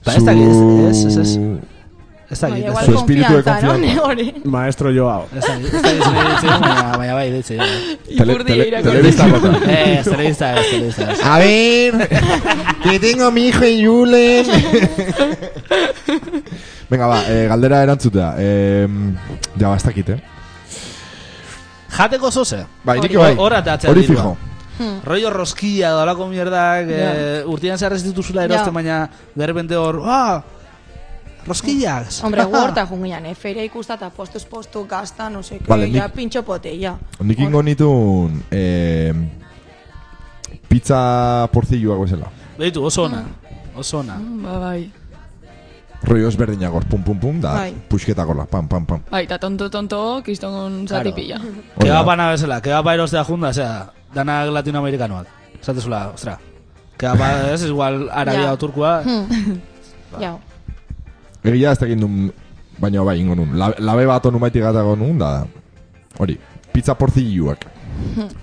B: Ba, ez dakit, ez, ez, ez,
D: Su-
B: ez
G: Bai,
B: dakit, ez
G: igual
C: Su espíritu de
G: konfiantza, no?
B: <laughs>
C: confianza.
G: Hori.
D: Maestro Joao.
B: Ez dakit, ez dakit zure deitzen, baina- baina bai, deitzen.
C: <laughs>
B: bai.
C: Tele,
E: Ipurdia
C: tele,
E: irakurtzen.
C: telebista gota.
B: <laughs> Eh, ez, telebista ez, telebista ez.
C: A ver, que tengo mi hijo en Julen. Venga, ba, eh, galdera erantzuta. Eh, ja, ba, ez dakit, eh?
B: Jateko zoze.
C: Bai, nik bai.
B: Hor atatzea
C: Hori
B: dirua.
C: fijo.
B: Rollo rosquilla, dolako mierdak, eh, urtean zehar ez dituzula erosten,
G: Ja.
B: baina derrepente hor, ah, rosquillas. <laughs>
G: Hombre, gu horta jungian, eh? Feria ikusta eta postuz postu gazta, no seke,
C: Vale,
G: vale, ja,
C: nik-
G: pintxo pote, ja.
C: Nik ingo nitun... Eh, pizza porzilluak bezala.
B: Beitu, oso ona.
G: Mm.
B: Oso ona.
E: Ba, bai.
C: Rollo ezberdinak hor, pum, pum, pum, da
G: Bai.
C: puxketa gorla, pam, pam, pam.
E: Bai, eta tonto, tonto, kriston zati
B: Claro.
E: pila.
C: Hori da.
B: Kebabana bezala, kebaba erostea junda, osea, danak latinoamerikanoak. Zatezula, ostra. Kebaba ez, igual arabia
G: Ja. Mm.
B: o turkua.
G: Ja,
C: Egia ez dakit nun, baina bai, ingo nun. La- Labe bat onu maitik gatago nun, da... Hori, pizza porzilluak.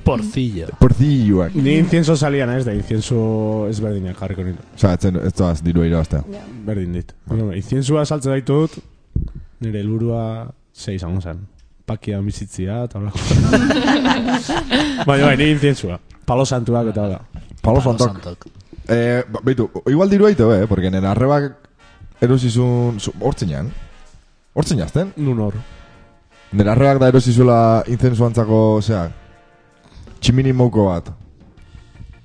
B: Porcillo.
C: Porzilluak.
D: Ni incienso salía naiz da, incienso ez berdinak jarriko nito.
C: Osa, ez, ez doaz diru irabaztea.
G: ja.
D: Berdin dit. Bueno, inciensua saltze daitu dut, nire helburua sei izango zen. Pakian bizitzia, eta holako. Baina bai, ni inciensua. Palo santuak eta hola.
B: Palo
C: Palo santok.
B: santok.
C: Eh, ba- beitu, igual diru aite, be, porque nera arrebak erosizun, zu- hortzinean, hortzen jazten,
D: Nun hor.
C: nera arrebak da erosizula inzensuantzako, osea, tximini moko bat.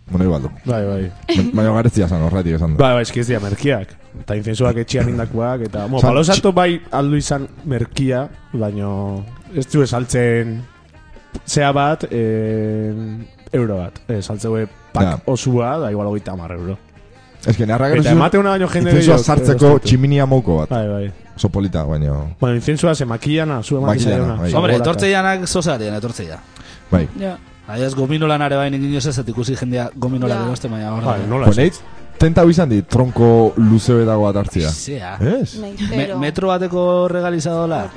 C: Bueno, igual du.
D: Bai, bai.
C: Ba- Baina garezia zan, horretik esan du.
D: Bai, bai, eski ez dira merkiak. Eta infensuak etxean indakoak, eta... Mo,
C: San-
D: palo santo bai aldu izan merkia, baino... Ez du esaltzen... Zea bat, eh, euro bat. Eh, Esaltze gue pak
C: Ja.
D: osua, da igual hogeita hamar euro.
C: Ez que nera
D: Eta emate una baino jende
C: Inzensua
D: gehiago,
C: sartzeko
D: erostetu.
C: tximinia moko bat.
D: Bai, bai.
C: Oso polita, baina...
D: Bueno, infensua ze makiana, zu ematen
C: Makillana,
D: zaiona.
C: bai.
B: Hombre,
D: Zaboraka.
B: etortzeianak zozarien, etortzeia.
C: Bai.
E: Ja.
B: Adiaz, gominolan are bain ingin ez ez ikusi jendea gominola beroste, baina hor.
D: Bai, nola
C: Pues
D: ez.
C: neit, tenta bizan di, tronko luze dago bat hartzia.
B: Zea.
D: Eh?
C: Ez?
G: Nahi,
B: Me-
G: pero...
B: metro bateko regalizadola.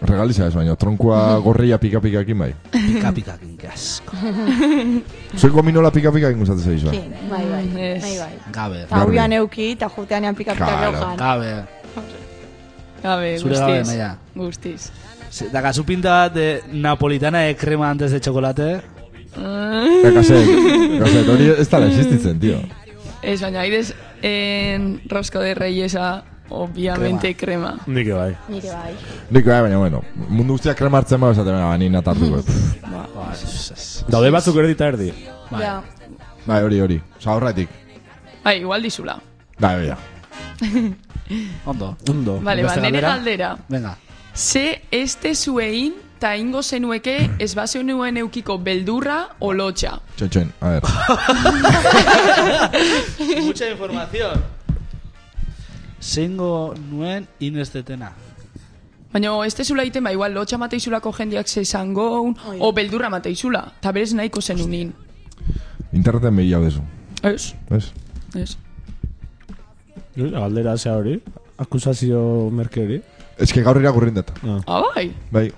C: Regaliza ez, baina tronkoa gorria pika-pikakin bai.
B: Pika pika kinkasko.
C: Zuek gominola pika-pika gustatzen zaizua.
G: Sí, bai, bai,
B: Mm.
E: Ez.
G: bai, bai.
B: Gabe.
G: Eta
C: Garbi.
G: guian euki, eta jutean ean pika-pika
C: Claro.
G: rojan.
B: Gabe.
E: Gabe,
B: Zure gabe,
E: guztiz.
B: naia.
E: Guztiz.
B: Se- Dakazu pinta bat de napolitana de crema antes de chocolate.
C: Kasek, kasek, hori ez dara existitzen, tio.
E: Ez, baina aires en rosco de reyesa, obviamente crema.
D: Nik bai.
G: Nire bai.
C: Nik bai, baina, bueno, mundu guztiak kremartzen bau esaten, baina, ni natartuko.
B: Ba, ez, ez.
D: Daude batzuk erdi eta erdi.
B: Bai.
G: Ja.
C: Bai, hori, hori, zaurretik.
E: Bai, igual dizula.
C: Bai, bai, ja.
B: Ondo.
D: Ondo.
E: Vale, ba,
B: Beste
E: nere
B: galdera?
E: galdera.
B: Venga.
E: Ze este zuein, ta ingo zenueke, ez bazenuen eukiko beldurra o lotxa.
C: Txon, txon, a ver.
B: Mucha información. Zengo nuen inestetena.
E: Baina este zula iten, ba, igual lotxa mateizulako jendeak ze zangoun,
G: Oi.
E: o beldurra mateizula. Ta berez nahiko zenunin.
C: Interneten behi hau dezu.
E: Ez,
C: Ez?
E: ez.
D: Galdera zea hori. Akusazio merke hori.
C: Ez que gaur irakurrin dut.
E: Ah, bai.
C: Bai,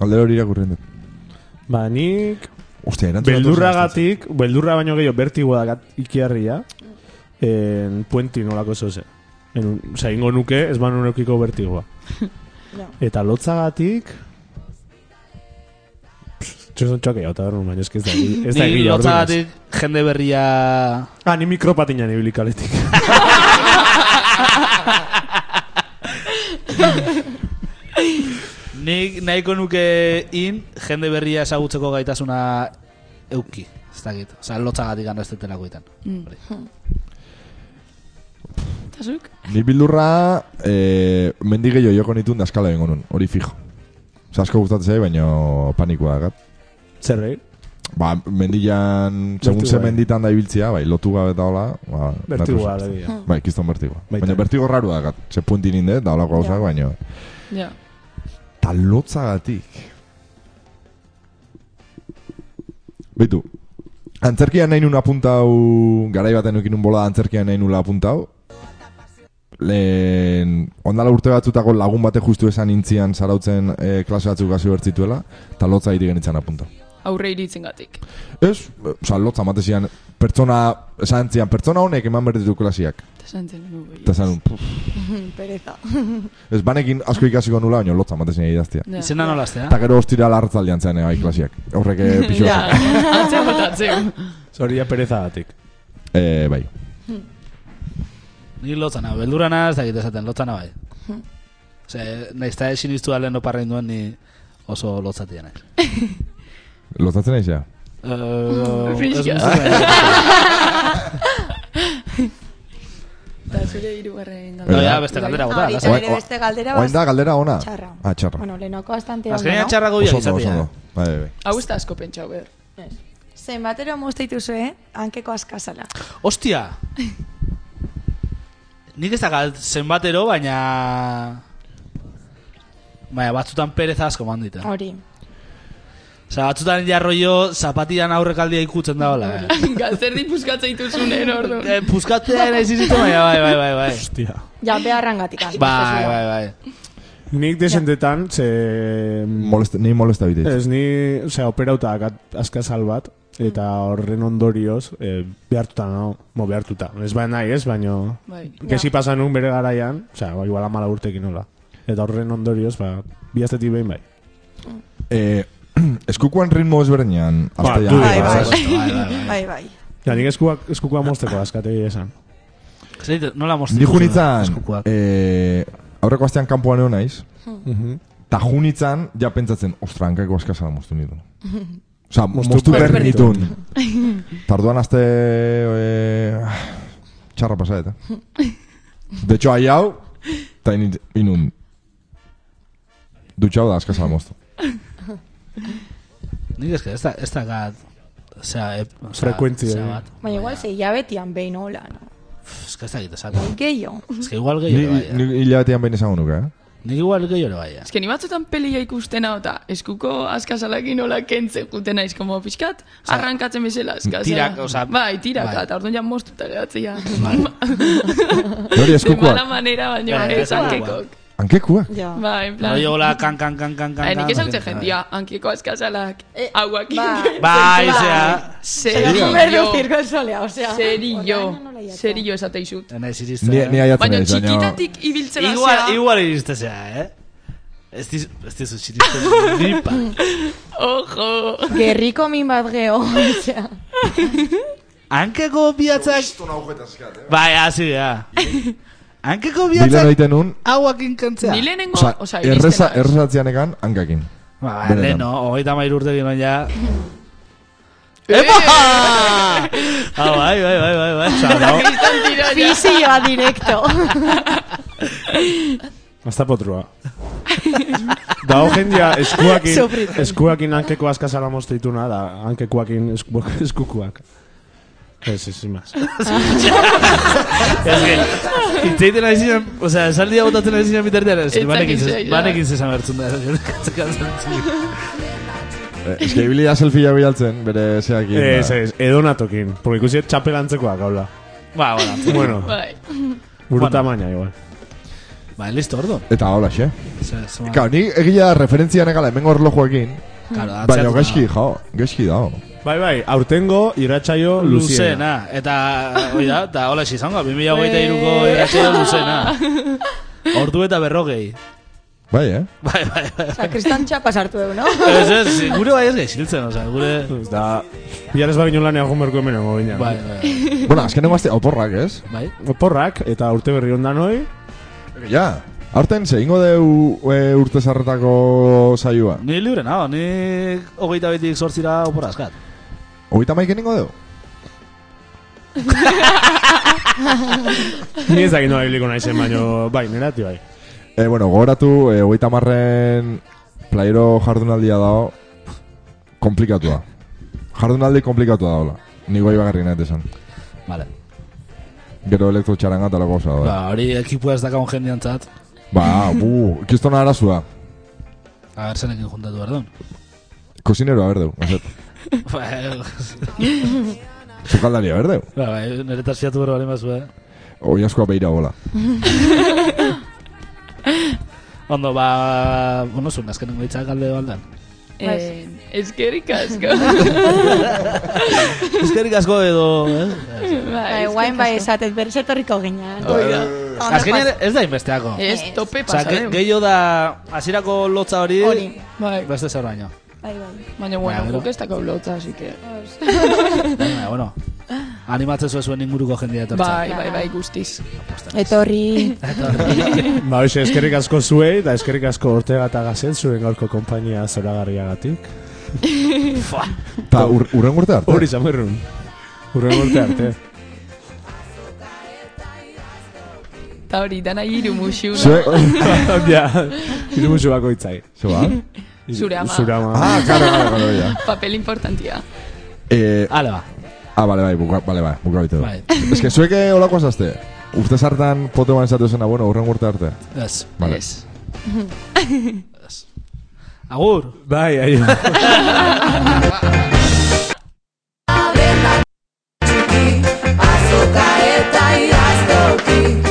C: aldero hori irakurrin dut.
D: Ba, nik
C: Ostia, erantzun.
D: Beldurragatik, beldurra baino gehiago bertigoa da ikiarria, en puenti nolako zoze. En, un- osea, ingo nuke, ez banu
B: <laughs>
D: neukiko bertigoa.
G: Ja.
D: Eta lotzagatik... Txoson txoak gehiago, eta berrun, baina eski ez da egi- ez da
B: Ni
D: egia ordinez.
B: lotzagatik jende berria...
D: Ah, ni mikropatinan
B: <laughs>
D: ibilikaletik.
B: Nik nahiko nuke in jende berria ezagutzeko gaitasuna euki. Ez dakit. Osa, lotzagatik gana ez detelako itan.
E: Mm.
B: Hori.
E: Eta zuk?
C: Ni bildurra, eh, mendigeio joko nitun da eskala egingo nun, hori fijo. Osa, asko gustatzen zai, baina panikoa gat.
D: Zer eh? egin?
C: Ba, mendian, segun
D: Bertigoa,
C: ze
D: eh?
C: menditan da ibiltzia, bai, lotu gabe eta hola. Ba,
D: Bertigoa,
C: natuz.
D: alegia.
C: Bai, kiston bertigoa.
D: Baita.
C: Baina bertigo raru da, gat. Ze puentin inde, da holako gauzak, baina...
E: Ja.
C: Ta lotzagatik. Beitu, antzerkian nahi nun apuntau, garai baten eukin nun bola antzerkian nahi nula apuntau. Lehen, ondala urte batzutako lagun bate justu esan intzian zarautzen eh, klase batzuk hasi bertzituela, eta lotza hiri genitzen apuntau.
E: Aurre iritzen gatik.
C: Ez, oza, lotza matezian, pertsona, esan zian, pertsona honek eman behar ditu klasiak.
E: Eta zantzen nugu.
C: Eta esan, nun, puf,
G: <laughs> Pereza.
C: ez banekin asko ikasiko nula, baina lotza matezian idaztia.
E: Ja.
B: Izena nola aztea?
C: Eta gero ostira lartzaldian zen, eh, bai, klasiak. Horrek
G: <laughs>
C: eh,
E: <laughs>
C: pixo
E: Ja,
C: bat.
E: atzeu eta atzeu.
D: Zoria perezagatik.
C: Eh, bai.
B: Ni lotzana, beldurana ez dakit esaten, lotzana bai. Ose, nahizta ezin iztu alen oparrein duen ni oso lotzatia naiz.
C: Lotzatzen nahi zea?
E: <laughs>
B: Eh, ez
E: Pixka.
B: musu baina.
E: Eta zure irugarren
B: No,
E: galdera.
B: ja, beste galdera bota.
G: Ah,
B: lasai.
G: Nire beste galdera
C: Oain da, galdera ona?
G: Txarra.
C: Ah, txarra.
G: Bueno, lehenoko bastante ondo,
B: Azkenean
G: no?
B: txarrago
C: oso
B: bila
C: ondo, oso
B: izatea.
C: ondo. Bai, bai, bai.
E: Hau ez da asko pentsau behar.
G: Ez. Zenbatero mozteitu zuen, eh? hankeko askazala.
B: Ostia! Nik ez dakit zenbatero, baina... Baina batzutan pereza asko mandita.
G: Hori.
B: Osa, batzutan jarroio zapatidan aurrekaldia ikutzen da hola. Eh.
E: <laughs> Galzer dipuzkatza ituzunen ordu.
B: Eh, Puzkatzea ere izizitu, baina bai, bai, bai, bai.
D: Hostia.
G: Ja, beharrangatik. handik,
B: Bai,
G: zezua.
B: bai, bai.
D: Nik desentetan, ze...
C: Molest, ni molesta bitez.
D: Ez ni, osea, operauta dakat askazal bat, eta horren ondorioz, eh, behartuta nago, mo behartuta. Ez baina nahi, ez, baino,
E: Bai.
D: gezi pasan nun bere garaian, osea, ba, igual amala urtekin nola. Eta horren ondorioz, ba, bihaztetik behin bai.
C: <clears throat> Eh, eskukuan ritmo ezberdinean.
D: Ba,
C: Ba,
D: du,
G: Bai,
D: Bai,
G: bai.
B: bai, bai, bai.
G: Bai, bai.
D: Ja, nik eskuak, eskukoa mozteko askate esan.
B: Zer, nola moztu?
C: Ni junitzan,
B: Eskukuak.
C: eh, aurreko astean kanpoan egon naiz,
E: Hmm.
D: Mhm.
C: eta junitzan, ja pentsatzen, ostra, hankako askasala moztu
E: <laughs>
C: nitun. Osa, moztu
D: behar
C: behar nitun. Tarduan azte... Eh, txarra pasaet, eh? De hecho, ahi hau, eta init- inun... Dutxau da askasala moztu.
B: Nik eske, ez da, ez da gat... Osea, e, osea,
D: Frekuentzia,
B: osea
D: eh.
B: bat.
G: Baina igual ze hilabetian behin hola, no? Bai,
B: Pff, Ez que ez da gita, esate.
G: Gehiago.
B: Ez que igual
C: Ni,
B: gehiore bai.
C: ni
B: eh.
C: hilabetean behin esango nuke, eh?
B: Nik igual gehiore bai. eh.
E: Ez que ni batzutan pelia ikusten hau, eta eskuko askazalakin hola kentzen juten naiz, como pixkat, arrankatzen bezala askazala.
B: tirak, osea,
E: Bai, tiraka,
B: bai.
E: eta orduan ja moztuta geratzea. <laughs>
C: Nori
E: De mala
C: eskukuak,
E: manera, baina
B: Eh,
E: ez hankekok.
C: hankekuak.
F: Ja.
E: Bai, en plan.
B: Oio, hola, kan, kan, kan, kan, kan.
E: Ai, nik
B: kan,
E: ezautze
B: kan, kan.
E: jendia, hankeko askazalak,
G: Eh,
E: hauak
G: ba.
E: ingentzen.
B: Bai, zea.
G: Berdo
E: <laughs> Serio,
G: zirko solea, osea.
E: serio,
G: Orain nola jatea.
E: serio esateizut.
B: Naiz iriste.
C: Ni, ni aiatzen
E: Baina
C: naiz,
E: txikitatik ibiltzen
B: Igual,
E: hasea.
B: igual iriste zea, eh? Ez diz, ez diz, iriste gripa.
E: Ojo.
G: Gerriko min bat geho, osea.
B: Hankeko biatzak... Bai, hazi da. Hankeko
C: Bilan
B: biatzak
C: egiten nun,
B: hauakin kantzea.
E: Ni lehenengo,
C: Osa,
E: osa,
C: erreza,
E: iristen naiz.
C: errezatzean ekan, hankakin.
B: Ba,
C: Benetan.
B: lehen, no? Hogeita mair urte ginoen ja...
E: Epa!
B: Ah, bai, bai, bai, bai, bai. Zara,
E: Kriston tiroia.
G: Fizioa <laughs> directo.
D: Hasta potrua. da jendia eskuakin,
G: Sufritzen.
D: eskuakin hankeko askazala moztu dituna, da hankekuakin esku, <laughs> eskukuak. Ez, ez, imaz.
B: Ez que, itzeiten ari ziren, osea, esaldi hau botatzen ari ziren bitartean, ez que
E: Itzak
B: banekin zez-
E: itzeila.
B: banekin zezan bertzun da, ez que katzekan zantzun.
C: Eh, Ez que ibili da selfia bialtzen, bere ba. zeak.
D: Ez, ez, edonatokin. Porque ikusi ez txapelantzekoak, gaula.
B: Ba, bueno.
D: Bueno,
E: Bai.
D: buru
B: Bueno.
D: tamaina, igual.
B: Ba, listo, ordo.
C: Eta hola, xe.
B: Ze- ze-
C: Kau, ni egia da referentzia negala hemen horlojuekin,
B: Claro,
C: baina
B: atzeratu
C: gaizki,
B: da.
C: jao, gaizki dao.
D: Bai, bai, aurtengo iratsaio luzeena.
B: Luzena, eta, hoi da, eta hola izango, 2023ko irratxeo luzena. Ordu eta berrogei.
C: Bai, eh?
B: Bai, bai, bai.
G: Osea, kristan txapa sartu dugu, no?
B: Ez, ez, gure bai ez gaiziltzen, osea, gure...
D: Ez Da, bihar ez bagin lanean jomerko hemen egon ginen.
B: Bai, bai,
C: bueno, azkenengo azte oporrak, ez?
B: bai.
D: Oporrak, eta urte berri ondan hoi,
C: Ja, aurten zeingo deu e, urte zarretako saioa.
B: Ni libre nago, ni hogeita betik sortzira opor askat.
C: Hogeita maiken ingo deu?
D: ni ez dakit nola ibiliko naizen, baino, bai, nerati bai.
C: E, bueno, gogoratu, e, hogeita marren playero jardunaldia dao, komplikatua. Jardunaldi komplikatua daola. Nigo ibagarri nahet esan.
B: Vale.
C: Gero elektro txaranga eta lako osa da.
B: Ba, hori ekipua ez dakaun jendean zat.
C: Ba, bu, kistona arazua.
B: A ber, zenekin juntatu, perdón.
C: Kosineroa berdeu, mazet.
B: Ba, <laughs>
C: Zukaldaria berdeu.
B: ba, nire tarziatu bero balen bazu, eh?
C: Hoi askoa beira bola.
B: Ondo, ba, bueno, zuen, azkenengo hitzak alde baldan.
E: Eh, eskerrik asko.
B: Ezkerrik asko edo, eh?
G: Bai,
E: Bai,
G: guain bai esatet, berriz etorriko ginean.
B: Azkenean ez da inbesteako.
E: Ez tope
B: Osa,
E: pasadeu.
B: gehiago da, hasierako lotza hori,
G: Hori.
E: Bai,
B: beste zer baino.
G: Bai, bai.
E: baina
B: Bai,
E: bueno,
B: gero.
E: guk ez dakau lotza, así que...
B: Baina, bueno, animatzen zuen zuen inguruko jendea etortzen.
E: Bai, bai, bai, guztiz.
G: Etorri.
D: Ba, hoxe, eskerrik asko zuei, eta eskerrik asko ortega eta gazen, zuen gaurko kompainia zoragarriagatik.
C: Ta ur, urren urte arte. <laughs>
D: Hori zamerrun. Urren urte
E: <laughs>
D: arte.
E: Eta hori, dana hiru muxuna.
C: Zue...
D: ja, hiru musu bakoitzai.
C: Zue ba?
E: Zure ama.
D: Zure ama.
C: Ah, karo, karo, karo, ya.
E: Papel importantia.
C: Eh,
B: Ale, ba.
C: ah, bale, bai, buka, bale, bai, buka bitu.
B: Bai.
C: Ez que zuek eh, olakoa zazte. Urte zartan pote ban esatu zena, bueno, urren urte arte.
B: Ez.
C: Vale.
E: Ez.
B: Agur!
D: Bai, aio.
J: Azoka eta idaztoki